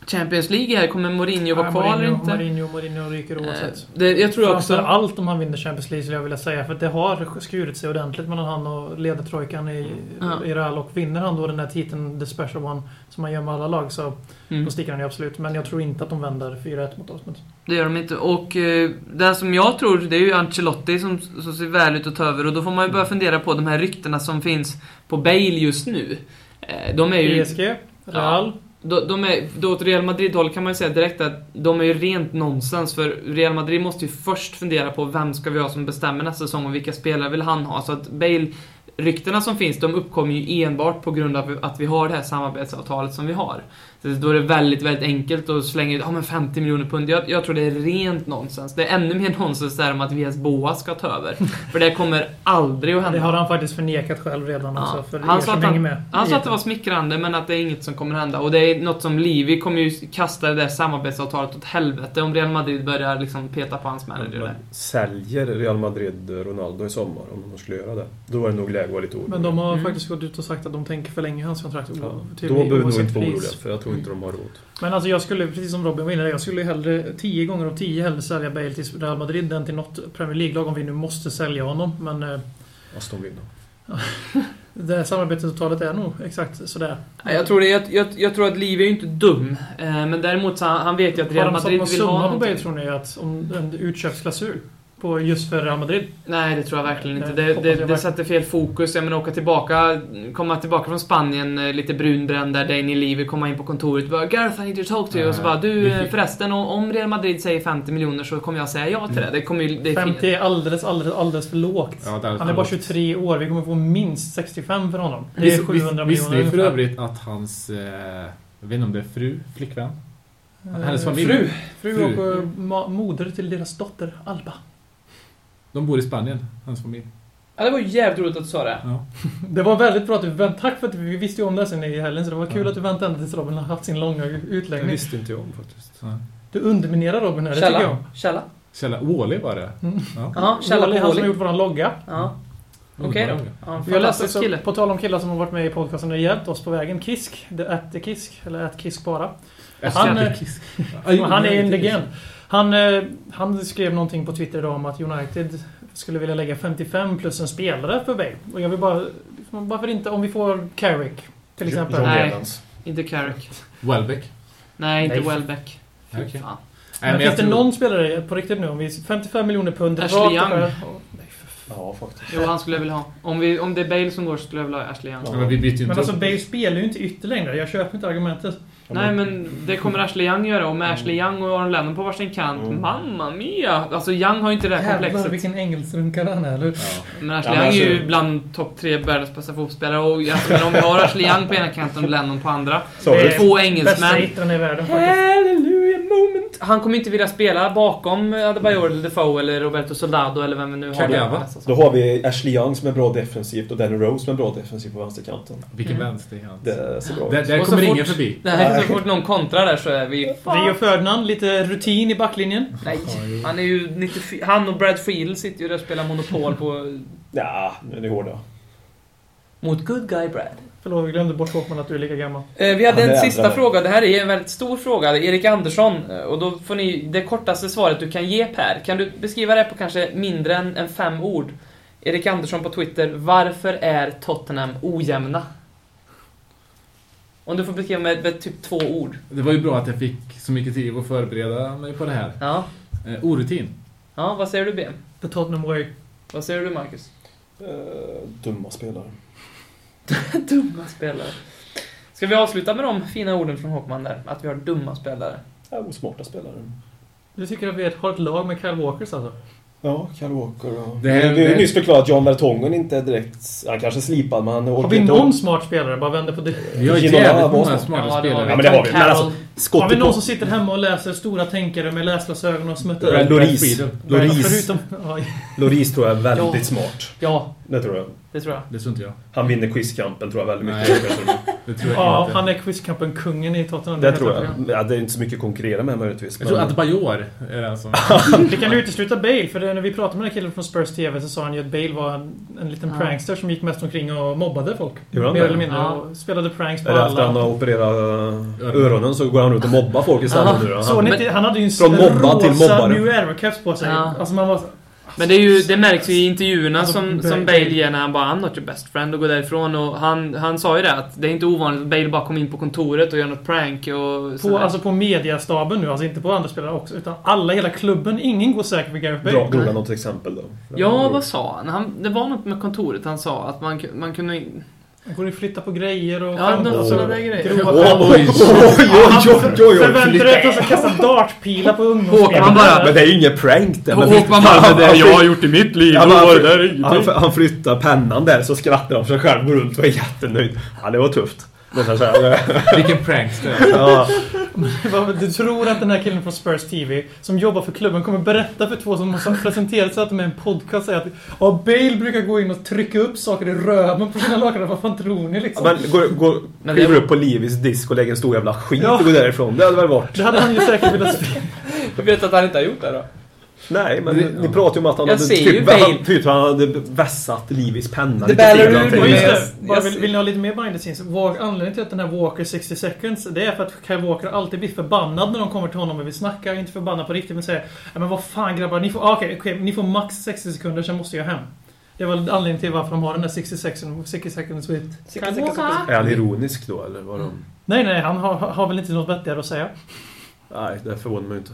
[SPEAKER 4] Champions League här. Kommer Mourinho vara
[SPEAKER 5] Nej,
[SPEAKER 4] kvar eller
[SPEAKER 5] Mourinho-
[SPEAKER 4] inte?
[SPEAKER 5] Mourinho, Mourinho ryker
[SPEAKER 4] Eh,
[SPEAKER 5] oavsett.
[SPEAKER 4] det, jag tror också...
[SPEAKER 5] Framför allt om han vinner Champions League skulle jag vilja säga. För att det har skurit sig ordentligt mellan han och ledartrojkan i,
[SPEAKER 4] Ja.
[SPEAKER 5] i Real. Och vinner han då den här titeln, the special one, som han gör med alla lag, så
[SPEAKER 4] Mm.
[SPEAKER 5] då sticker han ju absolut. Men jag tror inte att de vänder 4-1 mot Dortmund.
[SPEAKER 4] Det gör de inte. Och eh, den som jag tror, det är ju Ancelotti som, som ser väl ut att ta över. Och då får man ju börja fundera på de här ryktena som finns på Bale just nu. Eh, de är ju...
[SPEAKER 5] PSG, E Real.
[SPEAKER 4] De, de är, då åt Real Madrid-håll kan man ju säga direkt att de är ju rent nonsens. För Real Madrid måste ju först fundera på vem ska vi ha som bestämmer nästa säsong och vilka spelare vill han ha. Så att Bale, ryktena som finns, de uppkommer ju enbart på grund av att vi har det här samarbetsavtalet som vi har. Så då är det väldigt, väldigt enkelt att slänga ut ah, men 50 miljoner pund. Jag, jag tror det är rent nonsens. Det är ännu mer nonsens där om att Vias Boas ska ta över. För det kommer aldrig att
[SPEAKER 5] Det
[SPEAKER 4] hända.
[SPEAKER 5] har han faktiskt förnekat själv redan
[SPEAKER 4] Ja.
[SPEAKER 5] också, för
[SPEAKER 4] Han
[SPEAKER 5] er
[SPEAKER 4] sa
[SPEAKER 5] som
[SPEAKER 4] att han-
[SPEAKER 5] hänger med.
[SPEAKER 4] Han sa att det var smickrande, men att det är inget som kommer hända. Och det är något som Livi kommer ju kasta det där samarbetsavtalet åt helvete om Real Madrid börjar liksom peta på hans manager där.
[SPEAKER 6] Man säljer Real Madrid Ronaldo i sommar, om de skulle göra det. Då är det nog läge att vara lite orolig.
[SPEAKER 5] Men de har
[SPEAKER 4] Mm.
[SPEAKER 5] faktiskt gått ut och sagt att de tänker förlänga hans kontrakt.
[SPEAKER 6] Ja,
[SPEAKER 5] o-
[SPEAKER 6] då
[SPEAKER 5] till-
[SPEAKER 6] behöver vi nog
[SPEAKER 5] oavsett
[SPEAKER 6] inte vara
[SPEAKER 5] pris.
[SPEAKER 6] oroliga, för jag tror inte de har råd.
[SPEAKER 5] Men alltså jag skulle, precis som Robin var inne jag skulle ju hellre 10 gånger av 10 hellre sälja Bale till Real Madrid än till något Premier League-lag om vi nu måste sälja honom. Men eh,
[SPEAKER 6] Aston Villa.
[SPEAKER 5] det här samarbetsavtalet är nog exakt sådär.
[SPEAKER 4] Ja, Jag tror, det, jag, jag, jag tror att Livi är ju inte dum, eh, men däremot så han, han vet ju att Real
[SPEAKER 5] Har de satt
[SPEAKER 4] Madrid
[SPEAKER 5] någon
[SPEAKER 4] vill ha
[SPEAKER 5] summa på Bale
[SPEAKER 4] någonting.
[SPEAKER 5] tror ni? Att, om en utköpsklausul? På, just för Real Madrid?
[SPEAKER 4] Nej, det tror jag verkligen inte.
[SPEAKER 5] Nej,
[SPEAKER 4] Det,
[SPEAKER 5] hoppas
[SPEAKER 4] det,
[SPEAKER 5] jag
[SPEAKER 4] det
[SPEAKER 5] verkligen.
[SPEAKER 4] sätter fel fokus. Jag menar, åka tillbaka, komma tillbaka från Spanien, eh, lite brunbränd där, Dane i livet, komma in på kontoret och bara “Gareth, I need your talk to you” och så bara “Du, eh, förresten, om- om Real Madrid säger 50 miljoner så kommer jag säga ja till det”. Det kommer ju... Det är fint.
[SPEAKER 5] 50 är alldeles, alldeles, alldeles för lågt.
[SPEAKER 3] Ja, där-
[SPEAKER 5] Han är bara 23 år. Vi kommer få minst 65 för honom. Det är
[SPEAKER 3] Visst-
[SPEAKER 5] 700
[SPEAKER 3] visst- Visste ni
[SPEAKER 5] miljoner
[SPEAKER 3] för
[SPEAKER 5] ungefär.
[SPEAKER 3] övrigt att hans, eh, jag vet inte om det är fru, flickvän?
[SPEAKER 5] Eh,
[SPEAKER 3] Hennes familj?
[SPEAKER 5] Fru. Fru och
[SPEAKER 3] Fru.
[SPEAKER 5] eh, ma- moder till deras dotter Alba.
[SPEAKER 3] De bor i Spanien, hans familj.
[SPEAKER 4] Ja, det var ju jävligt roligt att du sa det.
[SPEAKER 3] Ja.
[SPEAKER 5] Det var väldigt bra att du vänt. Tack för att vi visste ju om det sen i helgen, så det var kul
[SPEAKER 3] Ja.
[SPEAKER 5] att du väntade ända tills Robin har haft sin långa
[SPEAKER 6] Det
[SPEAKER 5] utläggning.
[SPEAKER 6] visste inte jag om faktiskt.
[SPEAKER 3] Så.
[SPEAKER 5] Du underminerar Robin här, det tycker jag.
[SPEAKER 4] Källa. Källa.
[SPEAKER 3] Källa, Wally var det.
[SPEAKER 5] Mm.
[SPEAKER 3] Ja.
[SPEAKER 4] Ja, källa
[SPEAKER 5] Wally,
[SPEAKER 4] på
[SPEAKER 5] han som har
[SPEAKER 4] Wally.
[SPEAKER 5] gjort våran logga.
[SPEAKER 4] Ja. Okej då.
[SPEAKER 3] Underbar.
[SPEAKER 4] Ja,
[SPEAKER 5] Jag läste
[SPEAKER 4] fantastisk
[SPEAKER 5] också,
[SPEAKER 4] kille.
[SPEAKER 5] på tal om killar som har varit med i podcasten och hjälpt oss på vägen, Kisk. The at the Kisk, eller at Kisk bara. Han, eh, han är en legend. Han, eh, han skrev någonting på Twitter idag om att United skulle vilja lägga 55 plus en spelare för Bale. Och jag vill bara... liksom, Varför inte om vi får Carrick? Till exempel.
[SPEAKER 4] Nej.
[SPEAKER 6] Lennons.
[SPEAKER 4] Inte Carrick.
[SPEAKER 3] Welbeck.
[SPEAKER 4] Nej, inte
[SPEAKER 5] Nej.
[SPEAKER 4] Welbeck.
[SPEAKER 3] Ja, okej.
[SPEAKER 4] Fan.
[SPEAKER 3] Nej,
[SPEAKER 5] Men
[SPEAKER 3] men jag
[SPEAKER 5] finns det
[SPEAKER 3] tror-
[SPEAKER 5] någon spelare på riktigt nu? Om vi 55 miljoner pund
[SPEAKER 4] Ashley
[SPEAKER 5] rakt
[SPEAKER 4] Young.
[SPEAKER 5] över-
[SPEAKER 6] Ja, faktiskt.
[SPEAKER 4] Jo, han skulle jag vilja ha. Om, vi, om det är Bale som går så skulle jag vilja ha Ashley Young.
[SPEAKER 3] Ja, men vi byter ju
[SPEAKER 5] Men
[SPEAKER 3] inte
[SPEAKER 5] alltså
[SPEAKER 3] upp.
[SPEAKER 5] Bale spelar ju inte ytter längre. Jag köper inte argumentet.
[SPEAKER 4] Nej, men det kommer Ashley Young göra. Och med Ashley Young och Aron Lennon på varsin kant. Mamma mia! Alltså, Young har ju inte det här komplexet.
[SPEAKER 5] vilken engelsrunkare han är, eller hur?
[SPEAKER 3] Ja.
[SPEAKER 4] Men Ashley
[SPEAKER 6] Ja, men
[SPEAKER 4] Young är ju
[SPEAKER 6] alltså-
[SPEAKER 4] bland topp tre världens bästa fotbollsspelare. Och alltså, men om vi har Ashley Young på ena kanten och Lennon på andra.
[SPEAKER 6] Sorry.
[SPEAKER 4] Två
[SPEAKER 5] Bästa
[SPEAKER 4] engelsmän.
[SPEAKER 5] hittaren i världen faktiskt.
[SPEAKER 4] Hallelujah moment. Han kommer inte vilja spela bakom Adebayor eller Defoe eller Roberto Soldado eller vem vi nu har.
[SPEAKER 3] Kagawa.
[SPEAKER 6] Då har vi Ashley Young som är bra defensivt och Danny Rose som är bra defensivt på vänsterkanten.
[SPEAKER 3] Vilken
[SPEAKER 4] Mm.
[SPEAKER 3] vänsterhand.
[SPEAKER 6] Det ser bra
[SPEAKER 3] Där,
[SPEAKER 6] ut.
[SPEAKER 3] där
[SPEAKER 4] Och så
[SPEAKER 3] kommer
[SPEAKER 4] fort-
[SPEAKER 3] ingen förbi.
[SPEAKER 4] Nej, så fort någon kontrar där så är vi...
[SPEAKER 5] Rio Ferdinand, lite rutin i backlinjen.
[SPEAKER 4] Nej, han är ju 94... Han och Brad Friedel sitter ju där och spelar Monopol på...
[SPEAKER 6] Ja, nu är ni hårda.
[SPEAKER 4] Mot Good Guy Brad.
[SPEAKER 5] Förlåt, vi glömde bort Håkman att du är lika gammal.
[SPEAKER 4] Eh, Vi hade
[SPEAKER 6] Ja, det
[SPEAKER 4] en
[SPEAKER 6] är
[SPEAKER 4] sista
[SPEAKER 6] äldre.
[SPEAKER 4] fråga. Det här är en väldigt stor fråga. Det är Erik Andersson. eh, Och då får ni det kortaste svaret du kan ge Per. Kan du beskriva det på kanske mindre än, än fem ord? Erik Andersson på Twitter. Varför är Tottenham ojämna? Om du får beskriva med, med typ två ord.
[SPEAKER 3] Det var ju bra att jag fick så mycket tid att förbereda mig på det här.
[SPEAKER 4] Ja.
[SPEAKER 3] Eh, orutin.
[SPEAKER 4] Ja, vad säger du Ben?
[SPEAKER 5] The Tottenham Way.
[SPEAKER 4] Vad säger du Marcus?
[SPEAKER 6] Eh, dumma spelare.
[SPEAKER 4] dumma spelare. Ska vi avsluta med de fina orden från Håkman där? Att vi har dumma spelare.
[SPEAKER 6] Ja, osmarta spelare.
[SPEAKER 5] Du tycker att vi har ett lag med Kyle Walkers alltså?
[SPEAKER 6] Ja, Kyle Walker och...
[SPEAKER 3] Det
[SPEAKER 6] Det
[SPEAKER 3] här-
[SPEAKER 6] är ju
[SPEAKER 3] det-
[SPEAKER 6] nyss förklarat att John Vertongen inte är direkt... Han kanske är slipad, men han
[SPEAKER 5] Har vi någon smart spelare? Bara vänder på det.
[SPEAKER 3] Vi har ju
[SPEAKER 6] Ginola
[SPEAKER 3] jävligt
[SPEAKER 6] var
[SPEAKER 3] många
[SPEAKER 6] smart.
[SPEAKER 3] smarta
[SPEAKER 4] Ja, det har
[SPEAKER 3] spelare.
[SPEAKER 6] Ja, men det har vi. Men
[SPEAKER 4] Carroll.
[SPEAKER 6] alltså,
[SPEAKER 5] Har vi
[SPEAKER 6] skottet
[SPEAKER 5] någon
[SPEAKER 6] på...
[SPEAKER 5] som sitter hemma och läser stora tänkare med läsglasögon och smuttar?
[SPEAKER 6] Ja,
[SPEAKER 3] Brad
[SPEAKER 6] Loris.
[SPEAKER 3] Friedel.
[SPEAKER 6] Loris.
[SPEAKER 5] Förutom... Ja,
[SPEAKER 6] Loris tror jag är väldigt
[SPEAKER 4] Ja.
[SPEAKER 6] smart.
[SPEAKER 4] Ja,
[SPEAKER 6] Det tror jag.
[SPEAKER 4] det tror jag.
[SPEAKER 3] Det tror inte jag.
[SPEAKER 6] Han vinner quizkampen tror jag väldigt
[SPEAKER 3] Nej.
[SPEAKER 6] mycket. Jag tror-
[SPEAKER 3] Det tror jag
[SPEAKER 5] ja
[SPEAKER 3] inte.
[SPEAKER 5] han är quizkampen-kungen i Tottenham.
[SPEAKER 6] Det tror jag. Ja, det är inte så mycket att konkurrera med möjligtvis.
[SPEAKER 3] Jag tror
[SPEAKER 6] men-
[SPEAKER 3] Adebayor är den som...
[SPEAKER 5] Vi kan utesluta Bale, för det, när vi pratade med den här killen från Spurs TV så sa han ju att Bale var en, en liten
[SPEAKER 4] Ja.
[SPEAKER 5] prankster som gick mest omkring och mobbade folk.
[SPEAKER 6] Gjorde han
[SPEAKER 5] Mer
[SPEAKER 6] det?
[SPEAKER 5] eller mindre.
[SPEAKER 4] Ja.
[SPEAKER 5] Och spelade pranks på
[SPEAKER 6] Eller efter han
[SPEAKER 5] alla.
[SPEAKER 6] har opererat eh, öronen så går han ut och mobbar folk istället nu då.
[SPEAKER 5] Så
[SPEAKER 6] Han,
[SPEAKER 5] ni, inte- han hade ju en
[SPEAKER 6] Från mobbad till
[SPEAKER 5] rosa
[SPEAKER 6] mobbare.
[SPEAKER 5] New Era-keps på sig.
[SPEAKER 4] Ja.
[SPEAKER 5] Alltså man var...
[SPEAKER 4] Men det, är ju, det märks ju i intervjuerna
[SPEAKER 5] Alltså,
[SPEAKER 4] som,
[SPEAKER 5] Bale-
[SPEAKER 4] som Bale ger när han bara “I'm not your best friend” och går därifrån. Och han, han sa ju det att det är inte ovanligt att Bale bara kommer in på kontoret och gör något prank och
[SPEAKER 5] På,
[SPEAKER 4] sådär.
[SPEAKER 5] alltså på mediastaben nu, alltså inte på andra spelare också. Utan alla, hela klubben. Ingen går säker på Gareth Bale.
[SPEAKER 6] dra, drog han något exempel då?
[SPEAKER 4] Ja, vad sa han? han? Det var något med kontoret han sa att man, ku- man kunde... in-
[SPEAKER 5] Han går in och flyttar på grejer och...
[SPEAKER 4] Ja, något sådana där grejer.
[SPEAKER 5] Grova
[SPEAKER 6] Oj,
[SPEAKER 5] skämt.
[SPEAKER 6] oj, oj, oj, oj, oj.
[SPEAKER 5] Förväntar du dig att han ska kasta dartpilar på ungdomsspelare?
[SPEAKER 4] Håkman bara-
[SPEAKER 6] Men det är ju inget prank det. Men-
[SPEAKER 4] Håkman bara
[SPEAKER 6] Han- han-
[SPEAKER 4] gjort i mitt liv,
[SPEAKER 6] Han,
[SPEAKER 4] var
[SPEAKER 6] han,
[SPEAKER 4] det typ. där ingenting."
[SPEAKER 6] han, han flyttar pennan där så skrattar han för sig själv, går runt och är jättenöjd. Ja, det var tufft. Det kan jag säga.
[SPEAKER 3] Vilken prankster.
[SPEAKER 6] Ja,
[SPEAKER 5] Vad- Du tror att den här killen från Spurs TV, som jobbar för klubben, kommer berätta för två som har presenterat sig att de är en podcast säger att ja, Bale brukar gå in och trycka upp saker i röven på sina lagkamrater. Vad fan tror ni liksom?
[SPEAKER 6] men går, går,
[SPEAKER 4] Men det-
[SPEAKER 6] kliver upp på Livis disk och lägger en stor jävla skit
[SPEAKER 5] Ja.
[SPEAKER 6] och går därifrån. Det hade väl varit...
[SPEAKER 5] Det hade han ju säkert velat spela.
[SPEAKER 4] Jag vet att han inte har gjort det då.
[SPEAKER 6] Nej, men
[SPEAKER 3] Det-
[SPEAKER 6] ni pratar ju om att han
[SPEAKER 4] Jag
[SPEAKER 6] hade
[SPEAKER 4] ser ju
[SPEAKER 6] typ,
[SPEAKER 4] Bale.
[SPEAKER 6] han, typ, han hade vässat Livis penna
[SPEAKER 4] Det
[SPEAKER 6] lite
[SPEAKER 4] ballar
[SPEAKER 6] till.
[SPEAKER 4] ur
[SPEAKER 6] Han
[SPEAKER 4] nu,
[SPEAKER 5] Och
[SPEAKER 6] tänkte,
[SPEAKER 5] just
[SPEAKER 4] men-
[SPEAKER 5] det,
[SPEAKER 4] jag-
[SPEAKER 5] bara
[SPEAKER 4] jag-
[SPEAKER 5] vill, vill ni ha lite mer behind the scenes? Walk, anledningen till att den här Walker 60 seconds, det är för att Kyle Walker alltid blir förbannad när de kommer till honom och vill snacka. Inte förbannad på riktigt, men säger "Ja, men vad fan grabbar, ni får, ah, okej, okej, ni får max 60 sekunder, sen måste jag hem. Det var anledningen till varför de har den där 60 seconds, 60 seconds with Kyle Walker.
[SPEAKER 6] Är han ironisk då, eller? Var de...
[SPEAKER 5] Nej, nej, han har, har väl inte något vettigare att säga.
[SPEAKER 6] Nej, det förvånar mig inte.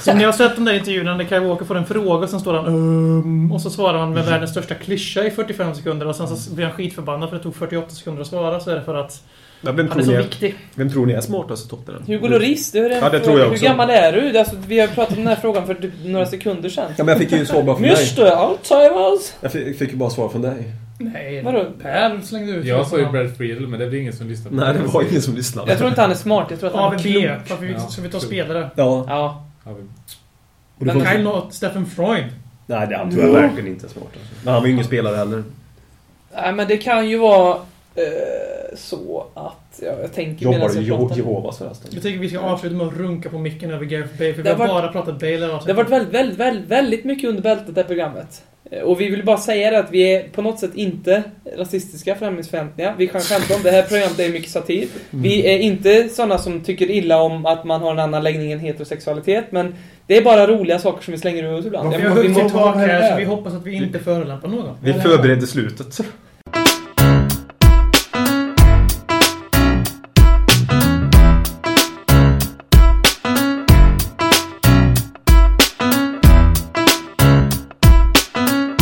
[SPEAKER 5] Som ni har sett de där intervjuerna när Kyle Walker får en fråga och sen står han um, Och så svarar han med världens största klyscha i 45 sekunder och sen så blir han skitförbannad för det tog 48 sekunder att svara så är det för att
[SPEAKER 6] Men vem,
[SPEAKER 5] han
[SPEAKER 6] tror
[SPEAKER 5] är så
[SPEAKER 6] ni är,
[SPEAKER 5] viktig.
[SPEAKER 6] vem tror ni är smartast i Tottenham?
[SPEAKER 4] Hugo Lloris, det är en
[SPEAKER 6] Ja, det
[SPEAKER 4] fråga.
[SPEAKER 6] tror jag
[SPEAKER 4] Hur
[SPEAKER 6] också.
[SPEAKER 4] gammal är du? Alltså, vi har pratat om den här frågan för typ några sekunder sedan.
[SPEAKER 6] Ja, men jag fick ju svar bara från dig.
[SPEAKER 4] Müsste, Alzheimers!
[SPEAKER 6] Jag fick, fick ju bara svar från dig.
[SPEAKER 5] Nej,
[SPEAKER 4] Vadå?
[SPEAKER 5] Per slängde ut
[SPEAKER 3] Jag sa ju Brad Friedel, men det blir ingen som lyssnar på
[SPEAKER 6] Nej, det var ingen som lyssnade.
[SPEAKER 4] Jag tror inte han är smart, jag tror att han är
[SPEAKER 5] AVB.
[SPEAKER 4] klok.
[SPEAKER 5] Varför vi,
[SPEAKER 3] Ja.
[SPEAKER 5] ska vi ta spelare?
[SPEAKER 6] Ja.
[SPEAKER 4] Ja.
[SPEAKER 3] Ja, vi-
[SPEAKER 6] Och du får-
[SPEAKER 5] Kyle not Steffen Freund.
[SPEAKER 6] Nej, det han tror jag verkligen inte är smart. Alltså. Men han var ju ingen spelare heller.
[SPEAKER 4] Nej men det kan ju vara eh, så att... Ja, jag tänker
[SPEAKER 6] Jobbar
[SPEAKER 4] medans
[SPEAKER 6] du
[SPEAKER 4] jag
[SPEAKER 6] Jeho-
[SPEAKER 4] pratar.
[SPEAKER 6] Jehovas
[SPEAKER 5] Jag
[SPEAKER 6] förresten?
[SPEAKER 5] tycker vi ska avsluta med att runka på micken över Gareth Bale
[SPEAKER 4] Det
[SPEAKER 5] för vi
[SPEAKER 4] har
[SPEAKER 5] har
[SPEAKER 4] varit-
[SPEAKER 5] bara pratat Bale hela
[SPEAKER 4] Det har varit väldigt, väldigt, väldigt, väldigt mycket under bältet det här programmet. Eh, Och vi vill bara säga det att vi är på något sätt inte rasistiska, främlingsfientliga. Vi kan skämta om det här programmet, det är mycket satir.
[SPEAKER 6] Mm.
[SPEAKER 4] Vi är inte sådana som tycker illa om att man har en annan läggning än heterosexualitet, men det är bara roliga saker som vi sslänger ur oss ibland.
[SPEAKER 5] Vi
[SPEAKER 4] Jag-
[SPEAKER 5] har
[SPEAKER 4] vi
[SPEAKER 5] högt i
[SPEAKER 4] må-
[SPEAKER 5] tak här så vi hoppas att vi inte förolämpar någon.
[SPEAKER 6] Vi förberedde slutet.